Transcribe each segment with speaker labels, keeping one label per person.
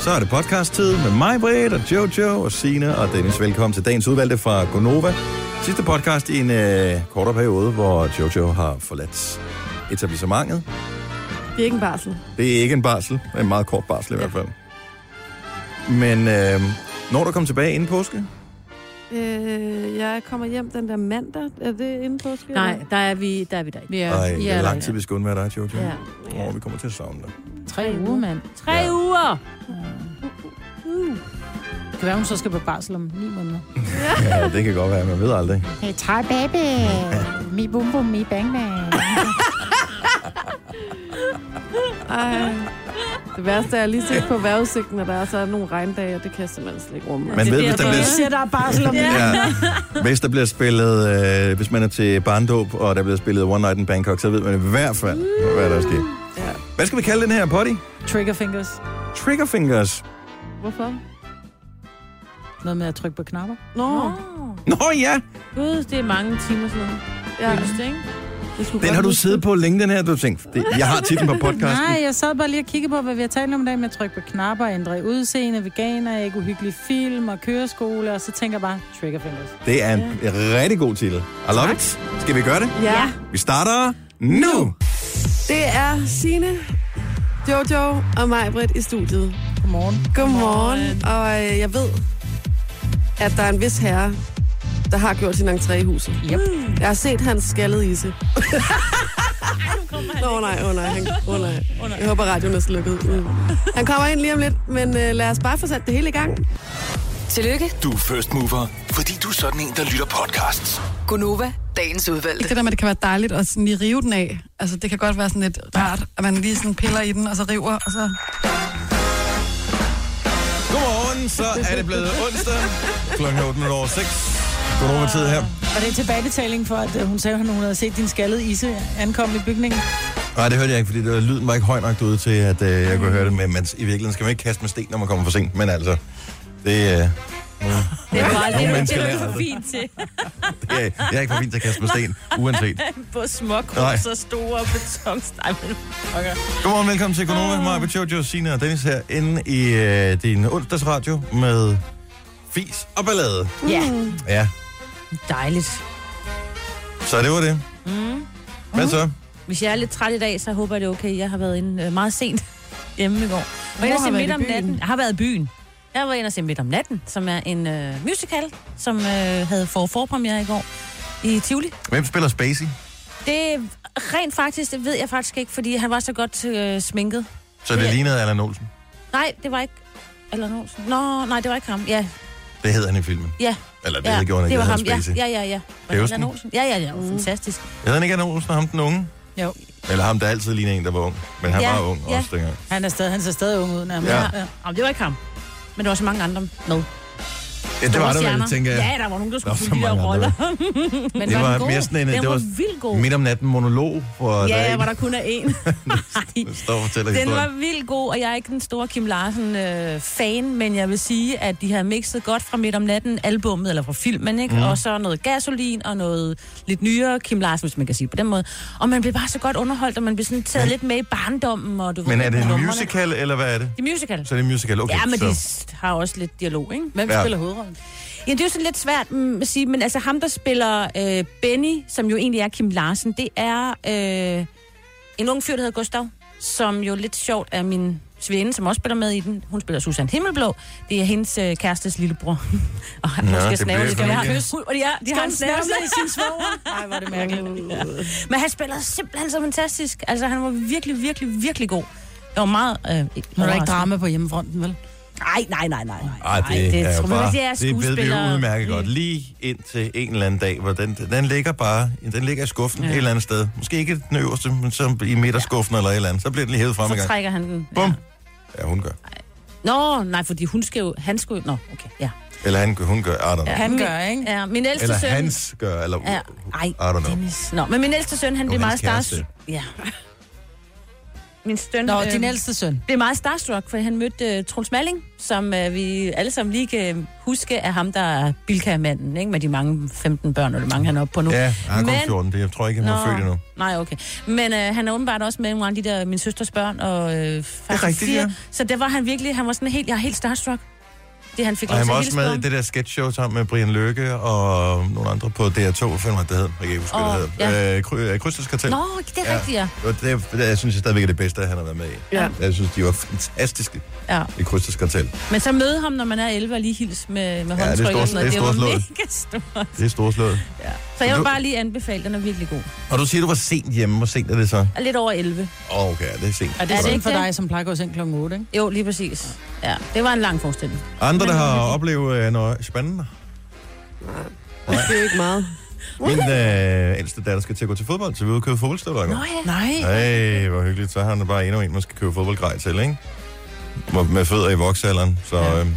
Speaker 1: så er det podcast-tid med mig, Britt, og Jojo, og Sina og Dennis. Velkommen til dagens udvalgte fra Gonova. Sidste podcast i en øh, kortere periode, hvor Jojo har forladt etablissementet.
Speaker 2: Det er ikke en barsel.
Speaker 1: Det er ikke en barsel, men en meget kort barsel i hvert fald. Men øh, når du kommer tilbage inden påske,
Speaker 2: Øh, jeg kommer hjem den der mandag. Er det inden påske?
Speaker 3: Nej, der er vi der. Er vi der. ikke.
Speaker 1: ja, ej, det er lang tid, vi skal undvære dig, Jojo.
Speaker 3: Ja.
Speaker 1: Ja. Og vi kommer til at savne dig.
Speaker 3: Tre uger, mand. Mm. Uh, Tre
Speaker 1: Ja.
Speaker 3: ja. uger! Det kan være, hun så skal på barsel om ni måneder.
Speaker 1: Ja, det kan godt være, man ved aldrig.
Speaker 3: Hey, try baby! mi bum bum, mi bang bang.
Speaker 2: Ej. Det værste er, at jeg lige set på vejrudsigten, at der er så nogle regndage, og det kan jeg simpelthen slet ikke rumme.
Speaker 1: Man ved, hvis der bliver...
Speaker 3: der Altså, er barsel om ja.
Speaker 1: Ja. Hvis der bliver spillet, øh, hvis man er til barndåb, og der bliver spillet One Night in Bangkok, så ved man i hvert fald, hvad der er sket.
Speaker 2: Ja.
Speaker 1: Hvad skal vi kalde den her potty?
Speaker 3: Trigger fingers.
Speaker 1: Trigger fingers.
Speaker 2: Hvorfor?
Speaker 3: Noget med at trykke på knapper.
Speaker 2: Nå,
Speaker 1: Nå ja,
Speaker 4: Gud, det er mange timer siden.
Speaker 2: ja.
Speaker 4: Føles det, ikke?
Speaker 2: Det skulle
Speaker 1: den
Speaker 2: godt
Speaker 1: har du
Speaker 2: huske.
Speaker 1: siddet på længe, den her. Du tænkte, det, jeg har titlen på podcasten.
Speaker 3: Nej, jeg sad bare lige og kiggede på, hvad vi har talt om i dag med at trykke på knapper, ændre i udseende, veganer, ikke uhyggelige film og køreskole, og så tænker jeg bare, trigger fingers.
Speaker 1: Det er en rigtig god titel. I love it. Skal vi gøre det?
Speaker 2: Ja.
Speaker 1: Vi starter nu.
Speaker 2: Det er Signe, Jojo og mig, Britt, i studiet.
Speaker 3: Godmorgen.
Speaker 2: Godmorgen, og øh, jeg ved, at der er en vis herre, der har gjort sin entré i huset. Mm.
Speaker 3: Yep.
Speaker 2: Jeg har set hans skaldede isse. Åh oh, nej, åh oh, nej, han, oh, nej. Jeg håber, radioen er slukket. Mm. Han kommer ind lige om lidt, men øh, lad os bare få sat det hele i gang.
Speaker 5: Tillykke,
Speaker 6: Du er first mover, fordi du er sådan en, der lytter podcasts.
Speaker 5: Gunova, dagens udvalgte.
Speaker 7: det der med, at det kan være dejligt at sådan lige rive den af. Altså, det kan godt være sådan lidt rart, at man lige sådan piller i den, og så river, og så...
Speaker 1: Godmorgen, så er det blevet onsdag. Klokken er 8 minutter over 6. Godmorgen med tid her.
Speaker 3: Og det er tilbagebetaling for, at øh, hun sagde, at hun havde set din skaldede isse ankomme i bygningen.
Speaker 1: Nej, det hørte jeg ikke, fordi det var, lyden var ikke høj nok ude til, at øh, jeg kunne høre det. Men man, i virkeligheden skal man ikke kaste med sten, når man kommer for sent. Men altså, det, øh,
Speaker 4: Det er bare
Speaker 1: Nogle
Speaker 4: det,
Speaker 1: mennesker
Speaker 4: det,
Speaker 1: lærer
Speaker 4: det er du
Speaker 1: det.
Speaker 4: for fint til.
Speaker 1: jeg, jeg er ikke for fint til at kaste med sten, uanset.
Speaker 4: På
Speaker 1: Nej.
Speaker 4: småkrus og store betonstejl. Okay.
Speaker 1: Godmorgen, velkommen til Konoba. Maja Jojo, Sina og Dennis her inde i øh, din onsdagsradio med fis og ballade.
Speaker 2: Mm.
Speaker 3: Ja,
Speaker 1: Ja,
Speaker 4: Dejligt.
Speaker 1: så det var det.
Speaker 4: Mm.
Speaker 1: Hvad så?
Speaker 4: Hvis jeg er lidt træt i dag, så håber jeg, det er okay. Jeg har været inde øh, meget sent hjemme i går. Og jeg har midt om natten. Jeg har været i byen. Jeg var inde og se midt om natten, som er en øh, musical, som øh, havde for forpremiere i går i Tivoli.
Speaker 1: Hvem spiller Spacey?
Speaker 4: Det rent faktisk, det ved jeg faktisk ikke, fordi han var så godt øh, sminket.
Speaker 1: Så det
Speaker 4: Ja.
Speaker 1: lignede Allan Olsen.
Speaker 4: Nej, det var ikke... Eller nogen. Nå, nej, det var ikke ham. Ja,
Speaker 1: Det hedder han i filmen.
Speaker 4: ja,
Speaker 1: Eller det
Speaker 4: ja.
Speaker 1: ja, gjorde han ikke.
Speaker 4: det var
Speaker 1: han hed
Speaker 4: ham. Ja,
Speaker 1: Spacey.
Speaker 4: ja, ja, ja. Var
Speaker 1: Øvelsen.
Speaker 4: det Allan Olsen? Ja, ja, ja. Mm. Fantastisk.
Speaker 1: Hedder han ikke Allan Olsen og ham den unge?
Speaker 3: jo.
Speaker 1: Eller ham, der altid ligner en, der var ung. Men han
Speaker 4: Ja,
Speaker 1: var ung
Speaker 4: ja.
Speaker 1: også dengang.
Speaker 3: Han, er stadig, han ser stadig ung ud nærmest.
Speaker 1: Ja.
Speaker 4: Jamen, det var ikke ham. Men der var så mange andre med.
Speaker 1: Ja, det var der, vel,
Speaker 4: stjerner.
Speaker 1: tænker jeg.
Speaker 4: Ja, der var nogen, der
Speaker 1: Der var
Speaker 4: skulle
Speaker 1: så
Speaker 4: fylde de der
Speaker 1: mange andre,
Speaker 4: roller. Men
Speaker 1: Det
Speaker 4: var,
Speaker 1: var
Speaker 4: den god?
Speaker 1: mere sådan en-
Speaker 4: Den
Speaker 1: det
Speaker 4: var,
Speaker 1: var-
Speaker 4: vildt god.
Speaker 1: Midt om natten monolog, hvor der
Speaker 4: Ja,
Speaker 1: ikke
Speaker 4: hvor der kun er én. Nej.
Speaker 1: står og fortæller
Speaker 4: Den
Speaker 1: historien.
Speaker 4: var vildt god, og jeg er ikke den store Kim Larsen-fan, øh, fan, men jeg vil sige, at de har mixet godt fra midt om natten albummet, eller fra filmen,
Speaker 1: Mhm.
Speaker 4: ikke? Mm. Og så noget gasolin og noget lidt nyere Kim Larsen, hvis man kan sige på den måde. Og man blev bare så godt underholdt, og man blev sådan taget lidt med i barndommen. Og du ved,
Speaker 1: Men er det en
Speaker 4: nummerne.
Speaker 1: musical, eller hvad er det?
Speaker 4: Det er musical.
Speaker 1: Så er det en musical, okay.
Speaker 4: ja, men
Speaker 1: så.
Speaker 4: de s- har også lidt dialog, ikke?
Speaker 3: Hvem
Speaker 1: Ja.
Speaker 3: spiller hovedrollen?
Speaker 4: Ja, det er jo sådan lidt svært mm, at sige, men altså ham, der spiller øh, Benny, som jo egentlig er Kim Larsen, det er øh, en ung fyr, der hedder Gustav, som jo lidt sjovt er min svinde, som også spiller med i den. Hun spiller Susan Himmelblå. Det er hendes øh, kærestes lillebror. og han
Speaker 1: Nå,
Speaker 4: måske
Speaker 1: det
Speaker 4: snave
Speaker 1: bliver
Speaker 4: lidt.
Speaker 1: sådan
Speaker 4: Skal
Speaker 1: en, ja.
Speaker 4: kys? Hun- og de har- de har en snave.
Speaker 3: med sin svoger? Nej, var det mærkeligt.
Speaker 4: Men han spiller simpelthen så fantastisk. Altså, han var virkelig, virkelig, virkelig god. Jeg var meget...
Speaker 3: Må
Speaker 4: Øh,
Speaker 3: der
Speaker 4: overrasket.
Speaker 3: ikke drama på hjemmefronten, vel?
Speaker 4: Nej, nej, nej, nej.
Speaker 1: Ej, det,
Speaker 4: Ej,
Speaker 1: det er jo
Speaker 4: tror jeg,
Speaker 1: bare,
Speaker 4: det er
Speaker 1: det ved vi jo
Speaker 4: skuespillere.
Speaker 1: udmærket godt. Lige indtil en eller anden dag, hvor den, den ligger bare, den ligger i skuffen ja. et eller andet sted. Måske ikke den øverste, men så i midterskuffen ja. eller et eller andet. Så bliver den lige hævet frem i
Speaker 4: Så
Speaker 1: gang.
Speaker 4: trækker han den.
Speaker 1: Bum! Ja, hun gør.
Speaker 4: Nå, nej, fordi hun skal jo... Han skulle jo... Nå, okay, ja.
Speaker 1: Eller han, hun gør, I don't know.
Speaker 3: Han
Speaker 4: Min-
Speaker 3: gør, ikke?
Speaker 4: Ja, min ældste
Speaker 1: Eller
Speaker 4: søn...
Speaker 1: hans gør, eller
Speaker 4: Ja, ej,
Speaker 1: I don't know.
Speaker 4: Dennis. Nå, men min ældste søn, han
Speaker 1: Jo,
Speaker 4: blev
Speaker 1: hans
Speaker 4: meget stars...
Speaker 1: kæreste.
Speaker 4: Ja. min støn...
Speaker 3: Nå,
Speaker 4: øh,
Speaker 3: din ældste søn.
Speaker 4: blev meget starstruck, for han mødte uh, Troels Malling, som uh, vi alle sammen lige kan huske er ham, der er Bilka-manden, ikke? Med de mange 15 børn, eller mange han er oppe på nu.
Speaker 1: Ja, han er kun
Speaker 4: Men-
Speaker 1: 14. Det, jeg tror ikke, han var født endnu.
Speaker 4: nej, okay. Men øh, han er åbenbart også med i nogle af de der min søsters børn og øh, faktisk
Speaker 1: rigtigt,
Speaker 4: fire.
Speaker 1: ja.
Speaker 4: Så der var han virkelig, han var sådan helt, jeg er helt starstruck. Det han fik
Speaker 1: Og
Speaker 4: lov
Speaker 1: han
Speaker 4: til
Speaker 1: var
Speaker 4: at
Speaker 1: også
Speaker 4: hilse
Speaker 1: med
Speaker 4: på.
Speaker 1: i det der sketchshow sammen med Brian Løkke og nogle andre på DR2. Hvad fanden var det, det hed? Jeg kan ikke huske, hvad det
Speaker 4: Åh,
Speaker 1: hed. Øh, Kry- øh, Krydserskartel.
Speaker 4: Nå, det er
Speaker 1: Ja.
Speaker 4: rigtigt, ja.
Speaker 1: Og det, det, jeg synes jeg stadigvæk er det bedste, han har været med i.
Speaker 2: Ja.
Speaker 1: Jeg synes, de var fantastiske
Speaker 4: ja.
Speaker 1: i Krydserskartel.
Speaker 4: Men så møde ham, når man er 11 og lige hils med, med
Speaker 1: det er
Speaker 4: håndtryk
Speaker 1: stort-
Speaker 4: og sådan noget.
Speaker 1: det er
Speaker 4: var
Speaker 1: storslået.
Speaker 4: mega stort.
Speaker 1: Det er storslået.
Speaker 4: Så jeg
Speaker 1: Du-
Speaker 4: vil bare lige anbefale, den er virkelig god.
Speaker 1: Og du siger, du var sent hjemme. Hvor sent er det så?
Speaker 4: Og lidt over 11.
Speaker 1: Åh, oh, okay, det er sent.
Speaker 3: Er det,
Speaker 4: Er det
Speaker 3: sådan
Speaker 4: ikke
Speaker 3: for
Speaker 4: det?
Speaker 3: dig, som plejer at gå i seng kl. 8, ikke?
Speaker 4: Jo, lige præcis. Ja, det var en lang forestilling.
Speaker 1: Andre, der har oplevet øh, noget spændende.
Speaker 2: Det er ikke meget.
Speaker 1: Min øh, ældste datter skal til at gå til fodbold, så vi er ude og købe fodboldstøvler. i går.
Speaker 3: Nej.
Speaker 1: Ej, hvor hyggeligt. Så har han bare endnu en, man skal købe fodboldgrej til, ikke? Med- Med fødder i voksalderen, så
Speaker 3: Ja.
Speaker 1: ja. øhm,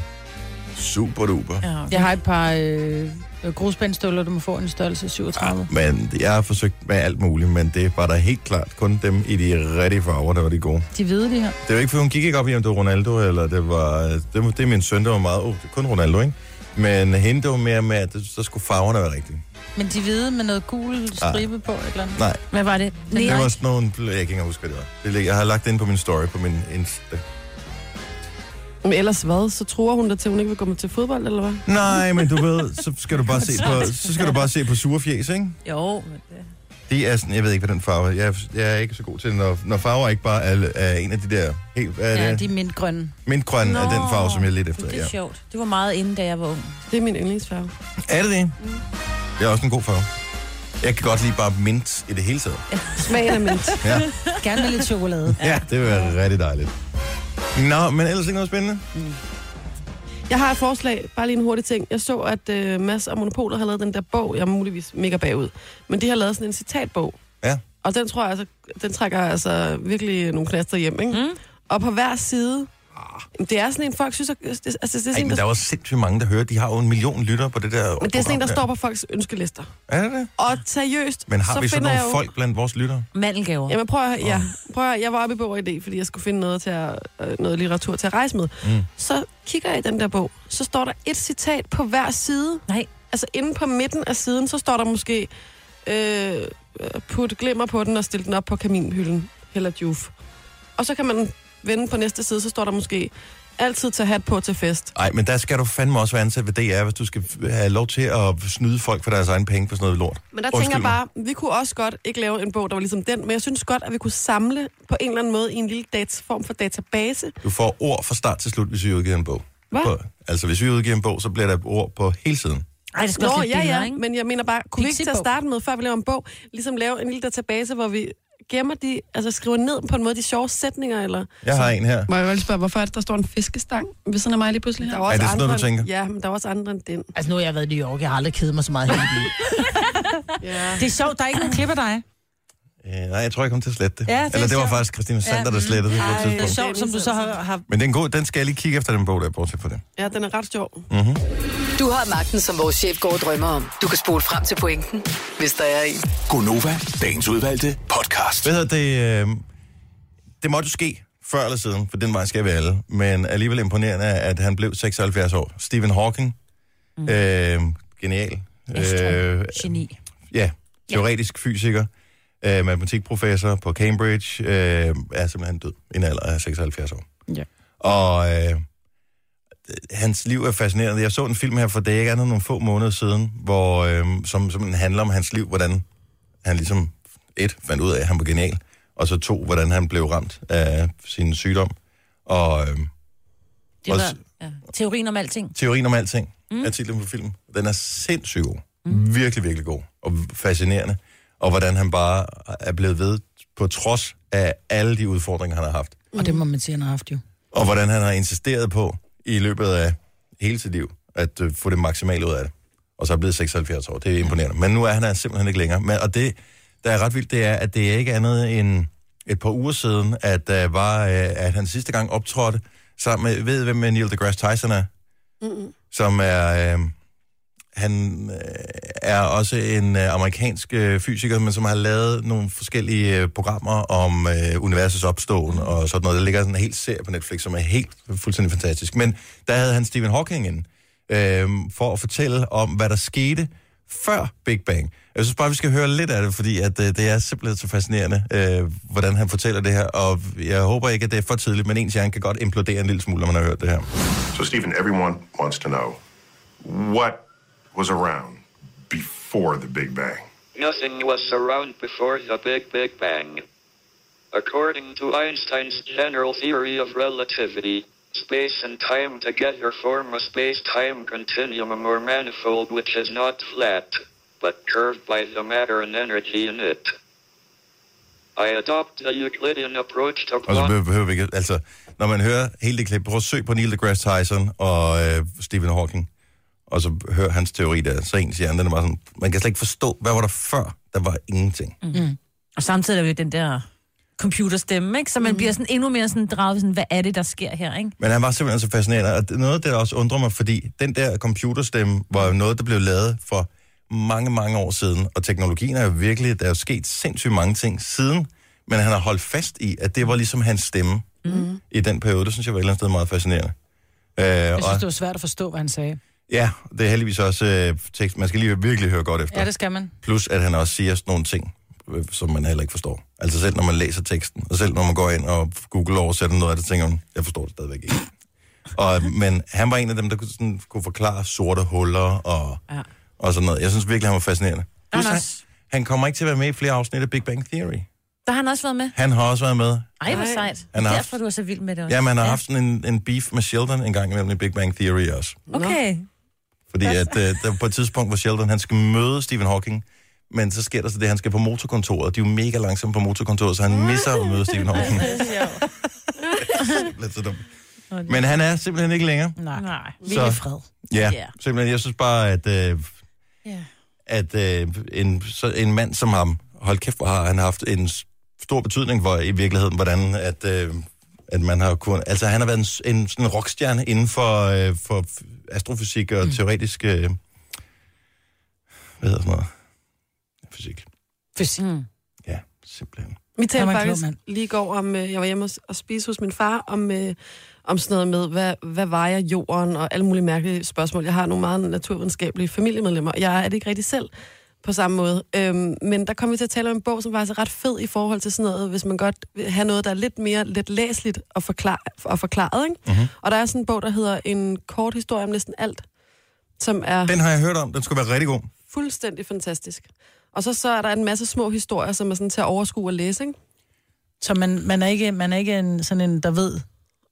Speaker 1: super duper. Ah, Ja.
Speaker 4: Ja, okay.
Speaker 3: Jeg har et par øh, grusbandstøvler, du må få en størrelse 37.
Speaker 1: Men jeg har forsøgt med alt muligt, men det var da helt klart kun dem i de rigtige farver, der var de gode.
Speaker 3: De hvide, de her.
Speaker 1: Det var ikke, for hun gik ikke op i, om det var Ronaldo, eller det var... Det, var- det er min søn, der var meget... Oh, det er kun Ronaldo, ikke? Men hende, det var mere med, at det, så skulle farverne være rigtige.
Speaker 3: Men de hvide med noget gul stribe på, et eller andet.
Speaker 1: Ah. Nej,
Speaker 4: Hvad var det? Den
Speaker 1: det
Speaker 4: var...
Speaker 1: var sådan nogle... Jeg kan ikke engang huske, hvad det var. Det, ligger- jeg har lagt det ind på min story, på min Insta.
Speaker 2: Men ellers hvad? Så tror hun dig til, at hun ikke vil gå med til fodbold, eller hvad?
Speaker 1: Nej, men du ved, så skal du bare se på, så skal du bare se på surefjæs, ikke?
Speaker 4: Jo, men det-
Speaker 1: Det er sådan, jeg ved ikke, hvad den farve er. Jeg, er- jeg er ikke så god til, når, når farver ikke bare er, er en af de der helt... Hvad er
Speaker 3: Ja,
Speaker 1: det?
Speaker 3: de er mindre grønne.
Speaker 1: Mintgrøn er den
Speaker 4: Nå,
Speaker 1: farve, som jeg er lidt efter.
Speaker 4: det
Speaker 1: Ja.
Speaker 4: er sjovt. Det var meget inden, da jeg var ung.
Speaker 2: Det er min yndlingsfarve.
Speaker 1: Er det det?
Speaker 4: Mm.
Speaker 1: Det er også en god farve. Jeg kan godt lide bare mint i det hele taget.
Speaker 2: Smagen af mint.
Speaker 1: Ja,
Speaker 3: Gerne med lidt chokolade.
Speaker 1: ja det vil være rigtig dejligt. Nå, men ellers ikke noget spændende?
Speaker 2: Jeg har et forslag, bare lige en hurtig ting. Jeg så, at øh, Mads og Monopolet har lavet den der bog, jeg er muligvis mega bagud, men de har lavet sådan en citatbog.
Speaker 1: Ja.
Speaker 2: Og den tror jeg altså, den trækker altså virkelig nogle knaster hjem, ikke? Mm. Og på hver side, Jamen, det er sådan en, folk synes, at, altså, det er sådan
Speaker 1: Ah. Ej,
Speaker 2: en,
Speaker 1: men der
Speaker 2: der,
Speaker 1: er jo sindssygt mange, der hører. De har jo en million lytter på det der
Speaker 2: men det er sådan en, der står
Speaker 1: program
Speaker 2: på folks ønskelister.
Speaker 1: der. Er det det?
Speaker 2: Og seriøst,
Speaker 1: Men har
Speaker 2: så
Speaker 1: vi sådan
Speaker 2: finder
Speaker 1: nogle
Speaker 2: jeg jo...
Speaker 1: folk blandt vores lytter?
Speaker 4: Mandelgaver.
Speaker 2: Jamen prøv at, høre- ja, prøv at, høre, jeg var oppe i bog og idé, fordi jeg skulle finde noget, til at, øh, noget litteratur til at rejse med.
Speaker 1: Mm.
Speaker 2: Så kigger jeg i den der bog, så står der et citat på hver side.
Speaker 4: Nej.
Speaker 2: Altså inde på midten af siden, så står der måske, øh, put glimmer på den og stil den op på kaminhylden, eller juf. Og så kan man vende på næste side, så står der måske, altid tage hat på til fest.
Speaker 1: Nej, men der skal du fandme også være ansat ved DR, hvis du skal have lov til at snyde folk for deres egen penge for sådan noget lort.
Speaker 2: Men der
Speaker 1: Undskyld
Speaker 2: tænker jeg
Speaker 1: mig.
Speaker 2: bare, vi kunne også godt ikke lave en bog, der var ligesom den, men jeg synes godt, at vi kunne samle på en eller anden måde i en lille dat- form for database.
Speaker 1: Du får ord fra start til slut, hvis vi udgiver en bog.
Speaker 2: Hvad?
Speaker 1: På, altså, hvis vi udgiver en bog, så bliver der ord på hele siden.
Speaker 4: Ej, det skal
Speaker 2: Nå,
Speaker 4: også lidt
Speaker 2: ja,
Speaker 4: billeder,
Speaker 2: ja,
Speaker 4: ikke?
Speaker 2: men jeg mener bare, kunne vi ikke til at
Speaker 3: Pixibog.
Speaker 2: starte med, før vi laver en bog, ligesom lave en lille database, hvor vi gemmer de, altså skriver ned på en måde de sjove sætninger, eller...
Speaker 1: Jeg har en her.
Speaker 7: Må jeg godt lige spørge, hvorfor er det, der står en fiskestang ved siden af mig lige pludselig her?
Speaker 2: Der også
Speaker 1: det sådan noget, du
Speaker 2: andre end-
Speaker 1: tænker?
Speaker 2: Ja, men der er også andre end den.
Speaker 3: Altså, nu har jeg været i New York. Jeg har aldrig kedet mig så meget hele livet.
Speaker 2: Ja.
Speaker 3: Det er sjovt, der er ikke nogen klipper dig.
Speaker 1: Øh, nej, jeg tror, jeg kommer til at slette det.
Speaker 3: Ja, det er
Speaker 1: Eller det var
Speaker 3: sjovt.
Speaker 1: faktisk Christine Sander, der slettede det på et
Speaker 2: Ej.
Speaker 3: Det er
Speaker 1: tidspunkt.
Speaker 3: sjovt, som du så har... har
Speaker 1: Men den, gode, den skal jeg lige kigge efter, den bog, der er bortset for det. Mhm.
Speaker 2: ja, den er ret sjov.
Speaker 5: Du har magten, som vores chef går og drømmer om. Du kan spole frem til pointen, hvis der er en.
Speaker 6: Gonova, dagens udvalgte podcast.
Speaker 1: Hvad hedder det? Øh, det måtte jo ske før eller siden, for den vej skal vi alle. Men alligevel imponerende, at han blev 76 år. Stephen Hawking. Mm. Øh, genial.
Speaker 4: Astro.
Speaker 1: Øh,
Speaker 4: Geni.
Speaker 1: ja, teoretisk fysiker, øh, matematikprofessor på Cambridge, øh, er simpelthen død i en alder af 76 år.
Speaker 3: Ja.
Speaker 1: Og øh, hans liv er fascinerende. Jeg så en film her for det er ikke andet end nogle få måneder siden, hvor, øh, som, som handler om hans liv, hvordan han ligesom et, fandt ud af, at han var genial, og så to, hvordan han blev ramt af sin sygdom. Og øh,
Speaker 4: Det
Speaker 1: Også-
Speaker 4: var ja. teorien om alting.
Speaker 1: Teorien om alting mm. er titlen på filmen. Den er sindssygt god. Mm. Virkelig, virkelig god. Og fascinerende. Og hvordan han bare er blevet ved på trods af alle de udfordringer, han har haft.
Speaker 3: og det må man sige, han har haft jo.
Speaker 1: Og hvordan han har insisteret på i løbet af hele sit liv, at øh, få det maksimale ud af det. Og så er blevet 76 år. Det er imponerende. Men nu er han her simpelthen ikke længere. Men, og det, der er ret vildt, det er, at det er ikke andet end et par uger siden, at, øh, var, øh, at han sidste gang optrådte sammen med, ved I, hvem Neil deGrasse Tyson er? Mm-hmm. Som er øh, han øh, er også en øh, amerikansk øh, fysiker, men som har lavet nogle forskellige øh, programmer om øh, universets opståen og sådan noget. Der ligger sådan en hel serie på Netflix, som er helt fuldstændig fantastisk. Men der havde han Stephen Hawking ind øh, for at fortælle om, hvad der skete før Big Bang. Jeg synes bare, vi skal høre lidt af det, fordi at, øh, det er simpelthen så fascinerende, øh, hvordan han fortæller det her. Og jeg håber ikke, at det er for tidligt, men ens hjerne kan godt implodere en lille smule, når man har hørt det her.
Speaker 8: So, Stephen, everyone wants to know what was around before the Big Bang?
Speaker 9: Nothing was around before the Big Big Bang. According to Einstein's general theory of relativity, space and time together form a space-time continuum or manifold which is not flat, but curved by the matter and energy in it. I adopt the Euclidean approach to
Speaker 1: Og så
Speaker 9: quantum
Speaker 1: behøver, behøver vi ikke... Altså, når man hører hele det klip, prøv at søg på Neil deGrasse Tyson og øh, Stephen Hawking, og så hør hans teori der, så ens hjerne, den er bare sådan... Man kan slet ikke forstå, hvad var der før? Der var ingenting. Mm.
Speaker 4: Og samtidig er det jo den der computerstemme, ikke? Så man mm. bliver sådan endnu mere sådan draget, sådan, hvad er det, der sker her, ikke?
Speaker 1: Men han var simpelthen så fascinerende, og det- noget af det, der også undrer mig, fordi den der computerstemme var jo noget, der blev lavet for mange, mange år siden, og teknologien er jo virkelig... Der er jo sket sindssygt mange ting siden, men han har holdt fast i, at det var ligesom hans stemme mm. i den periode. Det synes jeg var et eller andet sted meget fascinerende. Øh,
Speaker 10: Jeg synes, det var svært at forstå, hvad han sagde.
Speaker 1: Ja, det er heldigvis også øh, tekst. Man skal lige virkelig høre godt efter.
Speaker 10: Ja, det skal man.
Speaker 1: Plus, at han også siger sådan nogle ting, øh, som man heller ikke forstår. Altså selv når man læser teksten, og selv når man går ind og Google oversætter noget af det, tænker man, jeg forstår det stadigvæk ikke. og, øh, men han var en af dem, der kunne, sådan, kunne forklare sorte huller og, ja. og sådan noget. Jeg synes virkelig, han var fascinerende. Plus, han,
Speaker 4: også-
Speaker 1: han kommer ikke til at være med i flere afsnit af Big Bang Theory.
Speaker 4: Der har han også været med.
Speaker 1: Han har også været med.
Speaker 4: Ej, hvor
Speaker 1: Han
Speaker 4: sejt. Han
Speaker 1: har
Speaker 4: er
Speaker 1: haft-
Speaker 4: derfor, du er så vild med det også.
Speaker 1: Ja, man har haft sådan en, en beef med Sheldon en gang imellem i Big Bang Theory også.
Speaker 4: Okay.
Speaker 1: Fordi at, øh, der var på et tidspunkt, hvor Sheldon han skal møde Stephen Hawking, men så sker der så det, at han skal på motorkontoret. De er jo mega langsomme på motorkontoret, så han misser at møde Stephen Hawking. Lidt så dumt. Men han er simpelthen ikke længere.
Speaker 10: Nej. Nej.
Speaker 1: Så-
Speaker 10: Hvile i fred.
Speaker 1: Ja,
Speaker 4: Ja.
Speaker 1: simpelthen. Jeg synes bare, at, øh,
Speaker 10: Ja.
Speaker 1: at øh, en, så, en mand som ham, hold kæft, hvor har han haft en s- stor betydning for i virkeligheden, hvordan at, øh, at man har kun... Altså, han har været en, s- en sådan en rockstjerne inden for, øh, for f- astrofysik og mm. teoretisk... Øh, hvad hedder sådan noget? Fysik.
Speaker 10: Fysik. Mm.
Speaker 1: Ja, simpelthen.
Speaker 2: Vi talte
Speaker 10: Han var en klog
Speaker 2: faktisk
Speaker 10: mand.
Speaker 2: lige i går om, øh, jeg var hjemme og, s- og spise hos min far, om, øh, om sådan noget med, hvad, hvad vejer jorden og alle mulige mærkelige spørgsmål. Jeg har nogle meget naturvidenskabelige familiemedlemmer, og jeg er det ikke rigtig selv på samme måde. Øhm, men der kom vi til at tale om en bog, som var altså ret fed i forhold til sådan noget, hvis man godt vil have noget, der er lidt mere lidt læsligt og, forklar, og forklaret. Ikke? Mm-hmm. Og der er sådan en bog, der hedder En kort historie om næsten alt, som er...
Speaker 1: Den har jeg hørt om. Den skulle være rigtig god.
Speaker 2: fuldstændig fantastisk. Og så, så er der en masse små historier, som er sådan til at overskue og læse, ikke?
Speaker 10: Så man, man er ikke, man er ikke en, sådan en, der ved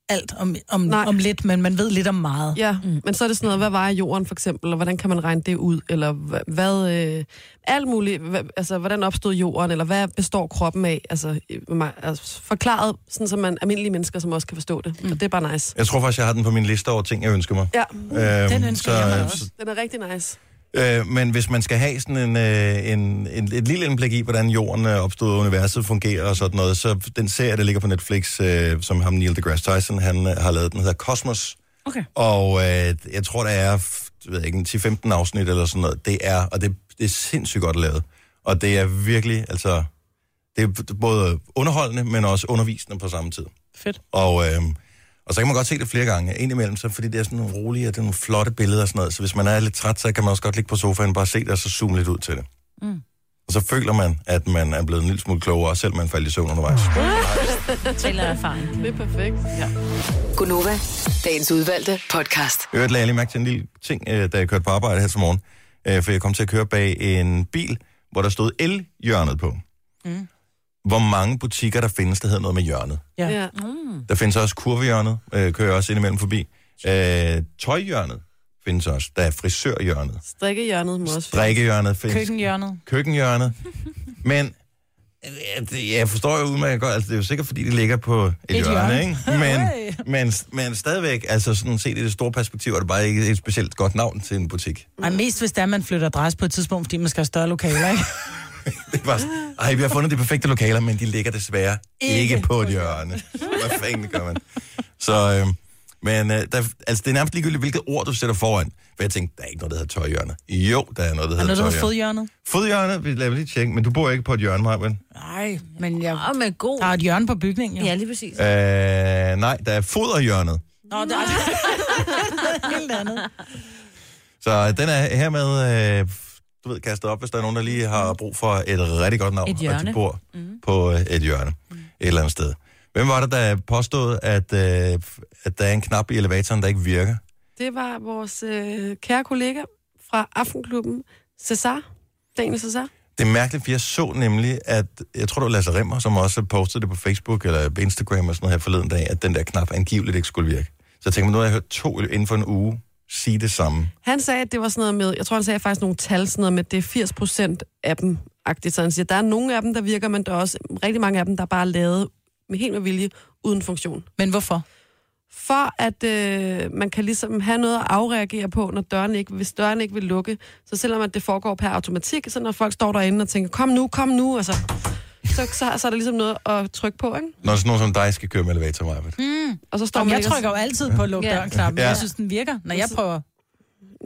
Speaker 10: alt om, om,
Speaker 2: Nej.
Speaker 10: om lidt, men man ved lidt om meget.
Speaker 2: Ja, mm. men så er det sådan noget, hvad vejer jorden for eksempel, og hvordan kan man regne det ud, eller hva- hvad, øh, alt muligt, hva, altså hvordan opstod jorden, eller hvad består kroppen af, altså, øh, mig- altså forklaret, sådan som man almindelige mennesker, som også kan forstå det, mm. og det er bare nice.
Speaker 1: Jeg tror faktisk, jeg har den på min liste over ting, jeg ønsker mig.
Speaker 2: Ja,
Speaker 1: Øhm,
Speaker 10: den ønsker jeg mig også.
Speaker 1: så-
Speaker 2: den er rigtig nice.
Speaker 1: Øh, men hvis man skal have sådan en, øh, en, en, et lille indblik i, hvordan jorden øh, opstod, og universet fungerer og sådan noget, så den serie, der ligger på Netflix, øh, som ham Neil deGrasse Tyson, han øh, har lavet, den hedder Cosmos.
Speaker 4: Okay.
Speaker 1: Og øh, jeg tror, der er f- jeg ved ikke, en 10-15 afsnit eller sådan noget. Det er, og det, det er sindssygt godt lavet. Og det er virkelig, altså, det er både underholdende, men også undervisende på samme tid.
Speaker 10: Fedt.
Speaker 1: Og, øh, og så kan man godt se det flere gange. Indimellem, så, fordi det er sådan nogle rolige, og det er nogle flotte billeder og sådan noget. Så hvis man er lidt træt, så kan man også godt ligge på sofaen og bare se det, og så zoome lidt ud til det. Mm. Og så føler man, at man er blevet en lille smule klogere, selvom man faldt i søvn undervejs.
Speaker 4: Tæller erfaring.
Speaker 2: Det er perfekt.
Speaker 5: Gunova, dagens udvalgte podcast.
Speaker 1: I øvrigt lagde jeg lige mærke til en lille ting, øh, da jeg kørte på arbejde her til morgen. Øh, For jeg kom til at køre bag en bil, hvor der stod el-hjørnet på. Mm. Hvor mange butikker der findes, der hedder noget med hjørnet.
Speaker 10: Ja.
Speaker 2: Ja.
Speaker 1: Der findes også kurvehjørnet, øh, kører jeg også indimellem forbi. Øh, tøjhjørnet findes også. Der er frisørhjørnet.
Speaker 2: Strikkehjørnet må også
Speaker 1: Drikkehjørnet findes.
Speaker 10: Køkkenhjørnet.
Speaker 1: Køkkenhjørnet. Men øh, det- jeg forstår jo udmærket godt, altså det er jo sikkert, fordi det ligger på et, et hjørne,
Speaker 10: hjørne.
Speaker 1: ikke? Men, men, men stadigvæk, altså sådan set i det store perspektiv, er det bare ikke et specielt godt navn til en butik.
Speaker 10: Ej, mest hvis det er, man flytter adresse på et tidspunkt, fordi man skal have større lokaler, ikke?
Speaker 1: Det er bare sådan, ej, vi har fundet de perfekte lokaler, men de ligger desværre ikke, ikke på et hjørne. Hvad fanden gør man? Så, øh, Men øh, der, altså, det er nærmest ligegyldigt, hvilket ord du sætter foran. For jeg tænkte, der er ikke noget, der hedder tøjhjørne. Jo, der er noget, der
Speaker 10: Er
Speaker 1: hedder
Speaker 10: noget, der
Speaker 1: tøjhjørne.
Speaker 10: hedder fodhjørnet?
Speaker 1: Fodhjørne, vi lader lige tjekke, men du bor ikke på et hjørne, Marvind.
Speaker 10: Nej, men jeg...
Speaker 4: Og med god...
Speaker 10: Der er et hjørne på bygningen, jo.
Speaker 4: Ja, lige præcis.
Speaker 1: Øh, nej, der er foderhjørnet.
Speaker 10: Nå, der er... Helt andet.
Speaker 1: Så den er hermed, øh, du ved, kastet op, hvis der er nogen, der lige
Speaker 10: Mhm.
Speaker 1: har brug for et rigtig godt navn.
Speaker 4: Et
Speaker 1: Og de
Speaker 4: hjørne.
Speaker 1: bor mm. på øh, et hjørne. Mm.
Speaker 10: Mhm.
Speaker 1: Et eller andet sted. Hvem var det, der påstod, at, øh, at der er en knap i elevatoren, der ikke virker?
Speaker 2: Det var vores øh, kære kollega fra Aftenklubben, Cesar. Daniel Cesar.
Speaker 1: Det er mærkeligt, for jeg så nemlig, at jeg tror, det var Lasse Rimmer, som også postede det på Facebook eller på Instagram og sådan noget her forleden dag, at den der knap angiveligt ikke skulle virke. Så jeg tænkte, men nu har jeg hørt to inden for en uge sige det samme.
Speaker 2: Han sagde, at det var sådan noget med, jeg tror, han sagde faktisk nogle tal, sådan noget med, at det er 80 procent af dem, agtigt. Så han siger, der er nogle af dem, der virker, men der er også rigtig mange af dem, der er bare lavet med helt med vilje, uden funktion.
Speaker 10: Men hvorfor?
Speaker 2: For at øh, man kan ligesom have noget at afreagere på, når døren ikke, hvis døren ikke vil lukke. Så selvom at det foregår per automatik, så når folk står derinde og tænker, kom nu, kom nu, altså, så, så, så er der ligesom noget at trykke på, ikke?
Speaker 1: Når sådan nogen som dig skal køre med elevator, Maja.
Speaker 2: Og så står
Speaker 10: Om
Speaker 2: man
Speaker 10: Mm. jeg
Speaker 2: ikke og-
Speaker 10: trykker jo altid på luk
Speaker 4: Ja.
Speaker 10: døren-knappen.
Speaker 1: Ja.
Speaker 10: Jeg synes, den virker, når jeg prøver.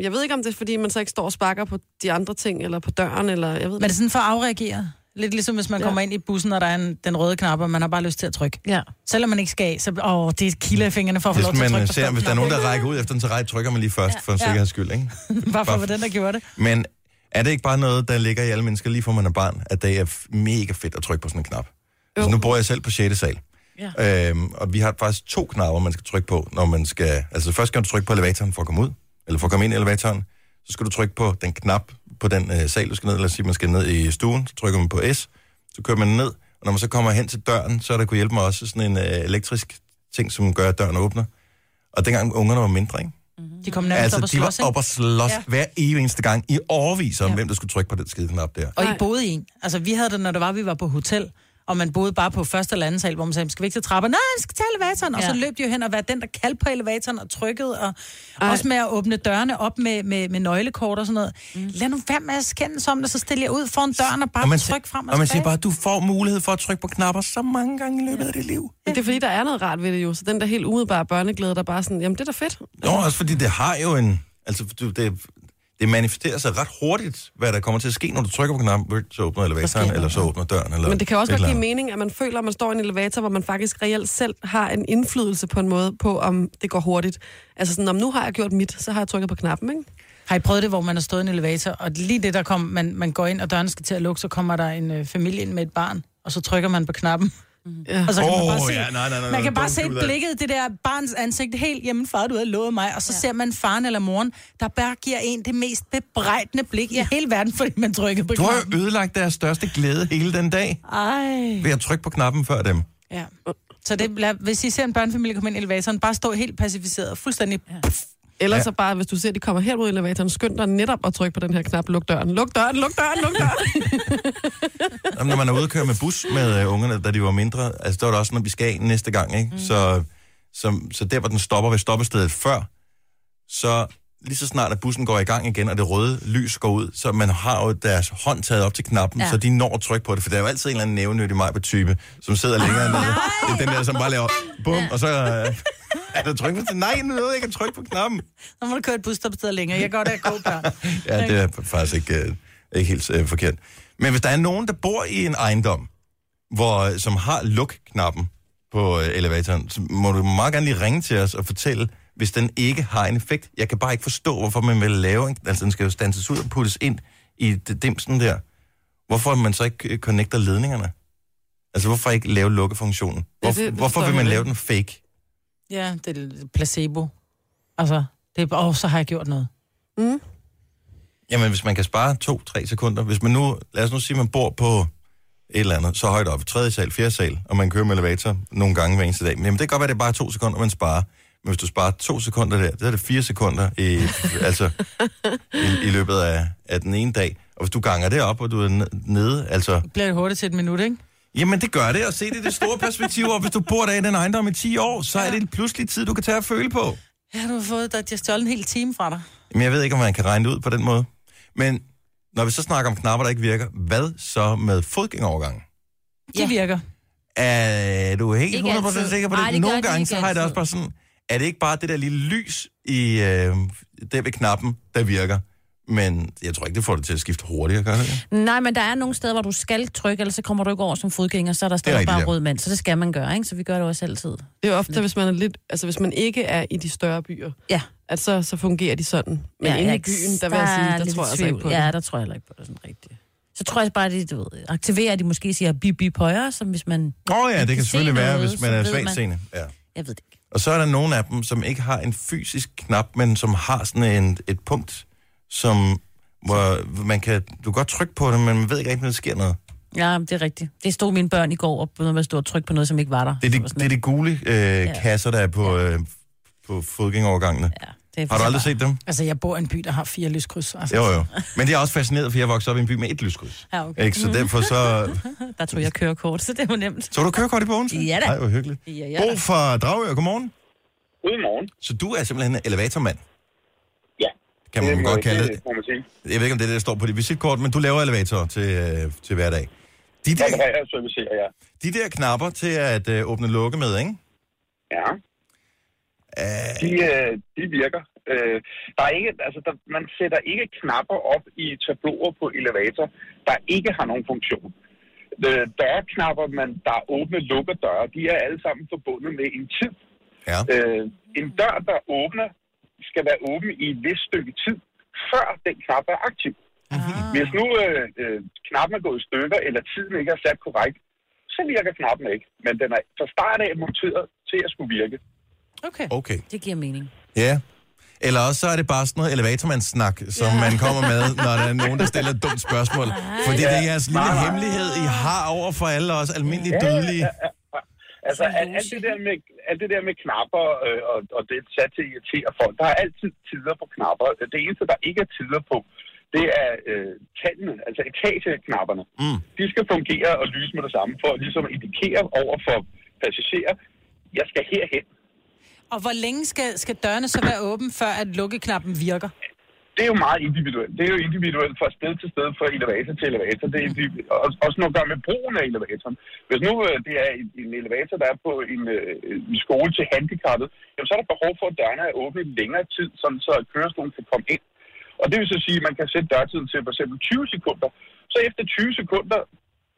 Speaker 2: Jeg ved ikke, om det er, fordi man så ikke står og sparker på de andre ting, eller på døren, eller jeg ved
Speaker 10: Men det er sådan for at afreagere. Lidt ligesom hvis man
Speaker 2: Ja.
Speaker 10: kommer ind i bussen, og der er en, den røde knap, og man har bare lyst til at trykke.
Speaker 3: Ja.
Speaker 10: Selvom man ikke skal af, så åh, det kilder i fingrene for at få
Speaker 1: Hvis
Speaker 10: lov til at
Speaker 1: man
Speaker 10: trykke på
Speaker 1: ser, hvis der er nogen, der rækker ud efter en terræn, trykker man lige først ja. for en
Speaker 10: Ja.
Speaker 1: sikkerheds skyld, ikke?
Speaker 10: stopknappen. Bare for, hvordan der gjorde det.
Speaker 1: Men er det ikke bare noget, der ligger i alle mennesker, lige fra man er barn, at det er f- mega fedt at trykke på sådan en knap? Altså, nu bor jeg selv på 6. sal. Ja. Øhm, og vi har faktisk to knapper, man skal trykke på, når man skal... Altså, først skal du trykke på elevatoren for at komme ud, eller for at komme ind i elevatoren. Så skal du trykke på den knap på den øh, sal, du skal ned. Lad os sige, man skal ned i stuen, så trykker man på S, så kører man ned. Og når man så kommer hen til døren, så er der kunne hjælpe mig også sådan en øh, elektrisk ting, som gør, at døren åbner. Og dengang ungerne var mindre, ikke?
Speaker 10: De kom nærmest
Speaker 1: Altså,
Speaker 10: op og
Speaker 1: de
Speaker 10: slås,
Speaker 1: var
Speaker 10: ikke?
Speaker 1: op og slås ja.
Speaker 10: Ja.
Speaker 1: hver evig eneste gang i overvis om, ja.
Speaker 10: Ja.
Speaker 1: hvem der skulle trykke på den skide knap der.
Speaker 10: Og I
Speaker 2: Nej.
Speaker 10: boede i en. Altså, vi havde det, når det var, vi var på hotel, og man boede bare på første eller anden sal, hvor man sagde, skal vi ikke til trapper? Nej, vi skal til elevatoren. Ja. Og så
Speaker 4: Ja.
Speaker 10: løb de jo hen og var den, der kaldte på elevatoren og trykkede, og Ej. også med at åbne dørene op med, med, med nøglekort og sådan noget. Mm. Lad nu være med at skændes om det, så stiller jeg ud foran døren og bare
Speaker 1: og man,
Speaker 10: tryk frem og,
Speaker 1: og man siger
Speaker 10: tilbage.
Speaker 1: bare, du får mulighed for at trykke på knapper så mange gange i løbet af dit liv.
Speaker 2: Men det er fordi, der er noget rart ved det jo. Så den der helt umiddelbare børneglæde, der bare sådan, jamen det er da fedt.
Speaker 1: Jo, også fordi det har jo en... Altså, du- det, det manifesterer sig ret hurtigt, hvad der kommer til at ske, når du trykker på knappen, så åbner elevatoren, eller så åbner døren, eller
Speaker 2: Men det kan jo
Speaker 1: et
Speaker 2: også godt
Speaker 1: eller
Speaker 2: give
Speaker 1: andet.
Speaker 2: mening, at man føler, at man står i en elevator, hvor man faktisk reelt selv har en indflydelse på en måde på, om det går hurtigt. Altså sådan, om nu har jeg gjort mit, så har jeg trykket på knappen, ikke?
Speaker 10: Har I prøvet det, hvor man har stået i en elevator, og lige det, der kom, man, man går ind, og døren skal til at lukke, så kommer der en øh, familie ind med et barn, og så trykker man på knappen.
Speaker 2: Ja.
Speaker 10: Og så kan
Speaker 1: Åh,
Speaker 10: man bare se,
Speaker 1: ja, nej, nej, nej,
Speaker 10: man kan
Speaker 1: nej,
Speaker 10: bare
Speaker 1: dumt,
Speaker 10: se
Speaker 1: du ved.
Speaker 10: blikket, det der barns ansigt, helt, jamen far, du havde lovet mig, og så ja. ser man faren eller moren, der bare giver en det mest bebrejdende blik ja. i hele verden, fordi man trykker på
Speaker 1: Du har
Speaker 10: knappen.
Speaker 1: jo ødelagt deres største glæde hele den dag,
Speaker 10: Ej.
Speaker 1: ved at trykke på knappen før dem.
Speaker 10: Ja. Så det, lad, hvis I ser en børnefamilie komme ind i elevatoren, bare stå helt pacificeret og fuldstændig... Ja.
Speaker 2: Eller
Speaker 1: Ja.
Speaker 2: ja. så bare, hvis du ser, at de kommer her ud i elevatoren, skynd dig netop at trykke på den her knap, luk døren, luk døren, luk døren, luk døren.
Speaker 1: Jamen, når man er ude og køre med bus med øh, ungerne, da de var mindre, altså der var det også, når vi skal af næste gang, ikke? Mm. Så, så, så der, hvor den stopper ved stoppestedet før, så lige så snart, at bussen går i gang igen, og det røde lys går ud, så man har jo deres hånd taget op til knappen, ja.
Speaker 4: Ja.
Speaker 1: så de når at trykke på det, for der er jo altid en eller anden nævnyttig mig på type, som sidder længere end andet. Det er den der, som bare laver bum, og så øh, er der tryk på Nej, nu ved jeg ikke at trykke på knappen.
Speaker 10: Så må du køre et busstopsted længere. Jeg går der gå, børn.
Speaker 1: Ja, det er faktisk ikke, øh, ikke helt øh, forkert. Men hvis der er nogen, der bor i en ejendom, hvor, som har luk-knappen på øh, elevatoren, så må du meget gerne lige ringe til os og fortælle, hvis den ikke har en effekt. Jeg kan bare ikke forstå, hvorfor man vil lave en... Altså, den skal jo standses ud og puttes ind i det dimsen der. Hvorfor man så ikke øh, connecter ledningerne? Altså, hvorfor ikke lave lukkefunktionen?
Speaker 2: Ja,
Speaker 1: Hvor,
Speaker 2: det- det
Speaker 1: hvorfor
Speaker 2: forstår
Speaker 1: vil man
Speaker 2: jeg
Speaker 1: lave
Speaker 2: ikke.
Speaker 1: den fake?
Speaker 10: Ja, det er placebo. Altså, det er, åh, så har jeg gjort noget.
Speaker 2: Mm.
Speaker 1: Jamen, hvis man kan spare 2-3 sekunder. Hvis man nu, lad os nu sige, man bor på et eller andet, så højt op, tredje sal, fjerde sal, og man kører med elevator nogle gange hver eneste dag. Men jamen, det kan godt være, det er bare to sekunder, man sparer. Men hvis du sparer to sekunder der, så er det fire sekunder i, altså, i, i løbet af, af den ene dag. Og hvis du ganger det op, og du er n- nede, altså...
Speaker 10: Bliver det hurtigt til et minut, ikke?
Speaker 1: Jamen, det gør det, og se det i det store perspektiv. Og hvis du bor der i den ejendom i 10 år, så er det pludselig tid, du kan tage og føle på.
Speaker 10: Ja, du har fået dig, de har stjålet en hel time fra dig.
Speaker 1: Men jeg ved ikke, om man kan regne det ud på den måde. Men når vi så snakker om knapper, der ikke virker, hvad så med fodgængerovergangen?
Speaker 10: Det ja. virker.
Speaker 1: Er du helt
Speaker 4: Ikke
Speaker 1: 100%
Speaker 4: altid.
Speaker 1: sikker på det?
Speaker 4: Nej, det gør
Speaker 1: Nogle
Speaker 4: de
Speaker 1: gange,
Speaker 4: ikke
Speaker 1: så har jeg det også
Speaker 4: altid.
Speaker 1: bare sådan, er det ikke bare det der lille lys i øh, der ved knappen, der virker? Men jeg tror ikke, det får det til at skifte hurtigere, gør det? det?
Speaker 4: Nej, men der er nogle steder, hvor du skal trykke, ellers så kommer du ikke over som fodgænger, så er der stadig
Speaker 1: rigtigt,
Speaker 4: bare
Speaker 1: ja.
Speaker 4: rød mand, så det skal man gøre, ikke? Så vi gør det også altid.
Speaker 2: Det er ofte, hvis man, er lidt, altså, hvis man ikke er i de større byer,
Speaker 4: ja.
Speaker 2: at så, så fungerer de sådan. Men
Speaker 4: Ja,
Speaker 2: ja, inde
Speaker 4: jeg
Speaker 2: i
Speaker 4: er ikke-
Speaker 2: byen, der vil jeg
Speaker 4: der
Speaker 2: sige,
Speaker 4: er
Speaker 2: der,
Speaker 4: lidt
Speaker 2: tror
Speaker 4: i
Speaker 2: jeg altså ikke på
Speaker 4: tvivl.
Speaker 2: det.
Speaker 4: Ja, der tror jeg heller ikke på det sådan rigtigt. Så tror jeg bare, det du ved, aktiverer, at de måske siger bip bip højere, som hvis man...
Speaker 1: Åh oh, ja, det
Speaker 4: man
Speaker 1: kan,
Speaker 4: se
Speaker 1: selvfølgelig være,
Speaker 4: noget,
Speaker 1: hvis
Speaker 4: så
Speaker 1: man er
Speaker 4: ved
Speaker 1: svagt seende. Ja.
Speaker 4: Jeg ved det ikke.
Speaker 1: Og så er der nogle af dem, som ikke har en fysisk knap, men som har sådan en, et punkt, som, hvor man kan, du kan godt trykke på det, men man ved ikke rigtig, når der sker noget.
Speaker 4: Ja, det er rigtigt. Det stod mine børn i går og begyndte med at stå og trykke på noget, som ikke Ah, var der.
Speaker 1: Det er de, det er de gule øh, ja. kasser, der er på, øh, på fodgængerovergangene. Ja,
Speaker 4: det
Speaker 1: har du aldrig set dem?
Speaker 10: Altså, jeg bor i en by, der har fire lyskryds. Altså.
Speaker 1: Jo, jo. Men det er også fascineret, for jeg voksede op i en by med et lyskryds.
Speaker 4: Ja, Ah, okay.
Speaker 1: Ikke? Så derfor så...
Speaker 4: Der tog jeg kørekort, så det var nemt.
Speaker 1: Så var du kørekort i Bogense?
Speaker 4: Ja da.
Speaker 1: Ej, hvor hyggeligt.
Speaker 4: Ja, ja.
Speaker 1: Ja. Bo fra Dragør, godmorgen.
Speaker 11: Godmorgen.
Speaker 1: Så du er simpelthen en elevatormand?
Speaker 11: Ja.
Speaker 1: Kan man godt kalde det.
Speaker 11: må man sige.
Speaker 1: Jeg ved ikke, om det er det, der står på dit visitkort, men du laver elevatorer til, øh, til hverdag. De der,
Speaker 11: Jeg reparerer og servicerer, ja.
Speaker 1: de der knapper til at øh, åbne og lukke med, ikke?
Speaker 11: Ja. De, øh, de virker. Øh, der er ikke, altså, der, man sætter ikke knapper op i tabloer på elevator, der ikke har nogen funktion. Øh, dørknapper, man, der er åbne lukker døre, de er alle sammen forbundet med en tid.
Speaker 1: Ja.
Speaker 11: Øh, en dør, der åbner, skal være åben i et vist stykke tid, før den knap er aktiv. Ah. Hvis nu øh, øh, knappen er gået i stykker, eller tiden ikke er sat korrekt, så virker knappen ikke. Men den er fra start af monteret til at skulle virke.
Speaker 4: Okay.
Speaker 1: Okay.
Speaker 4: Det giver mening.
Speaker 1: Ja. Eller også så er det bare sådan noget elevatormandssnak, som ja. man kommer med, når der er nogen, der stiller et dumt spørgsmål. Fordi det er jeres lille
Speaker 11: Nej, nej.
Speaker 1: hemmelighed, I har over for alle os almindelige
Speaker 11: Ja, ja,
Speaker 1: dødelige.
Speaker 11: Altså, alt, alt, det der med, alt det der med knapper øh, og, og det er sat til at irritere folk, der er altid tider på knapper. Det eneste, der ikke er tider på, det er øh, tallene, altså etageknapperne.
Speaker 1: Mm.
Speaker 11: De skal fungere og lyse med det samme, for at ligesom indikere over for passagerer, jeg skal herhen.
Speaker 10: Og hvor længe skal, skal dørene så være åbne, før at lukkeknappen virker?
Speaker 11: Det er jo meget individuelt. Det er jo individuelt fra sted til sted, fra elevator til elevator. Det er indiv- også- også noget at gøre med brugen af elevatoren. Hvis nu øh, det er en- en elevator, der er på en, øh, en skole til handicappet, jamen, så er der behov for, at dørene er åbne i længere tid, sådan så at kørestolen kan komme ind. Og det vil så sige, at man kan sætte dørtiden til for eksempel 20 sekunder. Så efter 20 sekunder,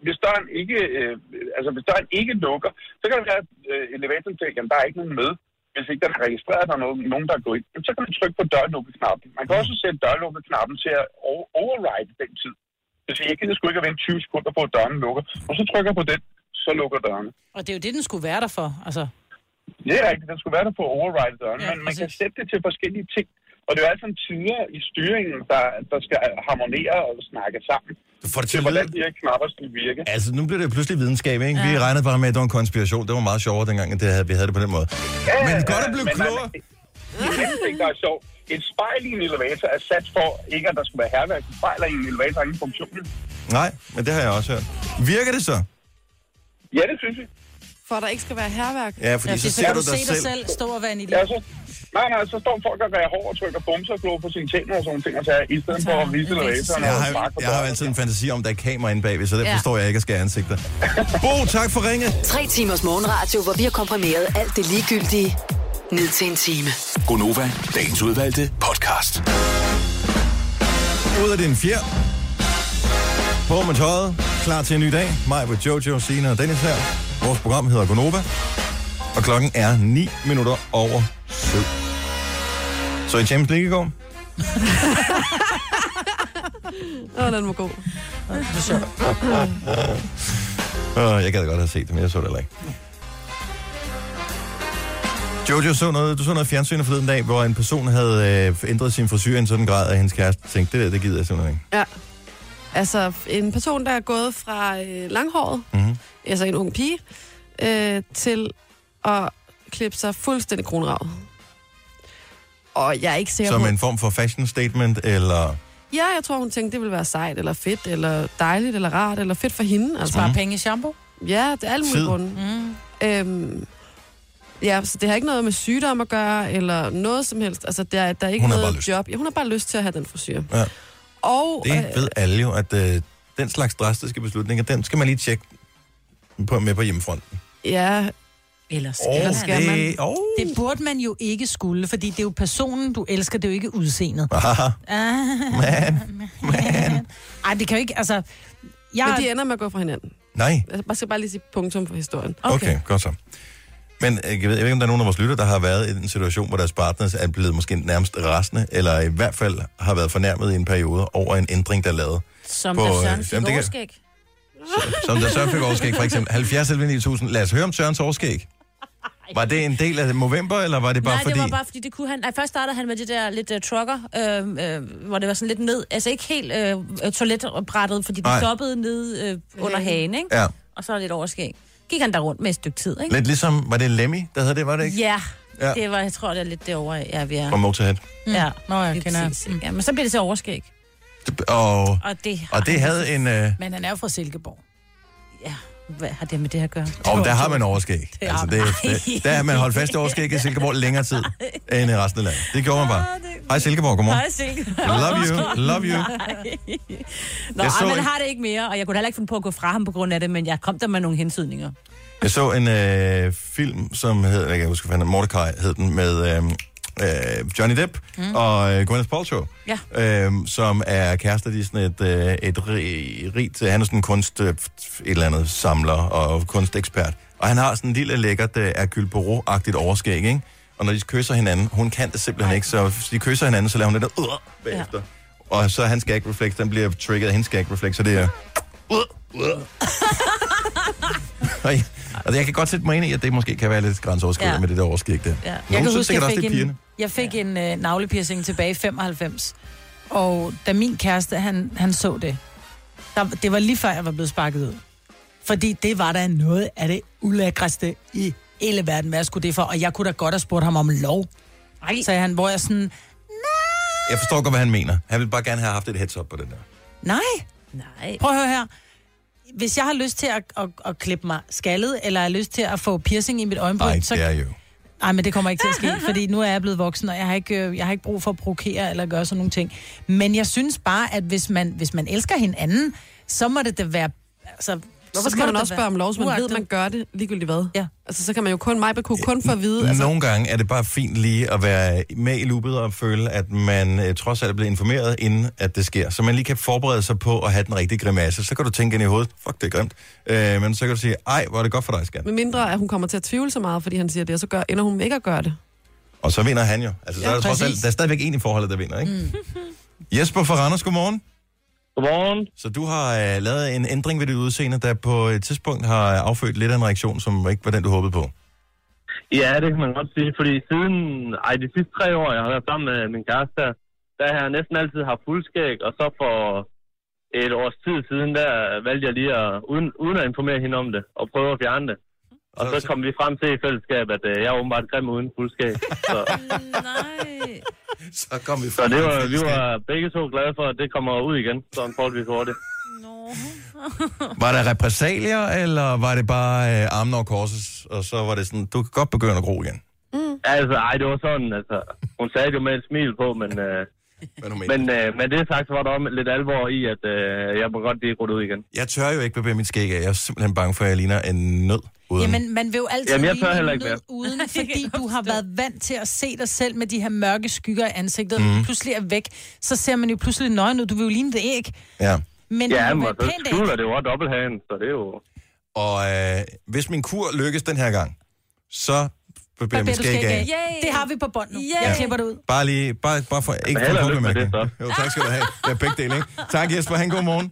Speaker 11: hvis døren ikke, øh, altså hvis døren ikke lukker, så kan det være, at øh, elevatoren tænker, at der er ikke nogen med. Hvis ikke den har registreret, at der er nogen, nogen der er gået ind, jamen, så kan man trykke på dørlukkeknappen. Man
Speaker 1: Mhm.
Speaker 11: kan også sætte dørlukkeknappen til at o- override den tid. Hvis jeg ikke gider sgu ikke at vente 20 sekunder på, at døren lukker, og så trykker jeg på den, så lukker dørene.
Speaker 10: Og det er jo det, den skulle være der for. Altså,
Speaker 11: Det er rigtigt, den skulle være der på at override dørene, ja, men man kan sætte det til forskellige ting. Og det er jo altså en tider i styringen, der, der skal harmonere og snakke sammen.
Speaker 1: Du får det til
Speaker 11: til,
Speaker 1: at
Speaker 11: hvordan
Speaker 1: lyde-
Speaker 11: de her knapper skal virke.
Speaker 1: Altså, nu blev det jo pludselig videnskab, ikke? Vi regnede bare med, at det var en konspiration. Det var meget sjovere dengang, at det havde, vi havde det på den måde. Men godt at blive klogere.
Speaker 11: Det er en ting, der er sjov. Et spejl i en elevator er sat for, ikke at der skal være herværk. Et spejl i en elevator har ingen funktion.
Speaker 1: Nej, men det har jeg også hørt. Virker det så?
Speaker 11: Ja, det synes jeg.
Speaker 2: For at der ikke skal være herværk.
Speaker 1: Ja, fordi så ser du dig selv.
Speaker 10: stå og være en
Speaker 11: Ja, så, nej, nej, så står folk og gør hård og trykker bumser og glor på sine tænder og sådan nogle ting, og tager, i stedet for at vise elevatoren
Speaker 1: Jeg
Speaker 11: og
Speaker 1: har,
Speaker 11: sparke på
Speaker 1: jeg har jo
Speaker 11: døren.
Speaker 1: altid en fantasi om, at der er et kamera inde bagved, så der
Speaker 5: Ja.
Speaker 1: ja. forstår jeg ikke at skære ansigter. Bo, tak for ringet.
Speaker 5: Tre timers morgenradio, hvor vi har komprimeret alt det ligegyldige ned til en time.
Speaker 6: Gonova, dagens udvalgte podcast.
Speaker 1: Ud af din fjer. På med tøjet. Klar til en ny dag. Mig med Jojo, Sina og Dennis her. Vores program hedder Gonova. Og klokken er 9 minutter over 7. Så i Champions League i går?
Speaker 2: Åh, den var god. Mm.
Speaker 1: Øh, jeg gad godt have set det, men jeg så det heller ikke. Jojo, så noget, du så noget fjernsyn forleden dag, hvor en person havde øh, ændret sin frisyr i en sådan grad, at hendes kæreste tænkte, det der, det gider jeg simpelthen ikke.
Speaker 2: Ja. Altså, en person, der er gået fra øh, langhåret,
Speaker 1: Mhm.
Speaker 2: mm-hmm. altså en ung pige, øh, til at klippe sig fuldstændig kronravet. Og jeg er ikke sikker
Speaker 1: Som
Speaker 2: på...
Speaker 1: en form for fashion statement, eller...
Speaker 2: Ja, jeg tror, hun tænkte, det ville være sejt, eller fedt, eller dejligt, eller rart, eller fedt for hende. Altså.
Speaker 1: Spare Mhm.
Speaker 10: penge i shampoo?
Speaker 2: Ja, det er alle mulige
Speaker 1: Tid.
Speaker 2: grunde. Mm. Øhm, ja, så det har ikke noget med sygdom at gøre, eller noget som helst. Altså, der, der er ikke
Speaker 1: Hun har
Speaker 2: noget
Speaker 1: bare lyst.
Speaker 2: job. Ja, hun har bare lyst til at have den frisyr.
Speaker 1: Ja.
Speaker 2: Og,
Speaker 1: Det
Speaker 4: Øh.
Speaker 1: ved alle jo, at øh, den slags drastiske beslutninger, den skal man lige tjekke på, med på hjemmefronten.
Speaker 2: Ja,
Speaker 10: Eller
Speaker 1: skal Åh, man? det- åh.
Speaker 10: det burde man jo ikke skulle, fordi det er jo personen, du elsker, det er jo ikke udseendet. Ah.
Speaker 1: Aha.
Speaker 10: man, man. Ej, det kan jo ikke, altså... Jeg...
Speaker 2: Men de ender med at gå fra hinanden.
Speaker 1: Nej.
Speaker 2: Altså, man skal bare lige sige punktum for historien.
Speaker 1: Okay, okay godt så. Men øh, jeg ved, jeg ved ikke, om der er nogen af vores lytter, der har været i en situation, hvor deres partners er blevet måske nærmest rasende, eller i hvert fald har været fornærmet i en periode over en ændring, der er lavet.
Speaker 4: Som
Speaker 1: På,
Speaker 4: der
Speaker 1: øh,
Speaker 4: Søren
Speaker 1: jamen, det
Speaker 4: fik
Speaker 1: kan-
Speaker 4: overskæg.
Speaker 1: Som der Søren fik overskæg, for eksempel 70 11 9000. Lad os høre om Sørens overskæg. Var det en del af november, eller var det bare
Speaker 4: Nej,
Speaker 1: fordi...
Speaker 4: det var bare fordi, det kunne han... Nej, først startede han med det der lidt uh, trucker, øh, øh, hvor det var sådan lidt ned... Altså ikke helt øh, øh, toiletbrættet, fordi det
Speaker 1: Nej.
Speaker 4: stoppede ned øh, under hagen, ikke?
Speaker 1: Ja.
Speaker 4: Og så lidt overskæg. Gik han der rundt med et stykke tid, ikke?
Speaker 1: Lidt ligesom, var det Lemmy, der havde det, var det ikke?
Speaker 4: Ja,
Speaker 1: Ja.
Speaker 4: ja. det var, jeg tror, det er lidt derovre, ja, vi er.
Speaker 1: Fra Motorhead.
Speaker 4: Mm. Ja,
Speaker 10: Nå, jeg Mm.
Speaker 4: lige
Speaker 10: kender.
Speaker 4: præcis, ikke? Ja, men så bliver det så overskæg.
Speaker 1: Og,
Speaker 4: Og det, har
Speaker 1: og det
Speaker 4: han-
Speaker 1: havde en... Øh,
Speaker 10: Men han er jo fra Silkeborg.
Speaker 4: Ja, hvad har det med det her at gøre?
Speaker 1: og der har man overskæg.
Speaker 4: Det
Speaker 1: Altså,
Speaker 4: har
Speaker 1: det,
Speaker 4: man.
Speaker 1: det, der har man holdt fast i overskæg i Silkeborg længere tid end i resten af landet. Det gjorde man bare. Hej Silkeborg, godmorgen.
Speaker 4: Ah, Hej, Silke.
Speaker 1: Love you, love you.
Speaker 4: Nej. Nå,
Speaker 1: Jeg så
Speaker 4: ej, man
Speaker 1: en-
Speaker 4: har det ikke mere, og jeg kunne heller ikke finde på at gå fra ham på grund af det, men jeg kom der med nogle hensydninger.
Speaker 1: Jeg så en øh, film, som hed, jeg kan huske, hvad den Mordecai hed den, med øh, øh, Johnny Depp mm. og øh, Gwyneth Paltrow,
Speaker 4: Ja.
Speaker 1: øh, som er kærester i sådan et, øh, et rig- rigt, han er sådan en kunst, øh, et eller andet samler og kunstekspert, og han har sådan en lille lækkert øh, Hercule Poirot-agtigt overskæg, ikke? Og når de kysser hinanden, hun kan det simpelthen ikke, så hvis de kysser hinanden, så laver hun det der, øh, bagefter. Ja. Og så er hans gag reflex, den bliver trigget af hendes gag reflex, så det er... Øh, øh. Og jeg- Altså, jeg kan godt sætte mig ind i, at det måske kan være lidt grænseoverskridende
Speaker 10: Ja.
Speaker 1: ja. med det der overskæg der. Ja.
Speaker 10: Ja.
Speaker 1: Nogen
Speaker 10: Jeg kan
Speaker 1: synes
Speaker 10: huske,
Speaker 1: sikkert
Speaker 10: jeg
Speaker 1: også,
Speaker 10: fik,
Speaker 1: det er pigerne.
Speaker 10: en, jeg fik en øh, navlepiercing tilbage i 95. Og da min kæreste, han, han så det, der, det var lige før, jeg var blevet sparket ud. Fordi det var da noget af det ulækreste i hele verden, hvad jeg skulle det for. Og jeg kunne da godt have spurgt ham om lov. Ej. Sagde han, hvor jeg sådan,
Speaker 1: Jeg forstår godt, hvad han mener. Han ville bare gerne have haft et heads up på den der.
Speaker 10: nej.
Speaker 4: Nej.
Speaker 10: Prøv at høre her. Hvis jeg har lyst til at, at, at klippe mig skaldet, eller har lyst til at få piercing i mit øjenbryn,
Speaker 1: Nej,
Speaker 10: så
Speaker 1: det er jo.
Speaker 10: Nej, men det kommer ikke til at ske, fordi nu er jeg blevet voksen, og jeg har ikke, øh, jeg har ikke brug for at provokere eller gøre sådan nogle ting. Men jeg synes bare, at hvis man, hvis man elsker hinanden, så må det da være... Altså,
Speaker 2: Hvorfor skal man også spørge om lov, hvis man ved, man gør det ligegyldigt hvad?
Speaker 10: Ja.
Speaker 2: Altså, så kan man jo kun, mig kunne kun få at vide,
Speaker 1: Altså...
Speaker 2: altså,
Speaker 1: Nogle gange er det bare fint lige at være med i loopet og føle, at man øh, trods alt er blevet informeret, inden at det sker. Så man lige kan forberede sig på at have den rigtige grimasse. Så kan du tænke ind i hovedet, fuck, det er grimt. Øh, men så kan du sige, ej, hvor er det godt for dig, skat.
Speaker 2: med mindre, at hun kommer til at tvivle så meget, fordi han siger det, og så gør, ender hun med ikke at gøre det.
Speaker 1: Og så vinder han jo. Altså, så
Speaker 2: Ja,
Speaker 1: er der, trods alt,
Speaker 2: præcis.
Speaker 1: der er stadigvæk en i forholdet, der vinder, ikke? Mm. Jesper fra Randers, godmorgen.
Speaker 12: Godmorgen.
Speaker 1: Så du har øh, lavet en ændring ved dit udseende, der på et tidspunkt har affødt lidt af en reaktion, som ikke var den, du håbede på.
Speaker 12: Ja, det kan man godt sige, fordi siden, ej, de sidste tre år, jeg har været sammen med min kæreste, der, der har jeg næsten altid haft fuldskæg, og så for et års tid siden, der valgte jeg lige at, uden, uden at informere hende om det, og prøve at fjerne det. Og så kom vi frem til i fællesskab, at øh, jeg er åbenbart grim uden fuldskæg. Så,
Speaker 1: så kom vi
Speaker 12: så det var, vi var begge to glade for, at det kommer ud igen, sådan forholdsvis hurtigt.
Speaker 1: Var der repressalier, eller var det bare øh, armen over korset, og så var det sådan, du kan godt begynde at gro igen?
Speaker 12: Mm. Altså, ej, det var sådan, altså. Hun sagde det jo med et smil på, men... Øh, men, øh, men det sagt, så var der også lidt alvor i, at øh, jeg må godt lige gå ud igen.
Speaker 1: Jeg tør jo ikke bevæge mit skæg af. Jeg er simpelthen bange for, at jeg ligner en nød uden.
Speaker 10: Jamen, man vil jo altid
Speaker 1: Jamen, jeg
Speaker 10: ligne
Speaker 1: tør heller ikke
Speaker 10: en nød uden, fordi du har været vant til at se dig selv med de her mørke skygger i ansigtet, mm.
Speaker 1: Mhm.
Speaker 10: og pludselig er væk, så ser man jo pludselig nøgen ud. Du vil jo ligne det æg.
Speaker 1: Ja.
Speaker 10: Men
Speaker 12: ja,
Speaker 10: det
Speaker 12: men
Speaker 10: må være
Speaker 12: så
Speaker 10: pænt,
Speaker 12: skjuler det jo også dobbelthagen, så det er jo...
Speaker 1: Og øh, hvis min kur lykkes den her gang, så bevæger mit
Speaker 10: Barber, du
Speaker 1: skæg
Speaker 10: skal
Speaker 1: af.
Speaker 10: ikke af. Det har vi på bånd nu.
Speaker 1: Ja.
Speaker 10: Jeg klipper det ud.
Speaker 1: Bare lige, bare, bare for, ikke for
Speaker 12: held og
Speaker 1: en
Speaker 12: lykke med det,
Speaker 1: bemærkning. Jo, tak skal du have. Det er begge dele, ikke? Tak Jesper, han god morgen.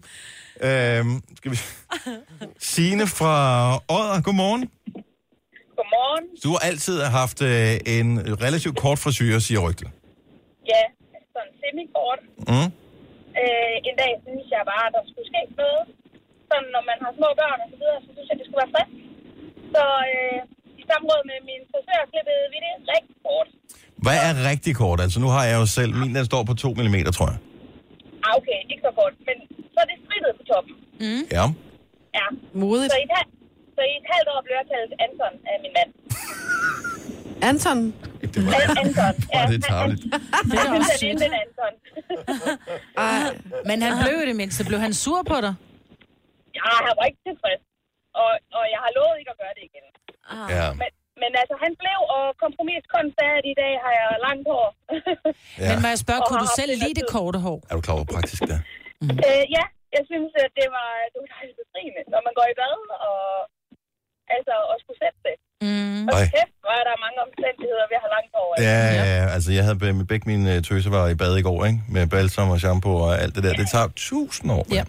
Speaker 1: Øhm, skal vi... Signe fra Odder, godmorgen.
Speaker 13: Godmorgen.
Speaker 1: Du har altid haft øh, en relativt kort frisyr, siger rygtet.
Speaker 13: Ja, sådan semi-kort.
Speaker 1: Mm.
Speaker 13: Øh, en dag synes jeg bare, at der skulle ske noget. Sådan, når man har små børn og så videre, så synes jeg, det skulle være frisk. Så øh, i samråd med min frisør klippede vi det rigtig kort.
Speaker 1: Hvad er rigtig kort? Altså, nu har jeg jo selv, min den står på 2 mm, tror jeg.
Speaker 13: Ah, okay, ikke så kort, men så er det strittet på toppen. Mm.
Speaker 1: Ja.
Speaker 13: Ja.
Speaker 2: Modigt.
Speaker 13: Så i, et, hal- så i et halvt år blev jeg kaldt Anton af min mand.
Speaker 2: Anton?
Speaker 1: Det
Speaker 13: var... Anton, ja.
Speaker 1: det er tarveligt.
Speaker 13: Det er også sødt. Det er Anton.
Speaker 10: Men han blev i det mindste. Blev han sur på dig?
Speaker 13: Ja, han var ikke tilfreds. Og, og jeg har lovet ikke at gøre det igen.
Speaker 1: Ja.
Speaker 13: Men, altså, han blev, og kompromiskund sagde, at i dag har jeg langt hår.
Speaker 10: Ja. Men må jeg spørge,
Speaker 13: Og
Speaker 10: kunne
Speaker 13: har
Speaker 10: du
Speaker 13: haft
Speaker 10: selv
Speaker 13: det
Speaker 10: lide det
Speaker 13: altid.
Speaker 10: korte hår?
Speaker 1: Er du klar over hvor praktisk det? er?
Speaker 13: Mm. Øh, ja, jeg synes, at det var, det var dejligt befriende, når man går i bad og, altså, og skulle sætte det.
Speaker 10: Mm.
Speaker 13: Og
Speaker 1: Ej.
Speaker 13: kæft, var der mange omstændigheder ved at have langt hår. altså.
Speaker 1: Ja, ja, altså jeg havde med begge mine øh, tøser var i bad i går, ikke? Med balsam og shampoo og alt det der. Det tager tusind år. Ja.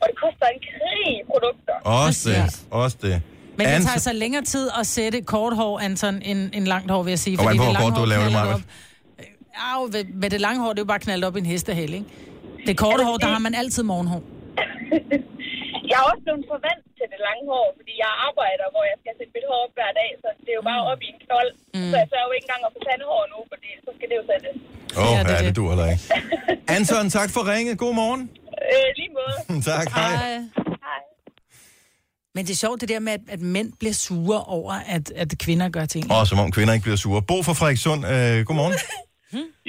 Speaker 13: Og det koster en krig i produkter.
Speaker 1: Også det. Også det.
Speaker 10: Men det
Speaker 1: Anton-
Speaker 10: tager så længere tid at sætte kort hår, Anton, end, end langt hår, vil jeg sige.
Speaker 1: Kom an på, hvor
Speaker 10: lange
Speaker 1: godt du
Speaker 10: hår
Speaker 1: laver det,
Speaker 10: knalder
Speaker 1: Marvitt.
Speaker 10: op. Au, ved- med det lange hår, det er jo bare knaldt op i en hestehæl, ikke? Det korte hår, der har man altid morgenhår.
Speaker 13: Jeg er også blevet forvant til det lange hår, fordi jeg arbejder, hvor jeg skal sætte mit hår op hver dag, så det er jo bare op i en knold.
Speaker 1: Mm.
Speaker 13: Mm. Så jeg tør jo ikke engang at få tandhår nu, fordi så skal det jo sættes.
Speaker 1: Åh, oh, ja, det du heller ikke. Anton, tak for ringet. God morgen.
Speaker 13: Øh, lige måde.
Speaker 1: tak, hej.
Speaker 10: Men det er sjovt det der med, at, at mænd bliver sure over, at, at kvinder gør ting.
Speaker 1: Og som om kvinder ikke bliver sure. Bo fra Frederikssund, øh, godmorgen.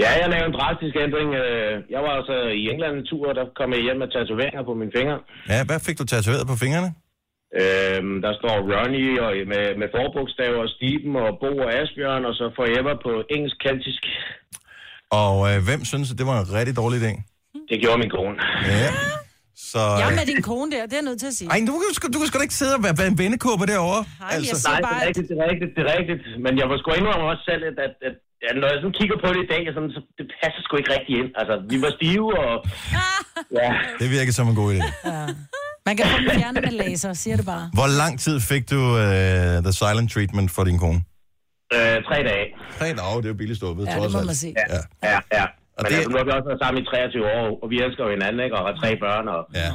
Speaker 14: Ja, jeg lavede en drastisk ændring. Øh, Jeg var altså i England en tur, og der kom jeg hjem med tatoveringer på mine fingre.
Speaker 1: Ja, hvad fik du tatoveret på fingrene?
Speaker 14: Øhm, der står Ronnie og med, med forbogstaver og Stiben og Bo og Asbjørn, og så Forever på engelsk-keltisk.
Speaker 1: Og øh, hvem synes, at det var en rigtig dårlig idé?
Speaker 14: Det gjorde min kone.
Speaker 1: Ja. Så...
Speaker 10: Jeg er med din kone der, det er jeg nødt til at sige.
Speaker 1: øh, Ej, du, kan sgu- du kan sgu da ikke sidde og være være en vennekåbe derovre. Altså,
Speaker 10: jeg siger
Speaker 14: Nej,
Speaker 10: bare,
Speaker 14: Altså, det
Speaker 10: at-
Speaker 14: er rigtigt, det er rigtigt, det er rigtigt. Men jeg må sgu indrømme også selv, at, at, at, at når jeg sådan kigger på det i dag, sådan, så det passer sgu ikke rigtig ind. Altså, vi var stive, og... Ja.
Speaker 1: Det virker som en god idé.
Speaker 10: Man kan få dem fjernet med laser, siger det bare.
Speaker 1: Hvor lang tid fik du øh, The Silent Treatment for din kone?
Speaker 14: Øh, tre dage.
Speaker 1: Tre dage, det er jo billigt stoppet,
Speaker 10: Ja, det må man sige.
Speaker 1: Ja.
Speaker 14: Ja, ja. Men det... altså, nu har vi også været sammen i 23 år, og vi elsker jo hinanden, ikke? Og har tre børn, og
Speaker 1: ja.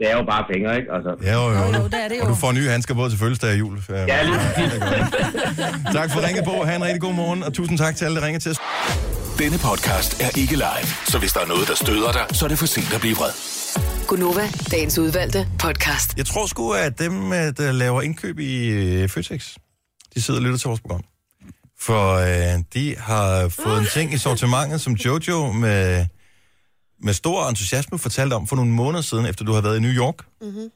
Speaker 14: det er jo bare penge, ikke? Altså.
Speaker 1: Ja, jo, jo.
Speaker 10: Jo, det er det
Speaker 1: Og du
Speaker 10: jo.
Speaker 1: får nye handsker både til fødselsdag og jul.
Speaker 14: Ja, lige
Speaker 1: Tak for ringet, Bo. Ha' en rigtig god morgen, og tusind tak til alle, der ringer til os.
Speaker 6: Denne podcast er ikke live, så hvis der er noget, der støder dig, så er det for sent at blive vred.
Speaker 5: Gunova, dagens udvalgte podcast.
Speaker 1: Jeg tror sgu, at dem, øh, der laver indkøb i øh, Føtex, de sidder og lytter til vores program. For øh, de har fået en ting i sortimentet, som Jojo med, med stor entusiasme fortalte om for nogle måneder siden, efter du havde været i New York.
Speaker 2: Mm-hmm.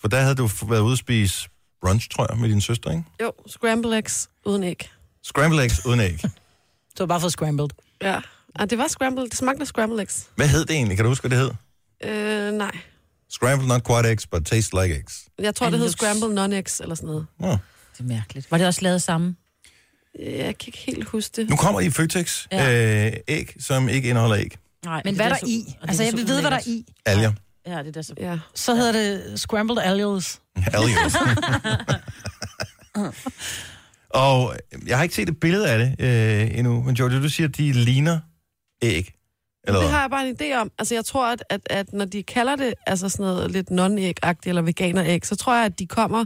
Speaker 1: For der havde du f- været ude at spise brunch, tror jeg, med din søster, ikke?
Speaker 2: Jo, scramble eggs uden æg.
Speaker 1: Scramble eggs uden æg.
Speaker 10: Du har bare fået scrambled.
Speaker 2: Ja. Ah, det var scramble. Det smagte af scramble eggs.
Speaker 1: Hvad hed det egentlig? Kan du huske, hvad det hed?
Speaker 2: Øh, nej.
Speaker 1: Scrambled not quite eggs, but taste like eggs.
Speaker 2: Jeg tror, det hed
Speaker 4: Ej, nu-
Speaker 2: scramble non-eggs eller sådan noget.
Speaker 1: Ja.
Speaker 4: Det er mærkeligt. Var det også lavet samme?
Speaker 2: Jeg kan ikke helt huske det.
Speaker 1: Nu kommer I Føtex ja. øh, æg, som ikke indeholder æg.
Speaker 4: Nej,
Speaker 10: Men
Speaker 4: det
Speaker 10: hvad er
Speaker 4: da
Speaker 10: der
Speaker 4: så-
Speaker 10: i?
Speaker 4: og det
Speaker 10: Altså,
Speaker 4: da
Speaker 10: jeg
Speaker 4: så
Speaker 10: vil vide, hvad der er
Speaker 4: ulækkert.
Speaker 10: i.
Speaker 1: Alger.
Speaker 4: Ja, det er da så...
Speaker 2: Ja.
Speaker 10: Så hedder det scrambled allios.
Speaker 1: Allios. Og øh, jeg har ikke set et billede af det øh, endnu, men Jojo, du siger, at de ligner æg. Eller
Speaker 2: Det
Speaker 1: hvad?
Speaker 2: har jeg bare en idé om. Altså, jeg tror, at, at, at når de kalder det altså sådan noget lidt non æg eller veganeræg, så tror jeg, at de kommer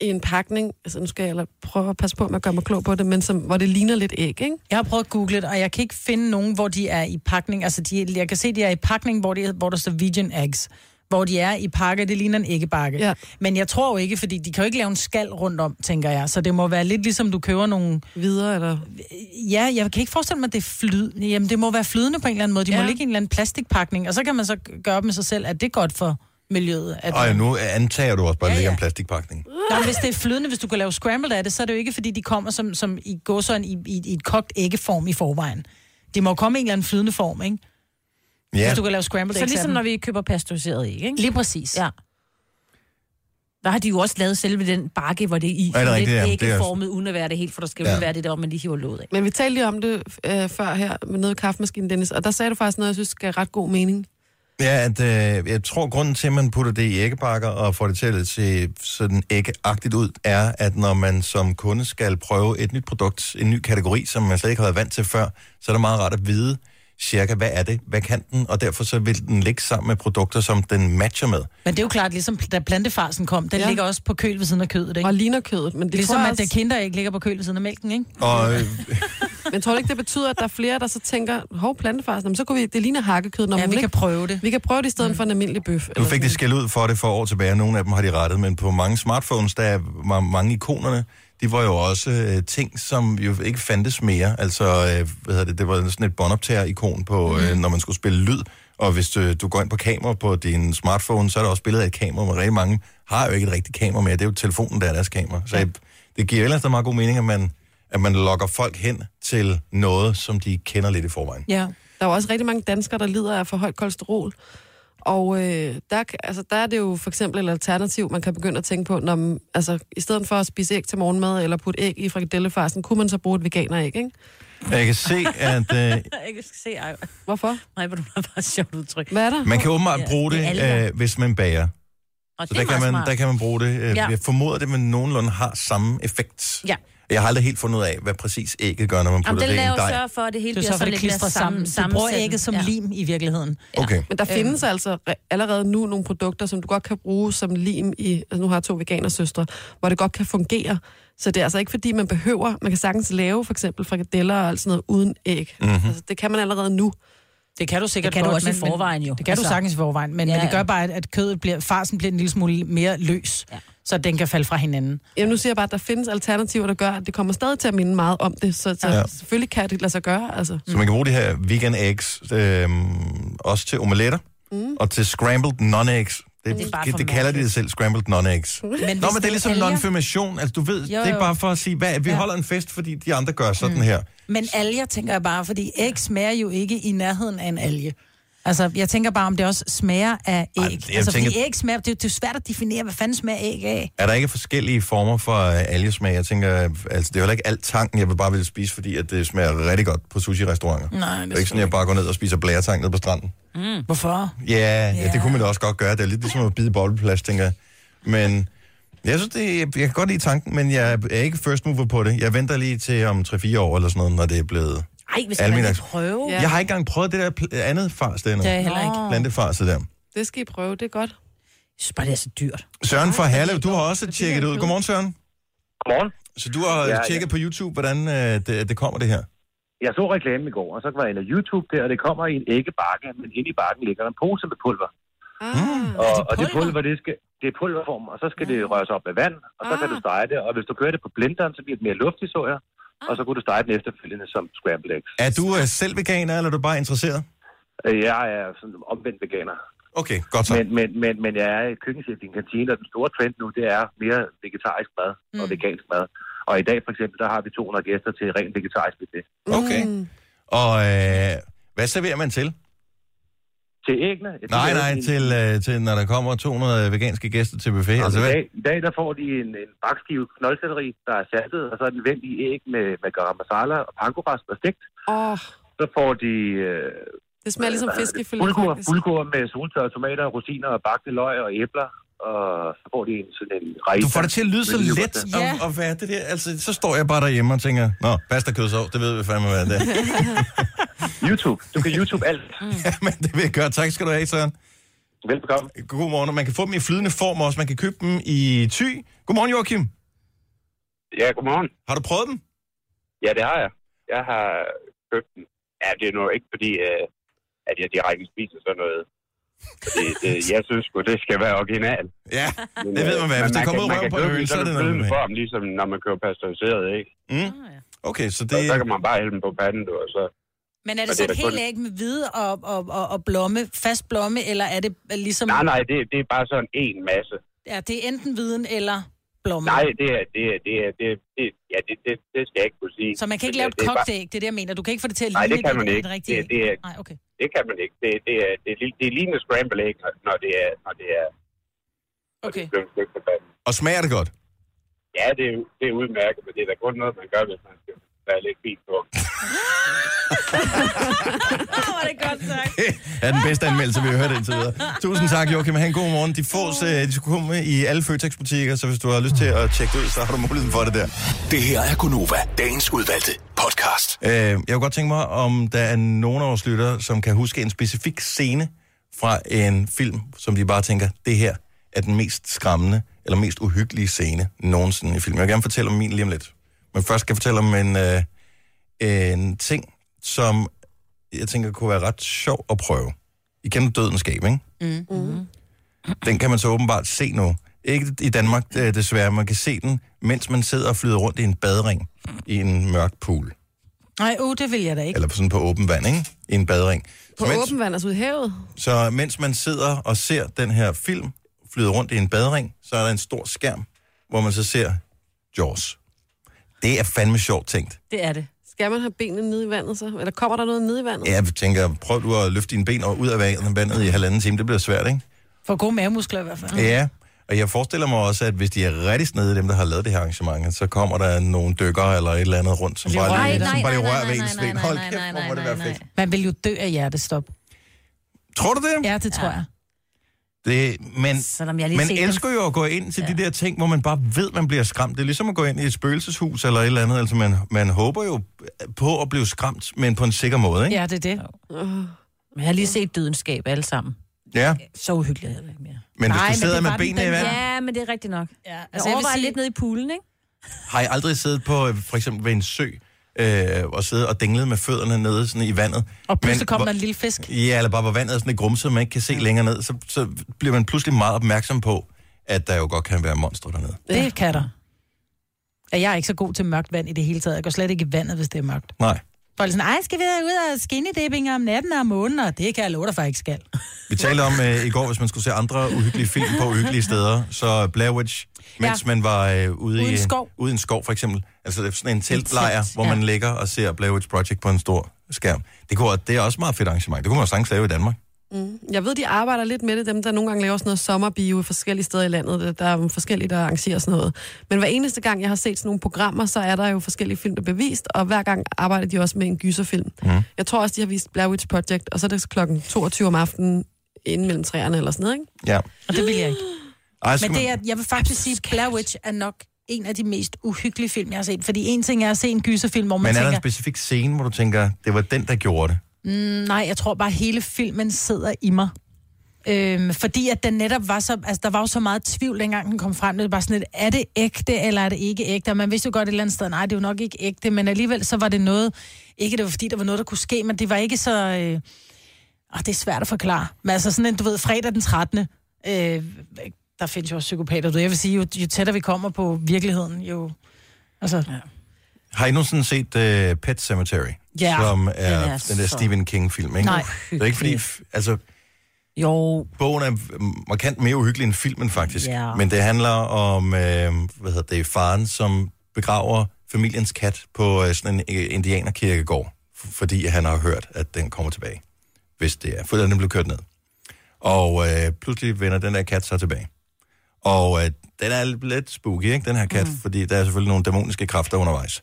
Speaker 2: i en pakning. Altså, nu skal jeg eller prøve at passe på, at man gør mig klog på det, men som, hvor det ligner lidt æg, ikke?
Speaker 10: Jeg har prøvet at google det, og jeg kan ikke finde nogen, hvor de er i pakning. Altså, de, jeg kan se, de er i pakning, hvor, de, hvor der står vegan eggs. Hvor de er i pakke, det ligner en æggebakke. Ja. Men jeg tror jo ikke, fordi de kan jo ikke lave en skal rundt om, tænker jeg. Så det må være lidt ligesom, du køber nogle...
Speaker 2: Videre, eller?
Speaker 10: Ja, jeg kan ikke forestille mig, at det er flydende. Jamen, det må være flydende på en eller anden måde. De ja. må ligge i en eller anden plastikpakning, og så kan man så gøre dem sig selv, at det er godt for miljøet. At
Speaker 1: Og nu antager du også bare, at det ligger en plastikpakning.
Speaker 10: Nå, men hvis det er flydende, hvis du kan lave scrambled af det, så er det jo ikke, fordi de kommer som, som i gåsøjen i, i, i et kogt æggeform i forvejen. De må jo komme i en eller anden flydende form, ikke?
Speaker 1: Ja.
Speaker 10: Hvis du kan lave scrambled
Speaker 4: Så
Speaker 10: eggs
Speaker 4: ligesom når vi køber pasteuriseret æg, ikke?
Speaker 10: Lige præcis.
Speaker 4: Ja. Der har de jo også lavet selve den bakke, hvor det er i.
Speaker 1: Ja, det er rigtigt, ja.
Speaker 4: det er
Speaker 1: Det
Speaker 4: ikke
Speaker 1: er-
Speaker 4: formet uden at være det helt, for der skal jo
Speaker 1: Ja.
Speaker 4: ja. være det der, hvor man lige hiver låget af.
Speaker 2: Men vi talte lige om det øh, før her med nede i kaffemaskinen, Dennis, og der sagde du faktisk noget, jeg synes gav ret god mening.
Speaker 1: Ja, at, øh, jeg tror, grunden til, at man putter det i æggebakker og får det til at se sådan æggeagtigt ud, er, at når man som kunde skal prøve et nyt produkt, en ny kategori, som man slet ikke har været vant til før, så er det meget rart at vide cirka, hvad er det, hvad kan den, og derfor så vil den ligge sammen med produkter, som den matcher med.
Speaker 10: Men det er jo klart, ligesom da plantefarsen kom, den ja. ligger også på køl ved siden af kødet, ikke? Og
Speaker 2: ligner kødet, men det
Speaker 10: Ligesom
Speaker 2: tror jeg
Speaker 10: at det
Speaker 2: også-
Speaker 10: kinder ikke ligger på køl ved siden af mælken, ikke?
Speaker 1: Og øh,
Speaker 2: Men tror du ikke, det betyder, at der er flere, der så tænker, hov, plantefars, jamen, så kunne vi, det ligner hakkekød, når
Speaker 10: Ja,
Speaker 2: man
Speaker 10: vi
Speaker 2: ikke?
Speaker 10: kan prøve det.
Speaker 2: Vi kan prøve det i stedet mm. for en almindelig bøf.
Speaker 1: Nu fik de skæld ud for det for år tilbage, nogle af dem har de rettet, men på mange smartphones, der er ma- mange ikonerne, de var jo også øh, ting, som jo ikke fandtes mere. Altså, øh, hvad hedder det, det var sådan et båndoptager-ikon, på, øh, når man skulle spille lyd. Og hvis øh, du går ind på kamera på din smartphone, så er der også billedet af et kamera, men rigtig mange har jo ikke et rigtigt kamera mere. Det er jo telefonen, der er deres kamera. Så jeg, det giver ellers da meget god mening, at man, at man lokker folk hen til noget, som de kender lidt i forvejen.
Speaker 2: Ja. Der er jo også rigtig mange danskere, der lider af for højt kolesterol. Og øh, der, kan- altså, der er det jo for eksempel et alternativ, man kan begynde at tænke på, når man, altså, i stedet for at spise æg til morgenmad, eller putte æg i frikadellefarsen, kunne man så bruge et veganeræg, ikke?
Speaker 1: Jeg kan se, at øh,
Speaker 4: Jeg kan se, ej.
Speaker 2: Hvorfor?
Speaker 4: Nej, hvor du har bare et sjovt udtryk.
Speaker 2: Hvad er der?
Speaker 1: man kan åbenbart bruge
Speaker 4: i
Speaker 1: det,
Speaker 4: alger.
Speaker 1: øh, hvis man bager.
Speaker 4: Og
Speaker 1: Så
Speaker 4: det er
Speaker 1: der kan,
Speaker 4: meget
Speaker 1: man,
Speaker 4: smart.
Speaker 1: der kan man bruge det. Øh,
Speaker 4: Ja.
Speaker 1: Jeg formoder, det man nogenlunde har samme effekt.
Speaker 4: Ja.
Speaker 1: Jeg har aldrig helt fundet ud af, hvad præcis ægget gør, når man
Speaker 4: Jamen,
Speaker 1: putter
Speaker 4: det
Speaker 1: det i en
Speaker 4: laver
Speaker 1: dej.
Speaker 4: sørger for, at det hele
Speaker 10: Det er
Speaker 4: bliver
Speaker 10: så, for
Speaker 4: sådan
Speaker 10: det
Speaker 4: lidt mere
Speaker 10: klistrer sammen.
Speaker 4: sammen,
Speaker 10: Du bruger
Speaker 4: sammensat.
Speaker 10: ægget som ja. lim i virkeligheden. Øhm.
Speaker 1: Okay.
Speaker 2: Men der findes altså re- allerede nu nogle produkter, som du godt kan bruge som lim i, altså nu har jeg to veganersøstre, hvor det godt kan fungere. Så det er altså ikke fordi, man behøver, man kan sagtens lave for eksempel frikadeller og alt sådan noget uden æg.
Speaker 10: Mhm.
Speaker 2: Altså, det kan man allerede nu.
Speaker 10: Det kan du sikkert
Speaker 4: Det kan du
Speaker 10: godt,
Speaker 4: også i
Speaker 10: men- men-
Speaker 4: forvejen jo.
Speaker 10: Det kan
Speaker 4: Altså-
Speaker 10: du sagtens i forvejen, men, ja.
Speaker 4: Ja.
Speaker 10: men det gør bare, at- at kødet bliver, farsen bliver en lille smule mere løs, ja. så den kan falde fra hinanden.
Speaker 2: Jamen, nu siger jeg bare, at der findes alternativer, der gør, at det kommer stadig til at minde meget om det. Så, så
Speaker 1: Ja.
Speaker 2: ja. selvfølgelig kan det lade sig gøre. Altså.
Speaker 1: Så man kan bruge de her vegan eggs øh, også til omeletter mm. og til scrambled non-eggs. Det,
Speaker 10: Men det er bare
Speaker 1: det,
Speaker 10: for
Speaker 1: det kalder de det selv, scrambled non-eggs.
Speaker 10: Men
Speaker 1: Men
Speaker 10: hvis
Speaker 1: Nå, men det
Speaker 10: det
Speaker 1: er ligesom
Speaker 10: er alger-
Speaker 1: non-firmation. Altså, du ved,
Speaker 10: Jo,
Speaker 1: jo, det er
Speaker 10: jo.
Speaker 1: bare for at sige, hvad, vi ja. holder en fest, fordi de andre gør sådan mm. her.
Speaker 10: Men alger tænker jeg bare, fordi æg smager jo ikke i nærheden af en alge. Altså, jeg tænker bare, om det også smager af æg. Ej,
Speaker 1: jeg
Speaker 10: altså, tænker... fordi
Speaker 1: tænker-
Speaker 10: æg smager, det, er jo- det er jo svært at definere, hvad fanden smager æg af.
Speaker 1: Er der ikke forskellige former for øh, algesmag? Jeg tænker, øh, altså, det er heller ikke alt tangen, jeg vil bare vil spise, fordi at det smager rigtig godt på sushi-restauranter.
Speaker 10: Nej, det er
Speaker 1: det er ikke sådan, at jeg bare går ned og spiser blæretang ned på stranden.
Speaker 10: Mm. Hvorfor?
Speaker 1: Ja, ja, det kunne man da også godt gøre. Det er lidt ligesom at bide i bobleplast, tænker jeg. Men jeg synes, det, jeg kan godt lide tanken, men jeg er ikke first mover på det. Jeg venter lige til om 3-4 år eller sådan noget, når det er blevet...
Speaker 4: Ej, hvis man
Speaker 1: almindelig-
Speaker 4: ikke prøve.
Speaker 1: Jeg har ikke engang prøvet det der pl- andet fars der.
Speaker 4: Det har jeg heller ikke.
Speaker 1: Plantefars der.
Speaker 2: Det skal I prøve, det er godt.
Speaker 4: Jeg synes bare, det er så dyrt.
Speaker 1: Søren fra Herlev, du har også tjekket det ud. Godmorgen, Søren.
Speaker 15: Godmorgen.
Speaker 1: Så du har
Speaker 15: Ja, ja.
Speaker 1: ja, tjekket ja. på YouTube, hvordan øh, det, det kommer, det her?
Speaker 15: Jeg så reklamen i går, og så var jeg inde på YouTube der, og det kommer i en æggebakke, men inde i bakken ligger der en pose med pulver.
Speaker 2: Ah.
Speaker 15: Og, og det pulver, Ah. det, skal, det er pulverform, og så skal det røres op med vand, og så kan du stege det. Og hvis du kører det på blenderen, så bliver det mere luftig, så jeg. Og så kunne du stege den efterfølgende som scrambled eggs.
Speaker 1: Er du øh, selv veganer, eller er du bare interesseret?
Speaker 15: Øh, Jeg er sådan omvendt veganer.
Speaker 1: Okay, godt så.
Speaker 15: Men, men, men, men jeg er køkkenchef i en kantine, og den store trend nu, det er mere vegetarisk mad mm. og vegansk mad. Og i dag for eksempel, der har vi 200 gæster til rent vegetarisk buffet.
Speaker 1: Okay. Mm. Og øh, hvad serverer man til?
Speaker 15: Til æggene? Jeg
Speaker 1: Nej,
Speaker 15: tænker,
Speaker 1: nej,
Speaker 15: en-
Speaker 1: til, øh, til når der kommer 200 veganske gæster til buffet.
Speaker 15: Altså,
Speaker 1: Altså,
Speaker 15: I,
Speaker 1: hvad?
Speaker 15: dag, I dag der får de en, en bakskive knoldselleri, der er saltet, og så er den vendt i æg med, med garam masala og pankorast og stegt.
Speaker 2: Åh, oh,
Speaker 15: Så får de... Øh,
Speaker 2: det smager ligesom
Speaker 15: hvad hedder det?
Speaker 2: fiskefilet,
Speaker 15: Bulgur,
Speaker 2: faktisk.
Speaker 15: bulgur med soltørrede tomater, rosiner og bagte løg og æbler. Og så får de en sådan en rejse.
Speaker 1: Du får det til at lyde så let
Speaker 15: Ja.
Speaker 1: at, at være det der. Altså, så står jeg bare derhjemme og tænker, nå, pasta kødsov, det ved vi fandme, hvad det er.
Speaker 15: YouTube. Du kan YouTube alt.
Speaker 1: Mm. ja, men det vil jeg gøre. Tak skal du have, Søren.
Speaker 15: Velbekomme.
Speaker 1: Godmorgen. Og Man kan få dem i flydende form også. Man kan købe dem i ty. Godmorgen, Joachim.
Speaker 16: Ja, godmorgen.
Speaker 1: Har du prøvet dem?
Speaker 16: Ja, det har jeg. Jeg har købt den. Ja, det er nu ikke fordi, øh, at jeg direkte spiser sådan noget. Fordi det, jeg synes sgu, det skal være øh, original.
Speaker 1: Ja, det ved man hvad. Hvis det kommer ud af røven på en øl, så er det noget
Speaker 16: med.
Speaker 1: med.
Speaker 16: form, ligesom når man køber pasteuriseret, ikke?
Speaker 1: Mm.
Speaker 10: Ah,
Speaker 1: Okay, så
Speaker 16: det... Så, så kan man bare hælde den på panden, du, og så...
Speaker 10: Men er
Speaker 16: Og
Speaker 10: det så
Speaker 16: da
Speaker 10: et helt
Speaker 16: kun-
Speaker 10: æg med hvide og, og, og, og blomme, fast blomme, eller er det øh, ligesom...
Speaker 16: Nej, nej, det, det er bare sådan en masse.
Speaker 10: Ja, det er enten hviden eller blomme.
Speaker 16: Nej, det er... Det, er, det, er, det, det, ja, det, det, det skal jeg ikke kunne sige.
Speaker 10: Så man kan ikke
Speaker 16: Men, øh,
Speaker 10: lave et
Speaker 16: det er
Speaker 10: kogt
Speaker 16: bare-
Speaker 10: æg, det er det, jeg mener. Du kan ikke få det til at
Speaker 16: Nej,
Speaker 10: ligne
Speaker 16: det kan
Speaker 10: et-
Speaker 16: man
Speaker 10: et
Speaker 16: ikke.
Speaker 10: rigtigt
Speaker 16: Det- det
Speaker 10: æg.
Speaker 16: er-
Speaker 10: Nej, okay.
Speaker 16: Det kan man ikke. Det, det, er, det, er, det er ligner scramble egg, når- når det er, når det er
Speaker 10: Okay.
Speaker 16: blevet stykke på panden.
Speaker 1: Og smager det godt?
Speaker 16: Ja, det er, jo- det er udmærket, men det er da kun noget, man gør, hvis man skal være lidt fint på.
Speaker 4: Åh, det er godt sagt.
Speaker 1: er den bedste anmeldelse, vi har hørt indtil videre. Tusind tak, Joachim. Ha' en god morgen. De fås, øh, de skulle komme i alle Føtex-butikker, så hvis du har lyst til at tjekke det ud, så har du muligheden for det der.
Speaker 6: Det her er Gunova, dagens udvalgte podcast.
Speaker 1: Øh, jeg kunne godt tænke mig, om der er nogen af vores lyttere, som kan huske en specifik scene fra en film, som de bare tænker, det her er den mest skræmmende eller mest uhyggelige scene nogensinde i film. Jeg vil gerne fortælle om min lige om lidt. Men først skal jeg fortælle om en, øh, en ting, som jeg tænker kunne være ret sjov at prøve. I kender dødens gab, ikke? Mm-hmm.
Speaker 17: Mm.
Speaker 1: Den kan man så åbenbart se nu. Ikke i Danmark øh, desværre. Man kan se den, mens man sidder og flyder rundt i en badring i en mørk pool.
Speaker 10: Nej, uh, det vil jeg da ikke.
Speaker 1: Eller sådan på åben vand, ikke? I en badring.
Speaker 2: På åben vand, altså ud i havet.
Speaker 1: Så mens man sidder og ser den her film flyde rundt i en badring, så er der en stor skærm, hvor man så ser Jaws. Det er fandme sjovt tænkt.
Speaker 2: Det er det. Skal man have benene nede i vandet så? Eller kommer der noget nede i vandet?
Speaker 1: Jeg tænker, prøv du at løfte dine ben og ud af vandet i halvanden time. Det bliver svært, ikke?
Speaker 10: For gode mavemuskler i hvert fald.
Speaker 1: Ja, og jeg forestiller mig også, at hvis de er rigtig snede, dem der har lavet det her arrangement, så kommer der nogle dykkere eller et eller andet rundt, som
Speaker 10: Lige rører
Speaker 1: bare
Speaker 10: ved
Speaker 1: lige,
Speaker 10: dig.
Speaker 1: som bare lige
Speaker 10: Nej, nej,
Speaker 1: rører ved
Speaker 10: nej,
Speaker 1: ens
Speaker 10: nej,
Speaker 1: ben.
Speaker 10: nej,
Speaker 1: Hold
Speaker 10: nej,
Speaker 1: kæft,
Speaker 10: nej,
Speaker 1: hvor må det
Speaker 10: nej,
Speaker 1: være fedt.
Speaker 10: Man vil jo dø af hjertestop.
Speaker 1: Tror du det?
Speaker 10: Ja, det tror jeg.
Speaker 1: Det, men
Speaker 10: Selvom jeg lige
Speaker 1: man
Speaker 10: ser
Speaker 1: elsker jo at gå ind til ja. de der ting, hvor man bare ved, man bliver skræmt. Det er ligesom at gå ind i et spøgelseshus eller et eller andet. Altså, man, man håber jo på at blive skræmt, men på en sikker måde, ikke?
Speaker 10: Ja, det er det.
Speaker 4: Men Øh. jeg har lige set dødens skab alle sammen.
Speaker 1: Ja.
Speaker 4: Så uhyggeligt er det ikke mere.
Speaker 1: Men hvis du sidder med benene i vandet...
Speaker 4: Ja, men det er rigtigt nok. Ja, altså, jeg,
Speaker 10: jeg vil
Speaker 4: overvejer
Speaker 10: sige-
Speaker 4: lidt nede i poolen, ikke?
Speaker 1: Har I aldrig siddet på, øh, for eksempel ved en sø, øh, og siddet og dinglet med fødderne nede sådan i vandet?
Speaker 10: Og pludselig
Speaker 1: Men
Speaker 10: kommer
Speaker 1: hvor-
Speaker 10: der en lille fisk.
Speaker 1: Ja, eller bare hvor vandet er sådan et grumset, man ikke kan se længere ned, så, så bliver man pludselig meget opmærksom på, at der jo godt kan være monstre dernede.
Speaker 10: Det kan der. Og jeg er ikke så god til mørkt vand i det hele taget. Jeg går slet ikke i vandet, hvis det er mørkt.
Speaker 1: Nej,
Speaker 10: Folk er sådan, ej, skal vi ud og skinnedepping om natten og om måneden? Og det kan jeg love dig for, jeg ikke skal.
Speaker 1: vi talte om øh, i går, hvis man skulle se andre uhyggelige film på uhyggelige steder, så Blair Witch, mens
Speaker 10: Ja.
Speaker 1: ja. man var øh, ude
Speaker 10: Uden
Speaker 1: i
Speaker 10: skov.
Speaker 1: ude i en skov for eksempel, altså det er sådan en
Speaker 10: Et
Speaker 1: teltlejr,
Speaker 10: telt,
Speaker 1: hvor
Speaker 10: ja.
Speaker 1: man ligger og ser Blair Witch Project på en stor skærm. Det, kunne, det er også et meget fedt arrangement. Det kunne man jo sagtens lave i Danmark.
Speaker 2: Mm. Jeg ved, de arbejder lidt med det, dem der nogle gange laver sådan noget sommerbio i forskellige steder i landet. Der- Der er jo forskellige, der arrangerer sådan noget. Men hver eneste gang, jeg har set sådan nogle programmer, så er der jo forskellige film, der er bevist, og hver gang arbejder de også med en gyserfilm. Mm. Jeg tror også, de har vist Blair Witch Project, og så er det klokken 22 om aftenen, inden mellem træerne eller sådan noget, ikke?
Speaker 1: Ja.
Speaker 10: Og det vil jeg ikke.
Speaker 1: Ej,
Speaker 10: Men det er, jeg vil faktisk sige, Blair Witch er nok en af de mest uhyggelige film, jeg har set. Fordi en ting er at se en gyserfilm, hvor man
Speaker 1: Men er der en
Speaker 10: tænker,
Speaker 1: specifik scene, hvor du tænker, det var den, der gjorde det?
Speaker 10: Mm, nej, jeg tror bare, hele filmen sidder i mig. Øhm, fordi at den netop var så, altså der var jo så meget tvivl, dengang den kom frem, det var bare sådan lidt, er det ægte, eller er det ikke ægte? Og man vidste jo godt et eller andet sted, nej, det er jo nok ikke ægte, men alligevel så var det noget, ikke det var fordi, der var noget, der kunne ske, men det var ikke så, øh, åh, det er svært at forklare. Men altså sådan en, du ved, fredag den 13. Øh, der findes jo også psykopater, du ved. jeg vil sige, jo, jo tættere vi kommer på virkeligheden, jo, altså, ja.
Speaker 1: Har I nogensinde set uh, Pet Cemetery?
Speaker 10: Ja,
Speaker 1: Som
Speaker 10: den er
Speaker 1: er, den, er den der
Speaker 10: så-
Speaker 1: Stephen King-film, ikke?
Speaker 10: Nej.
Speaker 1: Det er ikke fordi... f- Altså,
Speaker 4: jo.
Speaker 1: Bogen er mm, markant mere uhyggelig end filmen, faktisk.
Speaker 10: Ja.
Speaker 1: Men det handler om, øh, hvad hedder det, faren, som begraver familiens kat på øh, sådan en øh, indianerkirkegård, f- fordi han har hørt, at den kommer tilbage, hvis det er. For den blev kørt ned. Og øh, pludselig vender den der kat så tilbage. Og øh, den er lidt- lidt spooky, ikke, den her kat, mm. fordi der er selvfølgelig nogle dæmoniske kræfter undervejs.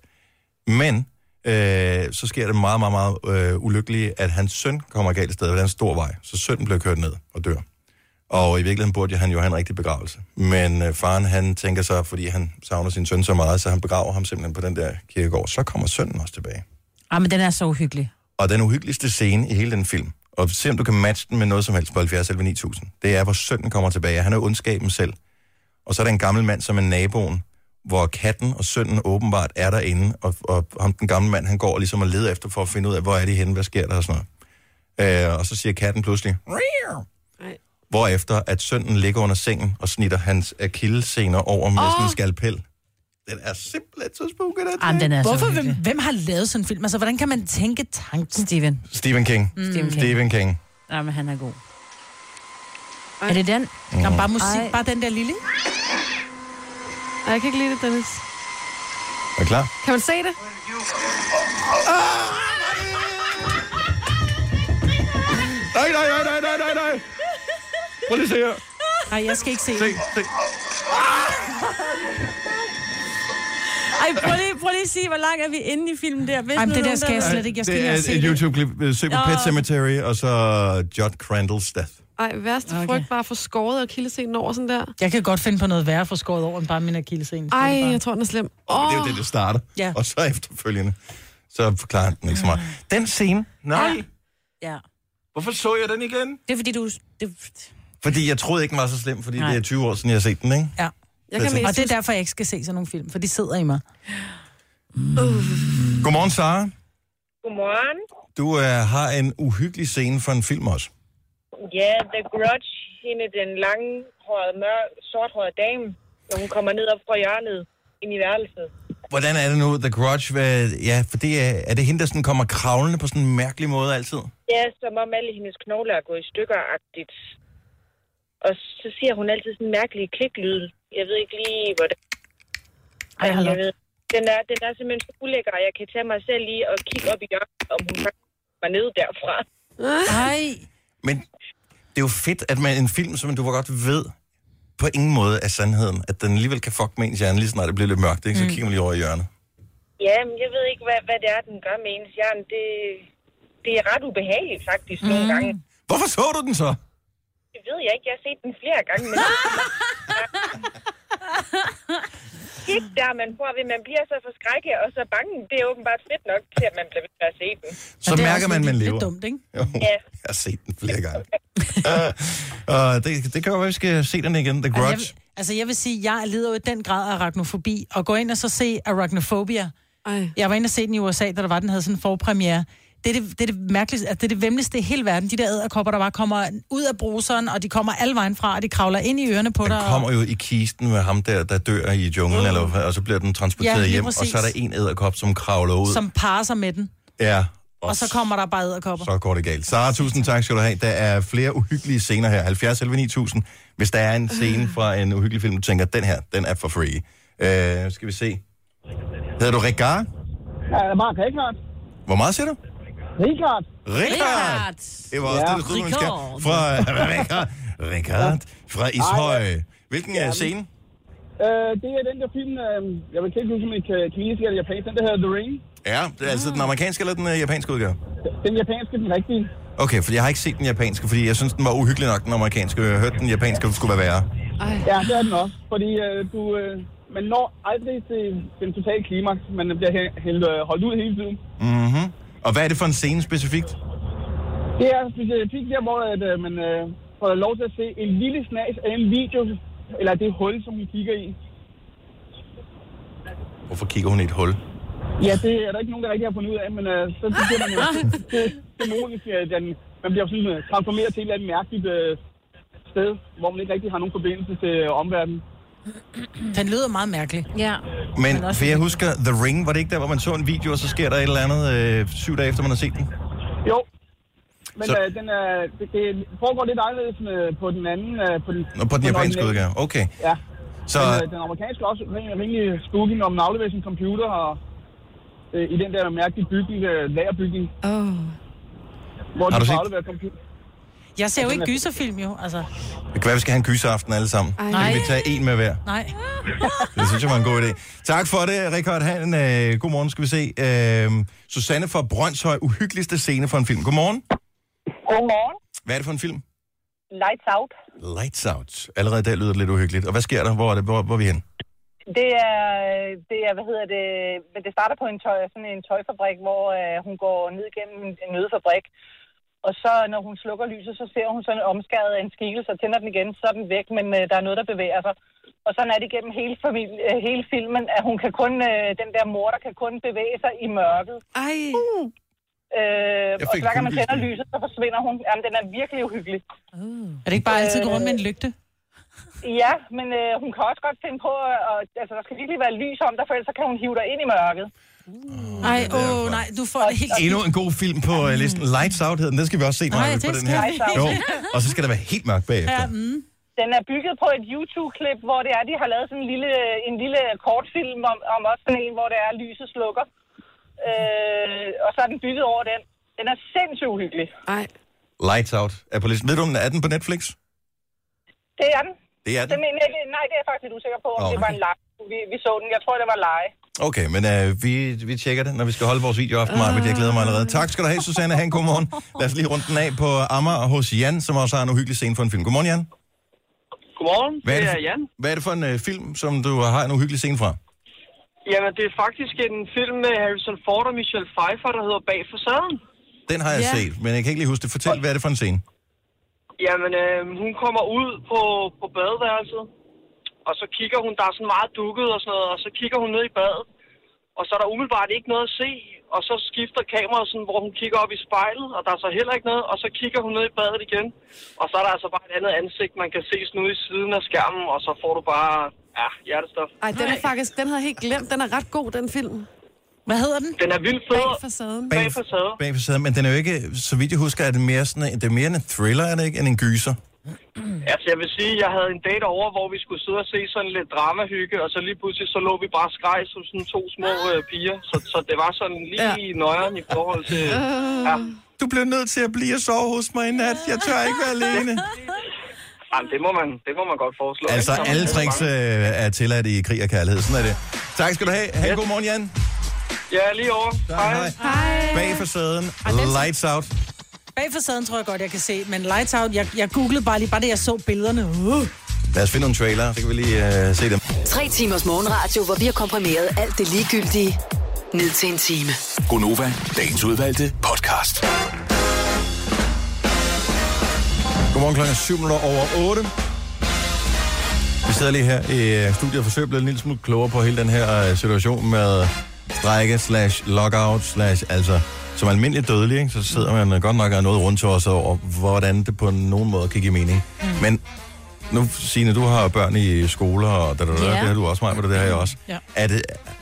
Speaker 1: Men øh, så sker det meget, meget, meget øh, ulykkelige, at hans søn kommer galt af sted ved en stor vej. Så sønnen bliver kørt ned og dør. Og i virkeligheden burde han jo have en rigtig begravelse. Men øh, faren, han tænker så, fordi han savner sin søn så meget, så han begraver ham simpelthen på den der kirkegård. Så kommer sønnen også tilbage.
Speaker 4: Ej, men den er så uhyggelig.
Speaker 1: Og den uhyggeligste scene i hele den film, og se om du kan matche den med noget som helst på 70 eller 9000, det er, hvor sønnen kommer tilbage. Han er ondskaben selv. Og så er der en gammel mand, som er naboen, hvor katten og sønnen åbenbart er derinde, og, og ham, den gamle mand, han går ligesom og leder efter for at finde ud af, hvor er de henne, hvad sker der og sådan noget. Øh, og så siger katten pludselig, hvorefter at sønnen ligger under sengen og snitter hans akillessener over med oh. sådan en skalpel. Den er simpelthen så spooky, den
Speaker 10: Jamen, den er
Speaker 1: ting.
Speaker 10: Hvorfor, hvem, hvem har lavet sådan en film? Altså, hvordan kan man tænke tanken?
Speaker 4: Steven.
Speaker 1: Stephen King.
Speaker 10: Mm. Stephen King.
Speaker 1: Stephen King.
Speaker 4: Nej, men han er god.
Speaker 1: Ah!
Speaker 4: Ej. Er det den?
Speaker 1: Mm.
Speaker 10: Der er bare musik,
Speaker 4: Ej.
Speaker 10: bare den der lille.
Speaker 2: Ej, jeg kan ikke lide det, Dennis.
Speaker 1: Er I klar?
Speaker 2: Kan man se det?
Speaker 1: Nej, nej, nej, nej, nej, nej, nej. Prøv lige at se her.
Speaker 10: Nej, jeg skal ikke se.
Speaker 1: Se, se.
Speaker 4: Ej, prøv lige, prøv lige at sige, hvor langt er vi inde i filmen der. Hvis
Speaker 10: Ej, men
Speaker 4: nu
Speaker 10: det der
Speaker 4: nogen,
Speaker 10: skal jeg slet ikke. Jeg skal
Speaker 1: Øh, det er
Speaker 10: ikke engang se
Speaker 1: et
Speaker 10: det.
Speaker 1: YouTube-klip. Søg på
Speaker 2: Nå.
Speaker 1: Pet Cemetery, og så Judd Crandall's Death.
Speaker 2: Ej, værste okay. frygt bare for skåret og kildescenen over sådan der.
Speaker 10: Jeg kan godt finde på noget værre for skåret over, end bare min akillescene.
Speaker 2: Ej, jeg tror, den er slem.
Speaker 1: Oh. Det er
Speaker 2: Åh,
Speaker 1: jo det, det starter.
Speaker 10: Ja.
Speaker 1: Og så efterfølgende, så forklarer han den ikke så meget. Den scene, nej. Ja.
Speaker 4: Ja.
Speaker 1: Hvorfor så jeg den igen?
Speaker 4: Det er fordi, du... Det...
Speaker 1: Fordi jeg troede ikke, den var så slem, fordi
Speaker 10: Nej.
Speaker 1: nej. det er 20 år siden, jeg har set den, ikke?
Speaker 10: Ja.
Speaker 1: Jeg kan mest
Speaker 10: og det er derfor, jeg ikke skal se sådan nogle film, for de sidder i mig.
Speaker 1: Godmorgen, Sara.
Speaker 17: Godmorgen.
Speaker 1: Du øh, har en uhyggelig scene for en film også.
Speaker 17: Ja, The Grudge, hende den langhårede, mør, sorthårede dame, når hun kommer ned op fra hjørnet ind i værelset.
Speaker 1: Hvordan er det nu, The Grudge? Hvad, ja, for det er, er det hende, der sådan kommer kravlende på sådan en mærkelig måde altid?
Speaker 17: Ja, som om alle hendes knogler er gået i stykker-agtigt. Og så siger hun altid sådan en mærkelig kliklyd. Jeg ved ikke lige, hvordan...
Speaker 10: Ej, hold op.
Speaker 17: Jeg ved- Den er, den er simpelthen så ulækker, og jeg kan tage mig selv lige og kigge op i hjørnet, om hun faktisk var nede derfra.
Speaker 3: Nej.
Speaker 1: Men det er jo fedt, at man en film, som du godt ved, på ingen måde er sandheden, at den alligevel kan fuck med ens hjerne, lige snart det bliver lidt mørkt, ikke? så
Speaker 17: Mm.
Speaker 1: kigger man lige over i hjørnet.
Speaker 17: Ja, men jeg ved ikke, hvad, hvad det er, den gør med ens hjerne. Det, det er ret ubehageligt faktisk mm. nogle gange.
Speaker 1: Hvorfor så du den så?
Speaker 17: Det ved jeg ikke. Jeg har set den flere gange. Men... Ikke der, man får ved. Man bliver så forskrækket og så bange. Det er åbenbart fedt nok til, at man bliver ved med at se den.
Speaker 1: Så mærker man, man lever.
Speaker 10: ikke?
Speaker 1: Jo,
Speaker 17: Ja.
Speaker 1: jeg har set den flere gange. uh, uh, det, det kan jo være, vi skal se den igen, The
Speaker 10: Altså, jeg,
Speaker 1: Grudge.
Speaker 10: vil- altså, jeg vil sige, jeg lider jo i den grad af arachnofobi, og gå ind og så se arachnophobia.
Speaker 2: Ej.
Speaker 10: Jeg var inde og se den i USA, da der var, den havde sådan en forpremiere. Det er det, det, er det mærkeligste, altså, det er det vemmeligste i hele verden. De der æderkopper, der bare kommer ud af bruseren, og de kommer alle vejen fra, og de kravler ind i ørerne på dig. og-
Speaker 1: Kommer jo i kisten med ham der, der dør i junglen, mm. eller, hvad, og så bliver den transporteret
Speaker 10: Ja,
Speaker 1: ja,
Speaker 10: lige
Speaker 1: hjem, og
Speaker 10: præcis.
Speaker 1: så er der en æderkop, som kravler ud.
Speaker 10: som parer sig med den.
Speaker 1: Ja,
Speaker 10: Og, og så kommer der bare æderkopper.
Speaker 1: så går det galt. Sara, tusind tak skal du have. Der er flere uhyggelige scener her. 70 11 9000. Hvis der er en scene fra en uhyggelig film, du tænker, den her, den er for free. Øh, skal vi se. Hedder du Ricard?
Speaker 18: Ja, Øh, Mark Rikard.
Speaker 1: Hvor meget siger du?
Speaker 18: Rikard.
Speaker 1: Rikard! Det var også
Speaker 18: Ja.
Speaker 1: det, du troede, man skal.
Speaker 18: Ricard.
Speaker 1: Fra Rikard. Rikard fra Ishøj. Hvilken er scene?
Speaker 18: Øh, det er den der film, øh, jeg vil ikke huske, om det er kinesisk eller japansk, den der hedder The Ring.
Speaker 1: Ja, det er altså den amerikanske eller den øh, japanske udgave?
Speaker 18: Den japanske, den rigtige.
Speaker 1: Okay, for jeg har ikke set den japanske, fordi jeg synes, den var uhyggelig nok, den amerikanske. Jeg hørte, den japanske skulle være værre.
Speaker 18: Ej. Ja, det er den også, fordi øh, du, øh, man når aldrig til den totale klimaks, man bliver hæ- hældt, øh, holdt ud hele tiden.
Speaker 1: Mhm. Og hvad er det for en scene specifikt?
Speaker 18: Det er specifikt der, hvor at, øh, man øh, får lov til at se en lille snas af en video, eller det hul, som vi kigger i.
Speaker 1: Hvorfor kigger hun i et hul?
Speaker 18: Ja, det er der ikke nogen, der rigtig har fundet ud af, men øh, så bliver man jo det, det er muligt, at den, man bliver sådan, øh, transformeret til et eller andet mærkeligt øh, sted, hvor man ikke rigtig har nogen forbindelse til øh, omverdenen.
Speaker 10: Den lyder meget mærkelig.
Speaker 4: Ja.
Speaker 1: Men for jeg husker, The Ring, var det ikke der, hvor man så en video, og så sker der et eller andet øh, syv dage efter, man har set den?
Speaker 18: Jo, men
Speaker 1: Så-
Speaker 18: øh, den er, det, det foregår lidt anderledes med, på den anden. Øh, på den,
Speaker 1: Nå, på den japanske udgave.
Speaker 18: originale.
Speaker 1: Okay.
Speaker 18: Ja.
Speaker 1: Så-
Speaker 18: Så... Men, øh, den amerikanske er også rimelig, rimelig spooky, når man afleverer sin computer og, øh, i den der mærkelige bygning, øh, lagerbygning.
Speaker 2: Oh.
Speaker 18: Hvor
Speaker 1: Har
Speaker 18: du
Speaker 1: du
Speaker 18: får
Speaker 1: set-
Speaker 18: afleveret computer.
Speaker 10: Jeg ser jo
Speaker 18: Ja, den
Speaker 10: ikke
Speaker 18: er-
Speaker 10: gyserfilm, jo. Altså,
Speaker 1: Det kan være, vi skal have en gyseraften alle sammen.
Speaker 10: Ej.
Speaker 1: Så kan vi tage en med hver.
Speaker 10: nej.
Speaker 1: Det synes jeg var en god idé. Tak for det, Rikard Hansen. Øh, godmorgen, skal vi se. Øh, Susanne fra Brøndshøj, uhyggeligste scene for en film. Godmorgen.
Speaker 19: Godmorgen.
Speaker 1: Hvad er det for en film?
Speaker 19: Lights Out.
Speaker 1: Lights Out. Allerede der lyder det lidt uhyggeligt. Og hvad sker der? Hvor er, det? Hvor, hvor er vi hen?
Speaker 19: Det er, det er, hvad hedder det, men det starter på en, tøj, sådan en tøjfabrik, hvor øh, hun går ned gennem en- en nødfabrik. Og så, når hun slukker lyset, så ser hun sådan omskæret af en skikkelse og tænder den igen, så er den væk, men øh, der er noget, der bevæger sig. Og sådan er det gennem hele, familie, øh, hele filmen, at hun kan kun, øh, den der mor, der kan kun bevæge sig i mørket. Uh.
Speaker 2: Ej.
Speaker 19: Øh,
Speaker 10: Jeg
Speaker 19: og
Speaker 10: fik
Speaker 19: så hver gang man tænder
Speaker 10: kuldegysning.
Speaker 19: lyset, så forsvinder hun. Jamen, den er virkelig uhyggelig.
Speaker 10: Er det ikke bare altid gå rundt med en lygte?
Speaker 19: Ja, men øh, hun kan også godt finde på, øh, og, altså der skal virkelig være lys om dig, for ellers så kan hun hive dig ind i mørket.
Speaker 10: Ej, åh, nej, du får det helt...
Speaker 1: Endnu en god film på uh, listen. Lights Out hedder den. Den skal vi også se, når
Speaker 10: Nej,
Speaker 1: vi er
Speaker 10: det
Speaker 1: på den
Speaker 10: skal
Speaker 1: her.
Speaker 19: vi.
Speaker 1: Jo. Og så skal der være helt mørkt bagefter.
Speaker 19: Ja, mm. Den er bygget på et YouTube-klip, hvor det er, de har lavet sådan en lille, en lille kortfilm om, om også sådan en, hvor det er, lyset slukker. Øh, og så er den bygget over den. Den er sindssygt uhyggelig.
Speaker 2: Ej.
Speaker 1: Lights Out er på listen. Ved du, om den er den på Netflix?
Speaker 19: Det er den.
Speaker 1: Det er den.
Speaker 19: Det mener jeg, ikke- nej, det er jeg faktisk lidt usikker på, om
Speaker 1: Nå,
Speaker 19: det var en lege. Vi, vi så den. Jeg tror, det var lege.
Speaker 1: Okay, men øh, vi, vi tjekker det, når vi skal holde vores video aften, Maja, men jeg glæder mig allerede. Tak skal du have, Susanne. Ha' en god morgen. Lad os lige runde den af på Amager hos Jan, som også har en uhyggelig scene for en film. Godmorgen, Jan.
Speaker 20: Godmorgen,
Speaker 1: Hvad er det
Speaker 20: det
Speaker 1: for,
Speaker 20: er Jan.
Speaker 1: Hvad er det for en øh, film, som du har en uhyggelig scene fra?
Speaker 20: Jamen, det er faktisk en film med Harrison Ford og Michelle Pfeiffer, der hedder Bag facaden.
Speaker 1: Den har jeg
Speaker 20: Ja.
Speaker 1: set, men jeg kan ikke lige huske det. Fortæl, hvad er det for en scene?
Speaker 20: Jamen, øh, hun kommer ud på, på badeværelset, og så kigger hun, der er sådan meget dukket og sådan noget, og så kigger hun ned i badet, og så er der umiddelbart ikke noget at se, og så skifter kameraet sådan, hvor hun kigger op i spejlet, og der er så heller ikke noget, og så kigger hun ned i badet igen, og så er der altså bare et andet ansigt, man kan se sådan ude i siden af skærmen, og så får du bare, ja, hjertestof.
Speaker 2: Ej, den er faktisk, den havde jeg helt glemt. Den er ret god, den film.
Speaker 10: Hvad hedder den?
Speaker 20: Den er vildt fed.
Speaker 2: Bag facaden.
Speaker 1: Bag facaden, men den er jo ikke, så vidt jeg husker, er det mere, sådan, en- det er mere en thriller, er det ikke, end en gyser?
Speaker 20: Altså, jeg vil sige, jeg havde en date over, hvor vi skulle sidde og se sådan lidt dramahygge, og så lige pludselig så lå vi bare og skreg som sådan to små øh, piger. Så, så det var sådan lige ja. nøjeren i forhold til... Øh. Ja.
Speaker 1: Du bliver nødt til at blive og sove hos mig i nat. Jeg tør ikke være alene.
Speaker 20: Jamen, det må man, det må man godt foreslå.
Speaker 1: Altså,
Speaker 20: ikke? Så er man
Speaker 1: alle
Speaker 20: lidt
Speaker 1: tricks øh,
Speaker 20: bange.
Speaker 1: er tilladt i krig og kærlighed. Sådan er det. Tak skal du have. Ha' en god morgen, Jan.
Speaker 20: Ja, lige over. Hej.
Speaker 1: Hej. Bag facaden. Lights out.
Speaker 10: Bag facaden tror jeg godt, jeg kan se, men Lights Out, jeg, jeg googlede bare lige, bare det, jeg så billederne. Uh.
Speaker 1: Lad os finde nogle trailer, så kan vi lige øh, se dem.
Speaker 5: Tre timers morgenradio, hvor vi har komprimeret alt det ligegyldige ned til en time.
Speaker 6: Gonova, dagens udvalgte podcast.
Speaker 1: Godmorgen klokken er syv minutter over 8. Vi sidder lige her i øh, studiet og forsøger at blive en lille smule klogere på hele den her øh, situation med strejke slash lockout slash altså som almindelig dødelig, ikke, så sidder man øh, godt nok og er noget rundt os over, hvordan det på nogen måde kan give mening. Mm. Men nu, Signe, du har børn i skoler, og da, da, da,
Speaker 6: Ja.
Speaker 1: yeah. det har du også mig, og det har jeg også.
Speaker 6: Ja.
Speaker 1: Er det,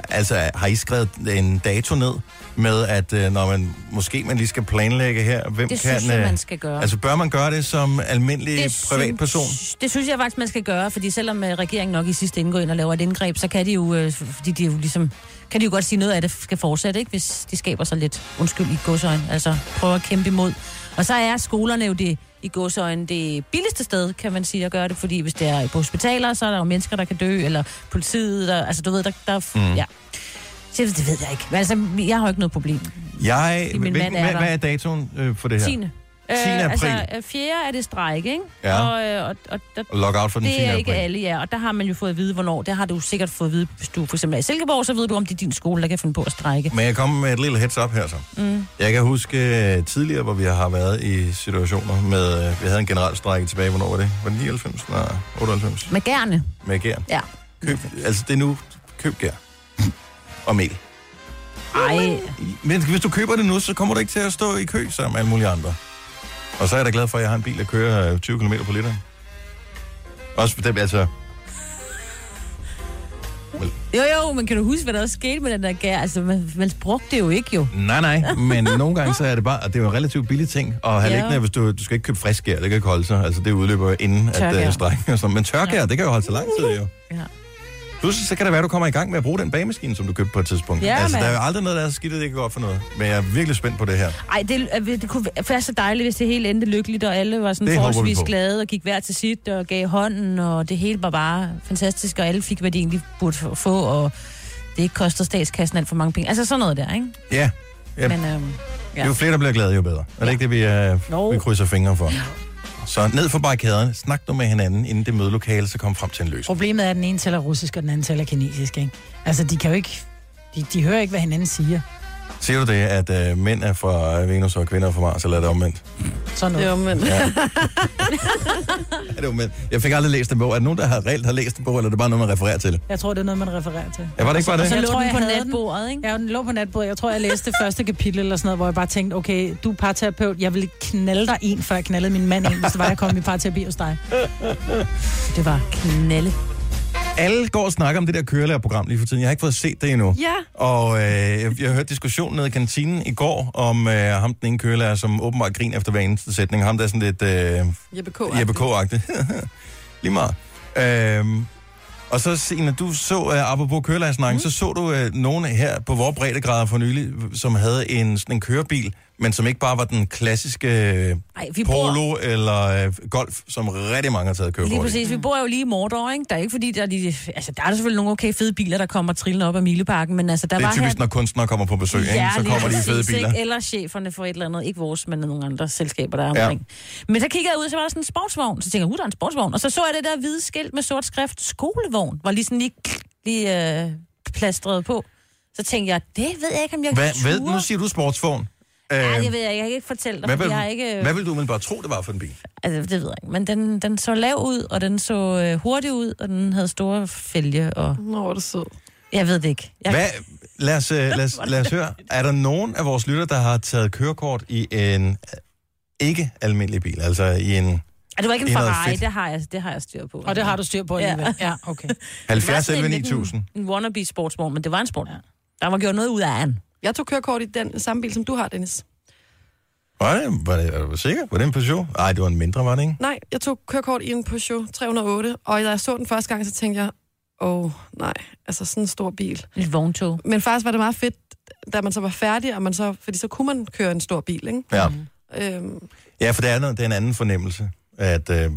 Speaker 1: altså, har I skrevet en dato ned med, at øh, når man, måske man lige skal planlægge her, hvem
Speaker 4: Det
Speaker 1: kan...
Speaker 4: synes jeg,
Speaker 1: øh,
Speaker 4: man skal gøre.
Speaker 1: Altså, bør man gøre det som almindelig
Speaker 4: Det
Speaker 1: privatperson?
Speaker 4: Synes, det synes jeg faktisk, man skal gøre, fordi selvom øh, regeringen nok i sidste ende går ind og laver et indgreb, så kan de jo, øh, fordi de jo ligesom, kan de jo godt sige noget af det skal fortsætte, ikke? hvis de skaber sig lidt undskyld i godsøjen. Altså prøver at kæmpe imod. Og så er skolerne jo det i godsøjen det billigste sted, kan man sige, at gøre det, fordi hvis det er på hospitaler, så er der jo mennesker, der kan dø, eller politiet, der, altså du ved, der, der
Speaker 1: Mm.
Speaker 4: mm. ja. Så det ved jeg ikke. Men altså, jeg har jo ikke noget problem.
Speaker 1: Jeg,
Speaker 4: Fordi min
Speaker 1: hvilken-
Speaker 4: mand er
Speaker 1: hvad,
Speaker 4: der.
Speaker 1: hvad er datoen øh, for det her?
Speaker 4: 10.
Speaker 1: 10. april.
Speaker 4: Altså, øh, 4. er det strejke, ikke?
Speaker 1: Ja.
Speaker 4: Og, øh, og, og, der,
Speaker 1: Og lockout for den
Speaker 4: det
Speaker 1: 10.
Speaker 4: er ikke
Speaker 1: april.
Speaker 4: alle, ja. Og der har man jo fået at vide, hvornår. Det har du sikkert fået at vide, hvis du for eksempel er i Silkeborg, så ved du, om det er din skole, der kan finde på at strejke.
Speaker 1: Men jeg kommer med et lille heads up her så.
Speaker 4: Mm.
Speaker 1: Jeg kan huske øh, tidligere, hvor vi har været i situationer med... øh, Vi havde en generalstrække tilbage, hvornår var det? Var det 99? Nej, 98?
Speaker 4: Med gerne.
Speaker 1: Med gær.
Speaker 4: Ja.
Speaker 1: Køb, altså, det er nu... Køb gær. Og mel.
Speaker 4: Ej.
Speaker 1: Men hvis du køber det nu, så kommer du ikke til at stå i kø sammen med alle mulige andre. Og så er jeg da glad for, at jeg har en bil, der kører øh, 20 km på liter. Også for dem, altså...
Speaker 4: Jo, jo, men kan du huske, hvad der også skete med den der gær? Altså, man, man brugte det jo ikke, jo.
Speaker 1: Nej, nej, men nogle gange så er det bare, og det er jo en relativt billig ting at have
Speaker 4: Ja.
Speaker 1: ja. liggende, hvis du, du skal ikke købe frisk gær, det kan ikke holde sig, altså det udløber jo inden at
Speaker 4: Tørgær.
Speaker 1: uh, strækken og sådan, men tørgær, ja. det kan jo holde sig lang tid jo.
Speaker 4: Ja.
Speaker 1: Pludselig så kan det være, at du kommer i gang med at bruge den bagemaskine, som du købte på et tidspunkt.
Speaker 4: Ja,
Speaker 1: altså,
Speaker 4: mand.
Speaker 1: der er jo aldrig noget, der er så skidt, at det ikke går for noget. Men jeg er virkelig spændt på det her.
Speaker 4: Ej, det, øh, det kunne være så dejligt, hvis det hele endte lykkeligt, og alle var sådan
Speaker 1: Det
Speaker 4: det
Speaker 1: håber vi
Speaker 4: forholdsvis
Speaker 1: på.
Speaker 4: glade og gik hver til sit og gav hånden, og det hele var bare fantastisk, og alle fik, hvad de egentlig burde f- få, og det ikke koster statskassen alt for mange penge. Altså sådan noget der, ikke?
Speaker 1: Ja, ja.
Speaker 4: Men, øhm, ja.
Speaker 1: jo flere, der bliver glade, jo bedre. Er det ikke det, vi,
Speaker 4: Jo.
Speaker 1: uh, vi krydser fingre for? Så ned for barrikaderne, snak nu med hinanden, inden det mødelokale, så kom frem til en løsning.
Speaker 10: Problemet er, at den ene taler russisk, og den anden taler kinesisk, ikke? Altså, de kan jo ikke... De, de hører ikke, hvad hinanden siger.
Speaker 1: Ser du det, at uh, mænd er fra Venus og kvinder er fra Mars, eller er det omvendt?
Speaker 10: Sådan noget.
Speaker 2: Det er omvendt.
Speaker 1: Ja. Ja, det var men jeg fik aldrig læst den bog. Er der nogen, der har reelt har læst den bog, eller er det bare noget, man refererer til?
Speaker 10: Jeg tror, det er noget, man refererer til.
Speaker 1: Ja, var det ikke bare det?
Speaker 10: Og så
Speaker 1: Jeg
Speaker 10: lå
Speaker 1: tror,
Speaker 10: den
Speaker 4: jeg
Speaker 10: på
Speaker 4: havde
Speaker 10: natbordet, ikke? Ja, den lå på natbordet. Jeg tror, jeg læste det første kapitel eller sådan noget, hvor jeg bare tænkte, okay, du er parterapeut, jeg ville knalde dig en, før jeg knaldede min mand en, hvis det var, jeg kom i parterapi hos dig. Det var knalde.
Speaker 1: Alle går og snakker om det der kørelærerprogram lige for tiden. Jeg har ikke fået set det endnu.
Speaker 2: Ja.
Speaker 1: Og øh, jeg, jeg hørte diskussionen nede i kantinen i går om øh, ham, den ene kørelærer, som åbenbart griner efter hver eneste sætning. Ham, der er sådan lidt... Øh,
Speaker 2: Jeppe K.
Speaker 1: Jeppe K-agtig. Lige meget. Øhm, og så, Signe, du så, uh, apropos kørelærsnakken, mm. så så du uh, nogen her på vores breddegrader for nylig, som havde en, sådan en kørebil, men som ikke bare var den klassiske øh,
Speaker 4: Ej, vi bor-
Speaker 1: polo eller øh, golf, som rigtig mange har taget kørekort
Speaker 4: Lige
Speaker 1: i.
Speaker 4: præcis. Vi bor jo lige i Mordor, ikke? Der er ikke fordi, der er, de, altså, der er der selvfølgelig nogle okay fede biler, der kommer trillende op af Mileparken, men altså, der
Speaker 1: Det er
Speaker 4: var
Speaker 1: typisk,
Speaker 4: her...
Speaker 1: når kunstnere kommer på besøg, ikke? så
Speaker 4: lige
Speaker 1: kommer de i fede
Speaker 4: præcis,
Speaker 1: biler.
Speaker 4: ikke? Eller cheferne for et eller andet. Ikke vores, men nogle andre selskaber, der er
Speaker 1: Ja.
Speaker 4: omkring. Ja. Men så kigger jeg ud, så var der sådan en sportsvogn. Så tænker jeg, uh, der er en sportsvogn. Og så så jeg det der hvide skilt med sort skrift, skolevogn, var lige sådan lige, lige øh, plastret på. Så tænkte jeg, det ved jeg ikke, om jeg
Speaker 1: Hvad,
Speaker 4: kan
Speaker 1: hvad,
Speaker 4: ture.
Speaker 1: nu siger du sportsvogn. Øh,
Speaker 4: Ja, det ved jeg ikke. Jeg kan ikke fortælle dig,
Speaker 1: hvad,
Speaker 4: fordi
Speaker 1: vil,
Speaker 4: jeg har ikke...
Speaker 1: hvad vil du umiddelbart tro, det var for en bil?
Speaker 4: Altså, det ved jeg ikke. Men den, den så lav ud, og den så øh, hurtig ud, og den havde store fælge. Og...
Speaker 2: Nå, hvor er det sød.
Speaker 4: Jeg ved det ikke. Jeg...
Speaker 1: Hvad, lad, os, øh, lad, os, lad os høre. Er der nogen af vores lytter, der har taget kørekort i en øh, ikke almindelig bil? Altså i en
Speaker 4: Er det var ikke en
Speaker 1: Det er noget
Speaker 4: Ferrari,
Speaker 1: fedt.
Speaker 4: det har, jeg, det har jeg styr på. Og
Speaker 10: det har du styr på alligevel. Ja, okay.
Speaker 1: 70
Speaker 4: Det var sådan
Speaker 1: 11
Speaker 4: en lidt
Speaker 1: 9000?
Speaker 4: En, en wannabe sportsvogn, men det var en sport. Der var gjort noget ud af den.
Speaker 2: Jeg tog kørekort i den samme bil, som du har, Dennis.
Speaker 1: Var det, var det, var du sikker? Var det en Peugeot? Nej, det var en mindre, var det ikke?
Speaker 2: Nej, jeg tog kørekort i en Peugeot 308, og da jeg så den første gang, så tænkte jeg, åh oh, nej, altså sådan en stor bil.
Speaker 4: Et vogntog.
Speaker 2: Men faktisk var det meget fedt, da man så var færdig, og man så, fordi så kunne man køre en stor bil, ikke?
Speaker 1: Ja.
Speaker 2: Øhm,
Speaker 1: Ja, for det er, noget, det er en anden fornemmelse, at øh,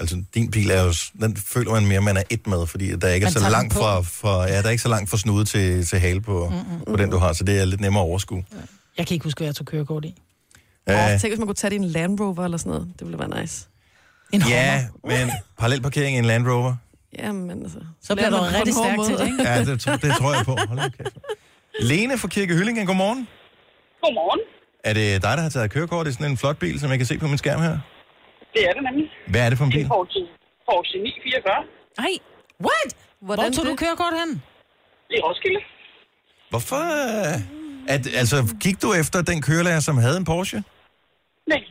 Speaker 1: altså, din bil er jo, s- den føler man mere, man er et med, fordi der ikke er
Speaker 2: Man
Speaker 1: så
Speaker 2: tager den
Speaker 1: langt
Speaker 2: på.
Speaker 1: fra, fra, ja, der er ikke så langt fra snude til, til hale på,
Speaker 2: Mm-mm.
Speaker 1: mm-hmm. på den, du har, så det er lidt nemmere at overskue.
Speaker 10: Jeg kan ikke huske, hvad jeg tog kørekort i.
Speaker 1: Ja.
Speaker 2: åh, tænk, hvis man kunne tage det i en Land Rover eller sådan noget. Det ville være nice.
Speaker 1: ja, men parallelparkering i en Land Rover.
Speaker 2: Jamen, altså.
Speaker 10: Så bliver
Speaker 2: lærer
Speaker 10: du
Speaker 2: man på
Speaker 10: rigtig
Speaker 2: den hårde
Speaker 10: stærk til
Speaker 2: måde.
Speaker 10: det, ikke?
Speaker 1: Ja, det, tr- det tror jeg på. Hold da kæft. Lene fra Kirke Hyllingen, godmorgen.
Speaker 21: Godmorgen.
Speaker 1: Er det dig, der har taget kørekort i sådan en flot bil, som jeg kan se på min skærm her?
Speaker 21: Det er det nemlig.
Speaker 1: Hvad er det for en
Speaker 21: Det
Speaker 1: bil?
Speaker 21: er Ford G- Ford Genie 44.
Speaker 10: Nej. What? Hvordan Hvor tog
Speaker 21: det?
Speaker 10: du kørekort hen?
Speaker 21: I Roskilde.
Speaker 1: Hvorfor? øh, At, altså, gik du efter den kørelærer, som havde en Porsche?
Speaker 21: Nej.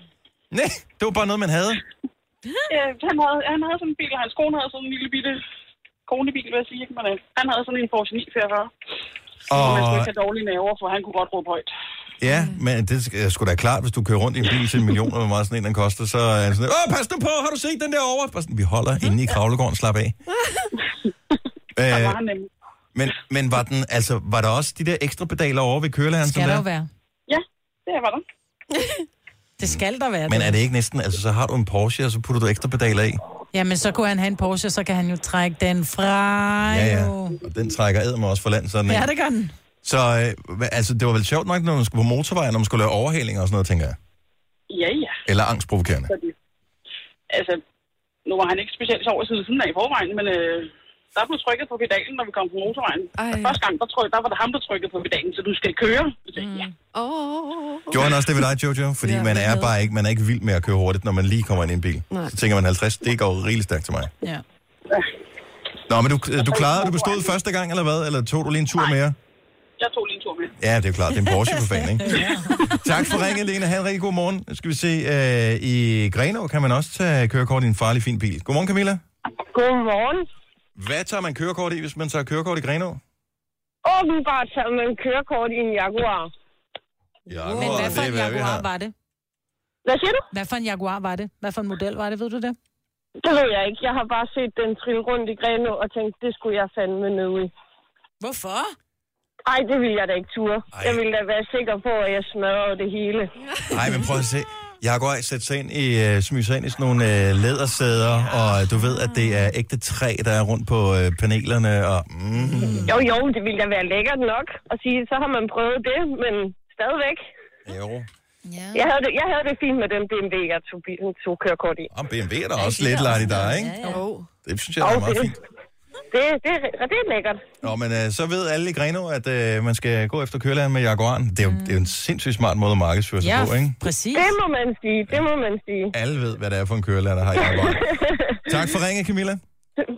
Speaker 1: Nej, det var bare noget, man havde.
Speaker 21: Øh, han, havde, han havde sådan en bil, og hans kone havde sådan en lille bitte konebil, vil jeg sige. ikke? Men øh, han havde sådan en Porsche 944. Og man skulle
Speaker 1: Og
Speaker 21: ikke have dårlige naver, for han kunne godt råbe højt.
Speaker 1: ja, men det sk- er sgu da klart, hvis du kører rundt i en bil til en million, hvor meget sådan en, den koster, så er det sådan, åh, pas nu på, har du set den der over? Bare sådan, vi holder inde i Kravlegården, slap af.
Speaker 21: Der
Speaker 1: Øh,
Speaker 21: var han nemlig.
Speaker 1: men, men var, den, altså, var der også de der ekstra pedaler over ved kørelæreren? som der?
Speaker 10: være.
Speaker 21: Ja, det var der.
Speaker 10: Det skal der være.
Speaker 1: Men er det ikke næsten, altså så har du en Porsche, og så putter du ekstra pedaler i?
Speaker 10: Jamen, så kunne han have en Porsche, så kan han jo trække den fra.
Speaker 1: ja, ja.
Speaker 10: jo.
Speaker 1: Og den trækker æd mig også for land, sådan en.
Speaker 10: Ja, det gør den.
Speaker 1: Så øh, hva- altså, det var vel sjovt nok, når man skulle på motorvejen, når man skulle lave overhalinger og sådan noget, tænker jeg.
Speaker 21: Ja, ja.
Speaker 1: Eller angstprovokerende.
Speaker 21: Fordi, altså, nu var han ikke specielt sjov at sidde ved siden af i forvejen, men øh, der blev trykket på pedalen, når vi kom på motorvejen. Og første gang, der, tryk, der var det ham, der trykkede på pedalen, så du skal køre. Så sagde, jeg, ja.
Speaker 2: Oh.
Speaker 1: Gjorde han også det ved dig, Jojo? Fordi
Speaker 21: Ja,
Speaker 1: man
Speaker 21: men
Speaker 1: er
Speaker 21: ved.
Speaker 1: bare ikke, man er ikke vild med at køre hurtigt, når man lige kommer ind i en bil.
Speaker 21: Nej.
Speaker 1: Så tænker man 50, det går rigeligt stærkt til mig.
Speaker 10: Ja.
Speaker 1: Nå, men du, øh, du klarede, du bestod første gang, eller hvad? Eller tog du lige en tur mere?
Speaker 21: Jeg tog lige en tur med.
Speaker 1: Ja, det er jo klart, det er en Porsche for fanden, ikke? Tak for ringen, Lene. Ha' en rigtig god morgen. Nu Skal vi se, øh, i Grenå kan man også tage kørekort i en farlig fin bil. Godmorgen, Camilla.
Speaker 22: Godmorgen.
Speaker 1: Hvad tager man kørekort i, hvis man tager kørekort i Grenå?
Speaker 22: Åbenbart tager man kørekort i en Jaguar.
Speaker 1: Ja,
Speaker 10: Men hvad for en Jaguar var det?
Speaker 22: Hvad siger du?
Speaker 10: Hvad for en Jaguar var det? Hvad for en model var det, ved du det?
Speaker 22: Det ved jeg ikke. Jeg har bare set den trille rundt i Grenå og tænkt, det skulle jeg fandme ned i.
Speaker 10: Hvorfor?
Speaker 22: Ej, det ville jeg da ikke ture. Ej. Jeg ville da være sikker på, at jeg smadrede det hele.
Speaker 1: Nej, men prøv at se. Jaguar sætter sig ind i, øh, smyger sig ind i sådan nogle øh, lædersæder, og du ved, at det er ægte træ, der er rundt på øh, panelerne, og mm,
Speaker 22: Jo, jo, det ville da være lækkert nok at sige, så har man prøvet det, men stadigvæk.
Speaker 1: jo.
Speaker 22: Jeg havde, det, jeg havde det fint med den BMW, jeg tog, bilen- tog kørekort i.
Speaker 1: Og BMW er der også lidt lejt i dig, ikke?
Speaker 22: Jo.
Speaker 1: Det synes jeg er meget fint.
Speaker 22: Det, det, det er lækkert.
Speaker 1: Nå, men øh, så ved alle i Greno, at øh, man skal gå efter kørelæreren med Jaguaren. Det er, jo, det er jo en sindssygt smart måde at markedsføre sig på, ikke?
Speaker 10: præcis.
Speaker 22: Det må man sige, det må man sige.
Speaker 1: Alle ved, hvad det er for en kørelærer, der har Jaguaren. tak for ringe, Camilla.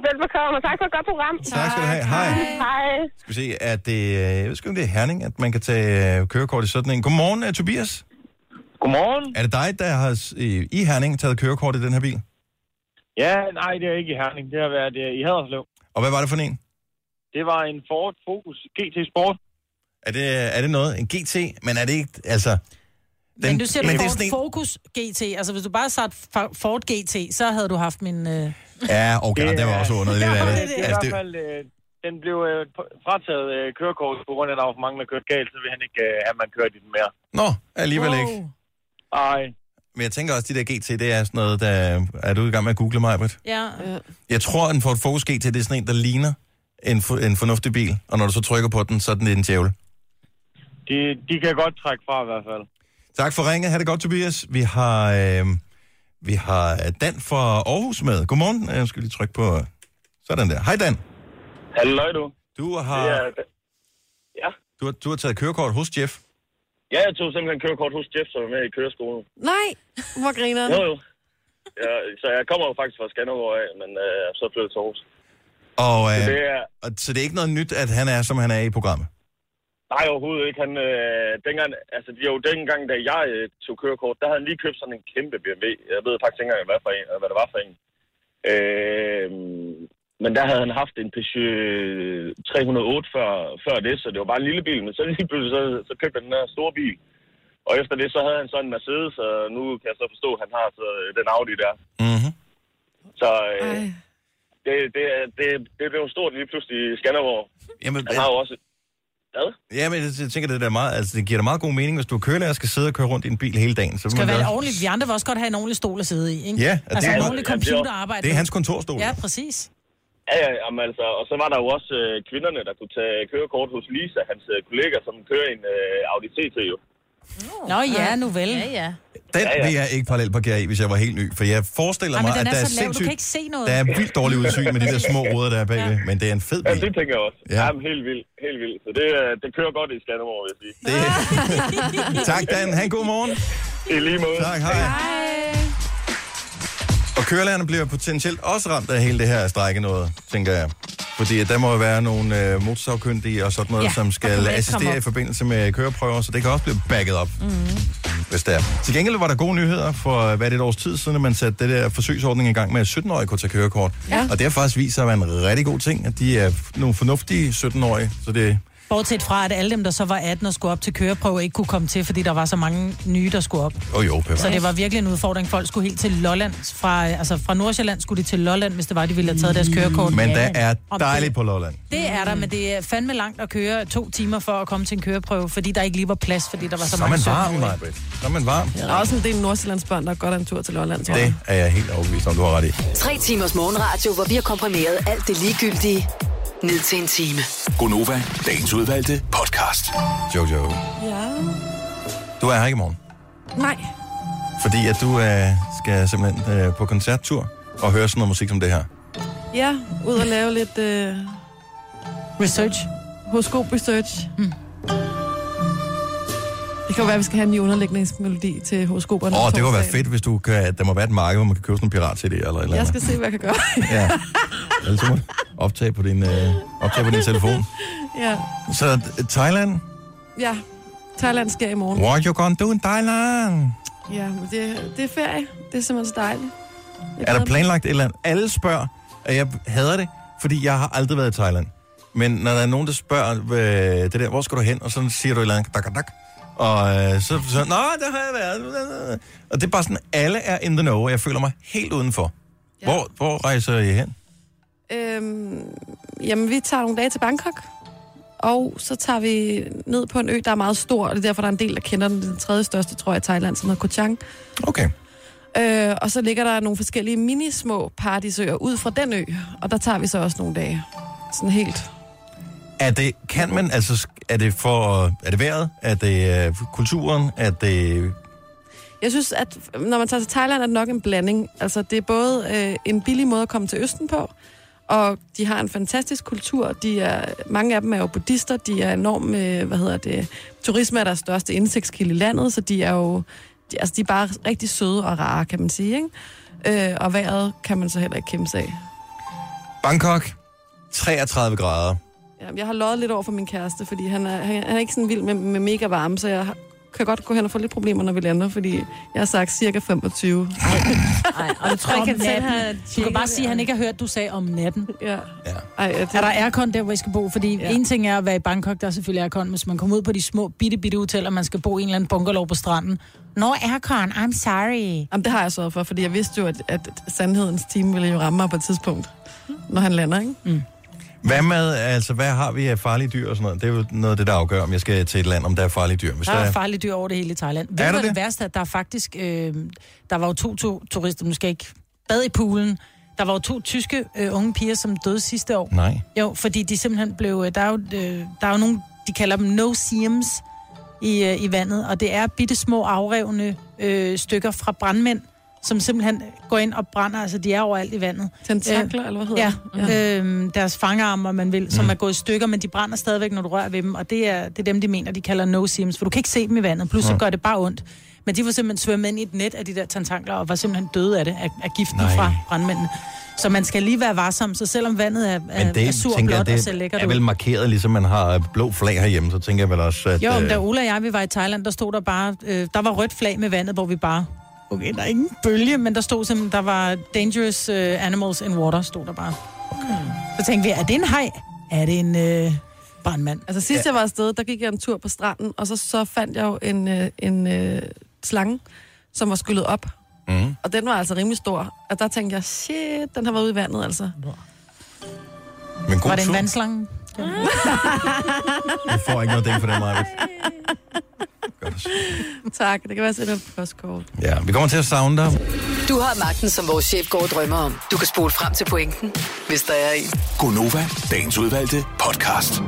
Speaker 22: Velbekomme, og tak for et godt program.
Speaker 1: Tak skal du have. Hej.
Speaker 22: Hej.
Speaker 1: Skal vi se, at det, øh, jeg ved sgu ikke, om det er Herning, at man kan tage øh, kørekort i sådan en. Godmorgen, øh, Tobias.
Speaker 16: Godmorgen.
Speaker 1: Er det dig, der har s- i i Herning taget kørekort i den her bil?
Speaker 16: Ja, nej, det er ikke i Herning. Det har været øh, i Haderslev.
Speaker 1: Og hvad var det for en?
Speaker 16: Det var en Ford Focus GT Sport.
Speaker 1: Er det, er det noget? En GT? Men er det ikke, altså... Den,
Speaker 10: Men du siger
Speaker 1: det
Speaker 10: men
Speaker 1: er
Speaker 10: Ford
Speaker 1: sådan en-
Speaker 10: Focus GT. Altså, hvis du bare sagde Fa- Ford GT, så havde du haft min... Øh...
Speaker 1: Ja, okay, det, det var
Speaker 16: er-
Speaker 1: også underligt.
Speaker 16: Ja,
Speaker 1: Ja,
Speaker 16: det,
Speaker 1: det,
Speaker 16: er det. I
Speaker 1: altså,
Speaker 16: hvert
Speaker 1: det,
Speaker 16: fald, øh, den blev øh, p- frataget øh, kørekort på grund af, at der var for mange, der kørte galt, så vil han ikke øh, have, at man kørte i den mere.
Speaker 1: nå, alligevel ikke.
Speaker 16: Ej.
Speaker 1: Men jeg tænker også, at de der GT, det er sådan noget, der... Er du i gang med at google mig, Britt?
Speaker 10: Ja.
Speaker 1: Jeg tror, at en Ford Focus GT, det er sådan en, der ligner en, for, en fornuftig bil. Og når du så trykker på den, så er den en djævel.
Speaker 16: De, de kan godt trække fra i hvert fald.
Speaker 1: Tak for ringet. Ha' det godt, Tobias. Vi har, øh, vi har øh, Dan fra Aarhus med. Godmorgen. Øh, Jeg skal lige trykke på... Sådan der. Hej, Dan.
Speaker 16: Hallo, du.
Speaker 1: Du har,
Speaker 16: Ja, ja.
Speaker 1: du, har- du har taget kørekort hos Jeff.
Speaker 16: ja, jeg tog simpelthen kørekort hos Jeff, som er med i køreskolen.
Speaker 2: Nej, hvor griner
Speaker 16: Jo, jo. Ja, så jeg kommer jo faktisk fra Skanderborg af, men øh, så flyttede jeg til Aarhus.
Speaker 1: Og,
Speaker 16: Så
Speaker 1: øh,
Speaker 16: det er-
Speaker 1: og, så det er ikke noget nyt, at han er, som han er i programmet.
Speaker 16: Nej, overhovedet ikke. Han, øh, dengang, altså, jo, dengang, da jeg øh, tog kørekort, der havde han lige købt sådan en kæmpe BMW. Jeg ved faktisk ikke engang, hvad, for en, hvad det var for en. Øh, men der havde han haft en Peugeot øh, 308 før, før det, så det var bare en lille bil. Men så lige pludselig, så, så købte han den her store bil. Og efter det, så havde han så en Mercedes, og nu kan jeg så forstå, at han har så øh, den Audi der.
Speaker 1: Mm-hmm.
Speaker 16: Så øh, det, det, er- det, det blev stort lige pludselig i Skanderborg.
Speaker 1: Jamen,
Speaker 16: han har jo også... Hvad?
Speaker 1: Ja, men jeg tænker, det, der meget, altså, det giver da meget god mening, hvis du er kørelærer og skal sidde og køre rundt i en bil hele dagen. Så
Speaker 10: Det
Speaker 1: vil
Speaker 10: skal
Speaker 1: man
Speaker 10: være
Speaker 1: da-
Speaker 10: en ordentlig, vi andre vil også godt have en ordentlig stol at sidde i, ikke?
Speaker 1: Ja, og
Speaker 10: altså
Speaker 1: det-
Speaker 10: en
Speaker 1: Ja,
Speaker 10: ordentlig
Speaker 1: det er-
Speaker 10: computerarbejde.
Speaker 1: det er hans kontorstol.
Speaker 10: Ja, præcis.
Speaker 16: Ja, ja, jamen, altså, og så var der jo også øh, kvinderne, der kunne tage kørekort hos Lisa, hans øh, kollega, som kører en øh, Audi TT jo.
Speaker 10: Nå ja, nu vel. Ja,
Speaker 4: ja.
Speaker 1: Den ja, ja. vil jeg ikke parallelparkere i, hvis jeg var helt ny. For jeg forestiller
Speaker 10: Ej, men
Speaker 1: mig, at
Speaker 10: den
Speaker 1: der
Speaker 10: er
Speaker 1: er
Speaker 10: så lav, du
Speaker 1: sindssygt...
Speaker 10: kan ikke se noget.
Speaker 1: Der er vildt dårligt udsyn med de der små ruder, der er bagved. Men det er en fed
Speaker 16: Ja,
Speaker 1: bil.
Speaker 16: det tænker jeg også.
Speaker 1: Ja.
Speaker 16: Ja. Jamen, helt vildt, helt vildt. Så det, øh, det kører godt i Skanderborg, vil jeg sige.
Speaker 1: Det... tak, Dan. Ha' en god morgen.
Speaker 16: I lige måde.
Speaker 1: Tak, hej. Og kørelærerne bliver potentielt også ramt af hele det her strække noget, tænker jeg. Fordi at der må jo være nogle øh, motorsagkyndige og sådan noget,
Speaker 6: Ja,
Speaker 1: ja, som
Speaker 6: der kan
Speaker 1: skal
Speaker 6: man ikke komme
Speaker 1: assistere
Speaker 6: op.
Speaker 1: i forbindelse med køreprøver, så det kan også blive backet op, hvis det er. Til gengæld var der gode nyheder for, øh, hvad er det, et års tid siden, at man satte det der forsøgsordning i gang med, at 17-årige kunne tage kørekort.
Speaker 10: Ja.
Speaker 1: Og det har faktisk vist sig at være en rigtig god ting, at de er f- nogle fornuftige 17-årige, så det
Speaker 10: Bortset fra, at alle dem, der så var 18 og skulle op til køreprøve, ikke kunne komme til, fordi der var så mange nye, der skulle op.
Speaker 1: Åh oh, jo, bevares.
Speaker 10: Så det var virkelig en udfordring. Folk skulle helt til Lolland. Fra, altså fra Nordsjælland skulle de til Lolland, hvis det var, de ville have taget deres kørekort.
Speaker 1: Men der
Speaker 10: Ja.
Speaker 1: er
Speaker 10: Om
Speaker 1: dejligt på Lolland.
Speaker 10: Det er der, men det er fandme langt at køre to timer for at komme til en køreprøve, fordi der ikke lige var plads, fordi der var så,
Speaker 1: Så er
Speaker 10: mange
Speaker 1: man varm,
Speaker 10: 17-årige.
Speaker 1: Majbrit. Så er man varm.
Speaker 2: Der er også en del nordsjællandsbørn, der er godt af en tur til Lolland, tror jeg.
Speaker 1: Det er jeg helt overbevist om, du har ret i.
Speaker 5: Tre timers morgenradio, hvor vi har komprimeret alt det ligegyldige ned til en time.
Speaker 6: Gonova, dagens udvalgte podcast.
Speaker 1: Jojo,
Speaker 2: Ja.
Speaker 1: du er her ikke i morgen.
Speaker 2: Nej.
Speaker 1: Fordi at du øh, skal simpelthen øh, på koncerttur og høre sådan noget musik som det her.
Speaker 2: Ja, ud og lave lidt... Øh...
Speaker 10: Research.
Speaker 2: Horoskop research. Mm.
Speaker 10: Hmm.
Speaker 2: Det kan jo være, at vi skal have en ny underlægningsmelodi til horoskoperne.
Speaker 1: Åh, oh, det kunne være
Speaker 2: torsdagen.
Speaker 1: fedt, hvis du kan, at der må være et marked, hvor man kan købe sådan en pirat-CD eller et eller
Speaker 2: Jeg
Speaker 1: andet.
Speaker 2: skal se, hvad jeg kan gøre.
Speaker 1: Ja. Ellers så må du optage på din, øh, optage på din telefon.
Speaker 2: ja.
Speaker 1: Så øh, Thailand,
Speaker 2: ja. Thailand skal i morgen.
Speaker 1: what you gonna do in Thailand?
Speaker 2: Ja, men det, det er ferie. Det er simpelthen så dejligt. Jeg
Speaker 1: Er
Speaker 2: glæder
Speaker 1: der
Speaker 2: mig.
Speaker 1: planlagt et eller andet? Alle spørger, og jeg hader det, fordi jeg har aldrig været i Thailand. Men når der er nogen, der spørger, øh, det der, hvor skal du hen? Og så siger du et eller andet, dak, dak. Og øh, så, så, nå, der har jeg været. Og det er bare sådan, alle er in the know, og jeg føler mig helt udenfor. Ja. Hvor, hvor rejser I hen?
Speaker 2: Øhm, jamen, vi tager nogle dage til Bangkok. Og så tager vi ned på en ø, der er meget stor, og det er derfor, der er en del, der kender den. Det er Den tredje største, tror jeg, i Thailand, som hedder Koh Chang.
Speaker 1: Okay.
Speaker 2: Øh, og så ligger der nogle forskellige mini-små paradisøer ud fra den ø, og der tager vi så også nogle dage. Sådan helt.
Speaker 1: Er det, kan man, altså, sk- er det for, øh, er det vejret? Er det øh, kulturen? Er det,
Speaker 2: Jeg synes, at når man tager til Thailand, er det nok en blanding. Altså, det er både øh, en billig måde at komme til Østen på, og de har en fantastisk kultur. De er, mange af dem er jo buddhister, de er enormt, øh, hvad hedder det, turisme er deres største indsigtskilde i landet, så de er jo, de, altså, de er bare rigtig søde og rare, kan man sige, ikke? Øh, og vejret kan man så heller ikke kæmpe sig af.
Speaker 1: Bangkok, 33 grader.
Speaker 2: Ja, Jeg har løjet lidt over for min kæreste, fordi han er, han han er ikke sådan vild med, med mega varme, så jeg har, kan godt gå hen og få lidt problemer, når vi lander, fordi jeg har sagt cirka 25.
Speaker 10: Nej, og jeg tror
Speaker 2: Om
Speaker 10: ikke, han
Speaker 2: natten.
Speaker 10: selv har Du kan bare sige, at han ikke har hørt, du sagde om natten.
Speaker 2: Ja.
Speaker 1: ja.
Speaker 2: Ej, det...
Speaker 10: Er der aircon der, hvor I skal bo? Fordi
Speaker 2: Ja.
Speaker 10: ja. en ting er at være i Bangkok, der er selvfølgelig aircon. Hvis man kommer ud på de små, bitte, bitte hoteller, man skal bo i en eller anden bungalow på stranden. No aircon, I'm sorry.
Speaker 2: Jamen, det har jeg sørget for, fordi jeg vidste jo, at, at sandhedens time ville jo ramme mig på et tidspunkt, når han lander, ikke? Mm.
Speaker 1: Hvad med, altså, hvad har vi af farlige dyr og sådan noget? Det er jo noget af det, der afgør, om jeg skal til et land, om der er farlige dyr. Hvis
Speaker 10: Der er farlige dyr over det hele i Thailand. Ved
Speaker 1: Er
Speaker 10: er
Speaker 1: der
Speaker 10: det,
Speaker 1: det?
Speaker 10: det værste, er, at der er faktisk... Øh, der var jo to, to turister, nu skal jeg ikke bad i poolen. Der var jo to tyske øh, unge piger, som døde sidste år.
Speaker 1: Nej.
Speaker 10: Jo, fordi de simpelthen blev... øh, Der er jo, øh, der er jo nogle, de kalder dem no seams i, øh, i vandet, og det er bitte små afrevne øh, stykker fra brandmænd, som simpelthen går ind og brænder, altså de er overalt i vandet. Øh,
Speaker 2: Tentakler, eller hvad hedder
Speaker 10: ja, det? Øh, deres fangarme, om man vil,
Speaker 1: Mm.
Speaker 10: som er gået i stykker, men de brænder stadigvæk, når du rører ved dem, og det er, det er dem, de mener, de kalder no seams, for du kan ikke se dem i vandet, plus så
Speaker 1: Nå.
Speaker 10: gør det bare ondt. Men de var simpelthen svømmet ind i et net af de der tentankler, og var simpelthen døde af det, af, af giften
Speaker 1: Nej.
Speaker 10: Nej. fra brandmændene. Så man skal lige være varsom, så selvom vandet er, er,
Speaker 1: Men det,
Speaker 10: er øh, sur og
Speaker 1: tænker jeg,
Speaker 10: blåt og
Speaker 1: det
Speaker 10: ser lækkert
Speaker 1: er vel
Speaker 10: ud.
Speaker 1: markeret, ligesom man har øh, blå flag herhjemme, så tænker jeg vel også, at...
Speaker 10: Jo, men
Speaker 1: øh,
Speaker 10: da Ola og jeg vi var i Thailand, der stod der bare, øh, der var rødt flag med vandet, hvor vi bare, okay, der er ingen bølge, men der stod simpelthen, der var dangerous øh, animals in water, stod der bare. Okay. Så tænkte vi, er det en haj? Er det en øh, Bare en mand.
Speaker 2: Altså sidst ja. jeg var afsted, der gik jeg en tur på stranden, og så, så fandt jeg jo en, øh, en øh, slange, som var skyllet op.
Speaker 1: Mm.
Speaker 2: Og den var altså rimelig stor. Og der tænkte jeg, shit, den har været ude i vandet altså.
Speaker 1: Men god
Speaker 10: Var det en
Speaker 1: tur.
Speaker 10: vandslange?
Speaker 2: Ah.
Speaker 1: Du får ikke noget ding for den, Maja.
Speaker 2: tak, det kan være sådan et postkort.
Speaker 1: Ja, vi kommer til at savne dig.
Speaker 5: Du har magten, som vores chef går og drømmer om. Du kan spole frem til pointen, hvis der er en.
Speaker 6: Gonova, dagens udvalgte podcast.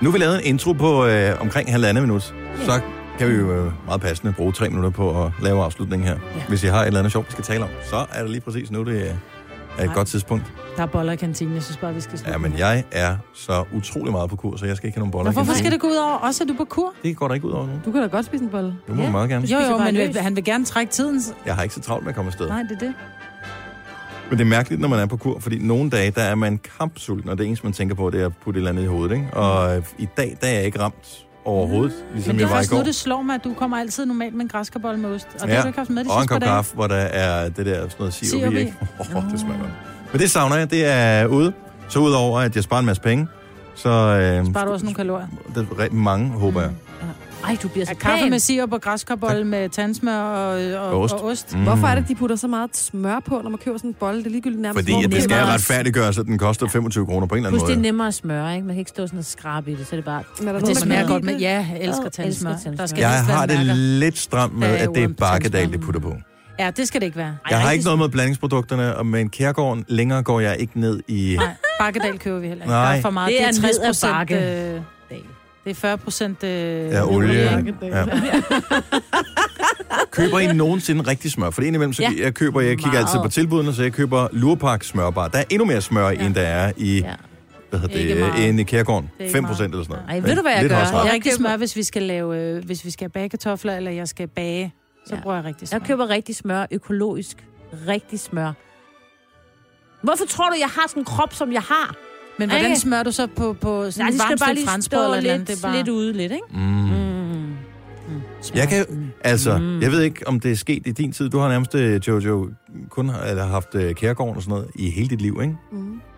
Speaker 1: Nu har vi lavet en intro på øh, omkring halvandet minut. Så kan vi jo øh, meget passende bruge tre minutter på at lave afslutningen her. Ja. Hvis I har et eller andet sjovt, vi skal tale om, så er det lige præcis nu, det øh, er et godt tidspunkt.
Speaker 10: Der er boller i kantinen, jeg synes bare, vi skal slutte.
Speaker 1: Ja, men jeg er så utrolig meget på kur, så jeg skal ikke have nogen boller.
Speaker 10: Nå, hvorfor skal
Speaker 1: det?
Speaker 10: det gå ud over os, at du er på kur?
Speaker 1: Det går der ikke ud over nu.
Speaker 2: Du kan da godt spise en bolle.
Speaker 1: Du må ja. meget gerne.
Speaker 10: Jo, jo,
Speaker 2: bare
Speaker 10: men
Speaker 2: løs.
Speaker 10: han vil gerne trække tiden. så-
Speaker 1: Jeg har ikke så travlt med at komme afsted.
Speaker 10: Nej, det er det.
Speaker 1: Ligesom Men det er mærkeligt, når man er på kur, fordi nogle dage, der er man kampsulten, og det eneste, man tænker på, det er at putte et eller andet i hovedet. Ikke? Og øh, i dag, der er jeg ikke ramt overhovedet, ligesom
Speaker 10: Mm. Men det
Speaker 1: jeg
Speaker 10: er
Speaker 1: var i
Speaker 10: først nu,
Speaker 1: går.
Speaker 10: det slår mig, at du kommer altid normalt med en græskarbolle med ost. Og det har du ikke haft med de
Speaker 1: og en
Speaker 10: sidste par
Speaker 1: kop
Speaker 10: dage.
Speaker 1: kaffe, hvor der er det der sådan noget sirup i.
Speaker 10: Sirup i.
Speaker 1: ikke? Oh, det smager godt. Men det savner jeg, det er ude. Så udover, at jeg sparer en masse penge, så øh,
Speaker 10: Sparer du også nogle kalorier?
Speaker 1: det er rigtig mange, håber jeg.
Speaker 10: Mm. Ej, du bliver så Kaffe med sirup og græskarbolle med tandsmør og, og,
Speaker 1: Og ost.
Speaker 10: og ost.
Speaker 1: Mm. Hvorfor er det,
Speaker 2: de putter så meget smør på, når man køber sådan en bolle? Det er ligegyldigt nærmest.
Speaker 1: Fordi at det skal retfærdiggøres, at den koster 25 kroner på en eller
Speaker 4: Plus, det er
Speaker 1: anden måde.
Speaker 4: nemmere at smøre, ikke? Man kan ikke stå sådan og skrabe i det, så er det bare...
Speaker 2: Men
Speaker 10: det smager godt med- ja, jeg elsker tandsmør. Der skal
Speaker 1: Jeg
Speaker 10: helst være
Speaker 1: har det
Speaker 10: mærker.
Speaker 1: lidt stramt med,
Speaker 10: Der er
Speaker 1: at
Speaker 10: jo
Speaker 1: det er
Speaker 10: en
Speaker 1: bakkedal, det putter på.
Speaker 10: Ja, det skal det ikke være.
Speaker 1: Jeg har ikke noget med blandingsprodukterne, og med en kærgården længere går jeg ikke ned i...
Speaker 10: Bakkedal køber vi heller ikke.
Speaker 1: Nej.
Speaker 10: Der er for meget.
Speaker 4: Det
Speaker 10: Det er,
Speaker 4: er ned
Speaker 10: 60
Speaker 4: ad
Speaker 10: procent...
Speaker 4: bakke.
Speaker 10: Øh, det er 40 procent... Øh,
Speaker 1: Ja, olie. Ja.
Speaker 10: Ja.
Speaker 1: Køber I nogensinde rigtig smør? For indimellem, så
Speaker 10: Ja.
Speaker 1: jeg køber, jeg kigger altid på
Speaker 10: Meget.
Speaker 1: tilbudene, så jeg køber lurpak smørbar. Der er endnu mere smør i, end der er i, hvad
Speaker 10: Ikke
Speaker 1: hedder det,
Speaker 10: meget.
Speaker 1: end i kærgården.
Speaker 10: Det er ikke
Speaker 1: 5 procent eller sådan noget.
Speaker 10: Ej, ved du, hvad jeg
Speaker 1: Lidt
Speaker 10: gør?
Speaker 1: højere smør.
Speaker 10: Jeg rigtig smør, hvis vi skal lave, øh, hvis vi skal have bagekartofler, eller jeg skal bage, så bruger jeg rigtig smør.
Speaker 4: Jeg køber rigtig smør, økologisk. Rigtig smør. Hvorfor tror du, jeg har sådan en krop, som jeg har?
Speaker 10: Men hvordan smører du så på, på sådan
Speaker 4: Nej,
Speaker 10: et
Speaker 4: det skal
Speaker 10: varmt
Speaker 4: bare
Speaker 10: stykke
Speaker 4: lige
Speaker 10: franskbrød
Speaker 4: stå
Speaker 10: eller et eller
Speaker 4: lidt,
Speaker 10: andet? Det er bare...
Speaker 4: lidt ude lidt, ikke?
Speaker 1: Mm. Jeg kan, altså, jeg ved ikke, om det er sket i din tid. Du har nærmest, øh, Jojo, kun har- eller haft øh, kærgården og sådan noget i hele dit liv, ikke?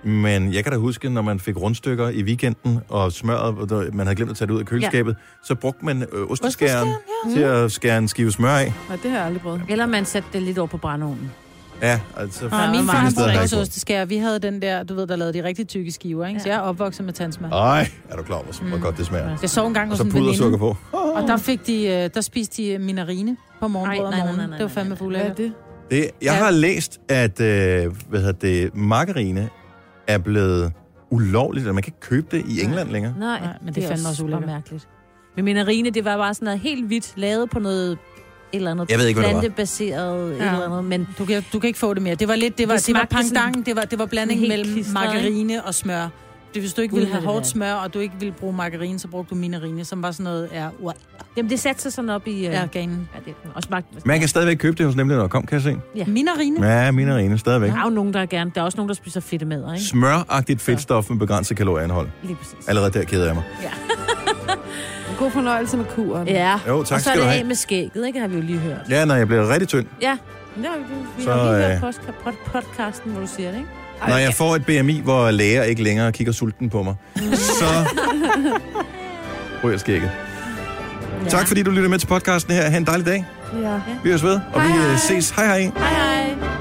Speaker 2: Mm.
Speaker 1: Men jeg kan da huske, når man fik rundstykker i weekenden, og smøret, og der- man havde glemt at tage det ud af køleskabet, ja. så brugte man øh, osteskæren
Speaker 4: ja.
Speaker 1: til
Speaker 10: Mm.
Speaker 1: at skære en skive smør af.
Speaker 2: Nej, det har jeg aldrig prøvet.
Speaker 4: Eller man sætter det lidt over på brændeovnen.
Speaker 1: Ja, altså...
Speaker 10: Og min far han
Speaker 1: mange steder har
Speaker 10: brugte
Speaker 1: jeg
Speaker 10: også
Speaker 1: ikke
Speaker 10: osteskær. Vi havde den der, du ved, der lavede de rigtig tykke skiver, ikke? Så jeg er opvokset med tandsmør.
Speaker 1: brugt. Ej, er du klar over, hvor mm. godt det smager?
Speaker 10: Jeg sov engang
Speaker 1: Og
Speaker 10: hos
Speaker 1: så
Speaker 10: en
Speaker 1: pudersukker
Speaker 10: veninde.
Speaker 1: på.
Speaker 10: Og der, fik de, øh, der spiste de minarine på morgenbrød
Speaker 4: Ej, nej,
Speaker 10: om
Speaker 4: nej, nej,
Speaker 10: morgenen.
Speaker 4: nej,
Speaker 10: Det var fandme fuld
Speaker 2: Hvad er det?
Speaker 1: Det, jeg har læst, at øh, hvad hedder det, margarine er blevet ulovligt, eller man kan ikke købe det i England længere.
Speaker 4: Nej, Nej
Speaker 10: men det er fandme også ulækkert.
Speaker 4: mærkeligt. Men minarine, det var bare sådan noget helt hvidt, lavet på noget et eller andet
Speaker 10: Jeg ved ikke, hvad det var.
Speaker 4: plantebaseret ja. et
Speaker 10: Ja.
Speaker 4: eller andet, men...
Speaker 10: Du kan, du kan ikke få det mere. Det var lidt, det var, det, det var
Speaker 4: smagte sådan-
Speaker 10: pangdangen, det var, det var blanding
Speaker 4: Helt
Speaker 10: mellem
Speaker 4: klistret,
Speaker 10: margarine og smør. Det, hvis du ikke
Speaker 4: Gud,
Speaker 10: ville
Speaker 4: hvor
Speaker 10: have
Speaker 4: er det
Speaker 10: hårdt
Speaker 4: værd.
Speaker 10: smør, og du ikke ville bruge margarine, så brugte du minarine, som var sådan noget, ja, what?
Speaker 4: Jamen, det satte sig sådan op i... Øh,
Speaker 10: Ja, ganen.
Speaker 4: Ja, det, og smagte...
Speaker 1: Man kan stadigvæk købe det hos nemlig, kom, kan jeg se.
Speaker 4: Ja.
Speaker 10: Minarine?
Speaker 1: Ja, minarine stadigvæk.
Speaker 4: Der er jo nogen, der er gerne... Der er også nogen, der spiser fedt med, ikke?
Speaker 1: Smøragtigt fedtstof med begrænset kalorieindhold.
Speaker 4: Lige præcis.
Speaker 1: Allerede der keder jeg mig.
Speaker 2: God fornøjelse med kuren.
Speaker 4: Ja.
Speaker 1: Jo, tak
Speaker 4: og så er
Speaker 1: skal du
Speaker 4: det
Speaker 1: have.
Speaker 4: af med skægget, ikke? Har vi jo lige hørt.
Speaker 1: Ja, når jeg bliver rigtig tynd.
Speaker 4: Ja. ja vi, vi
Speaker 1: Så,
Speaker 4: så, har lige
Speaker 1: øh,
Speaker 4: hørt podca- pod- podcasten, hvor du siger det, ikke?
Speaker 1: Når jeg får et BMI, hvor læger ikke længere kigger sulten på mig, så ryger skægget. Ja. Tak fordi du lytter med til podcasten her. Ha' en dejlig dag.
Speaker 2: ja.
Speaker 1: Vi høres ved, og vi øh, ses. Hej hej.
Speaker 4: Hej, hej.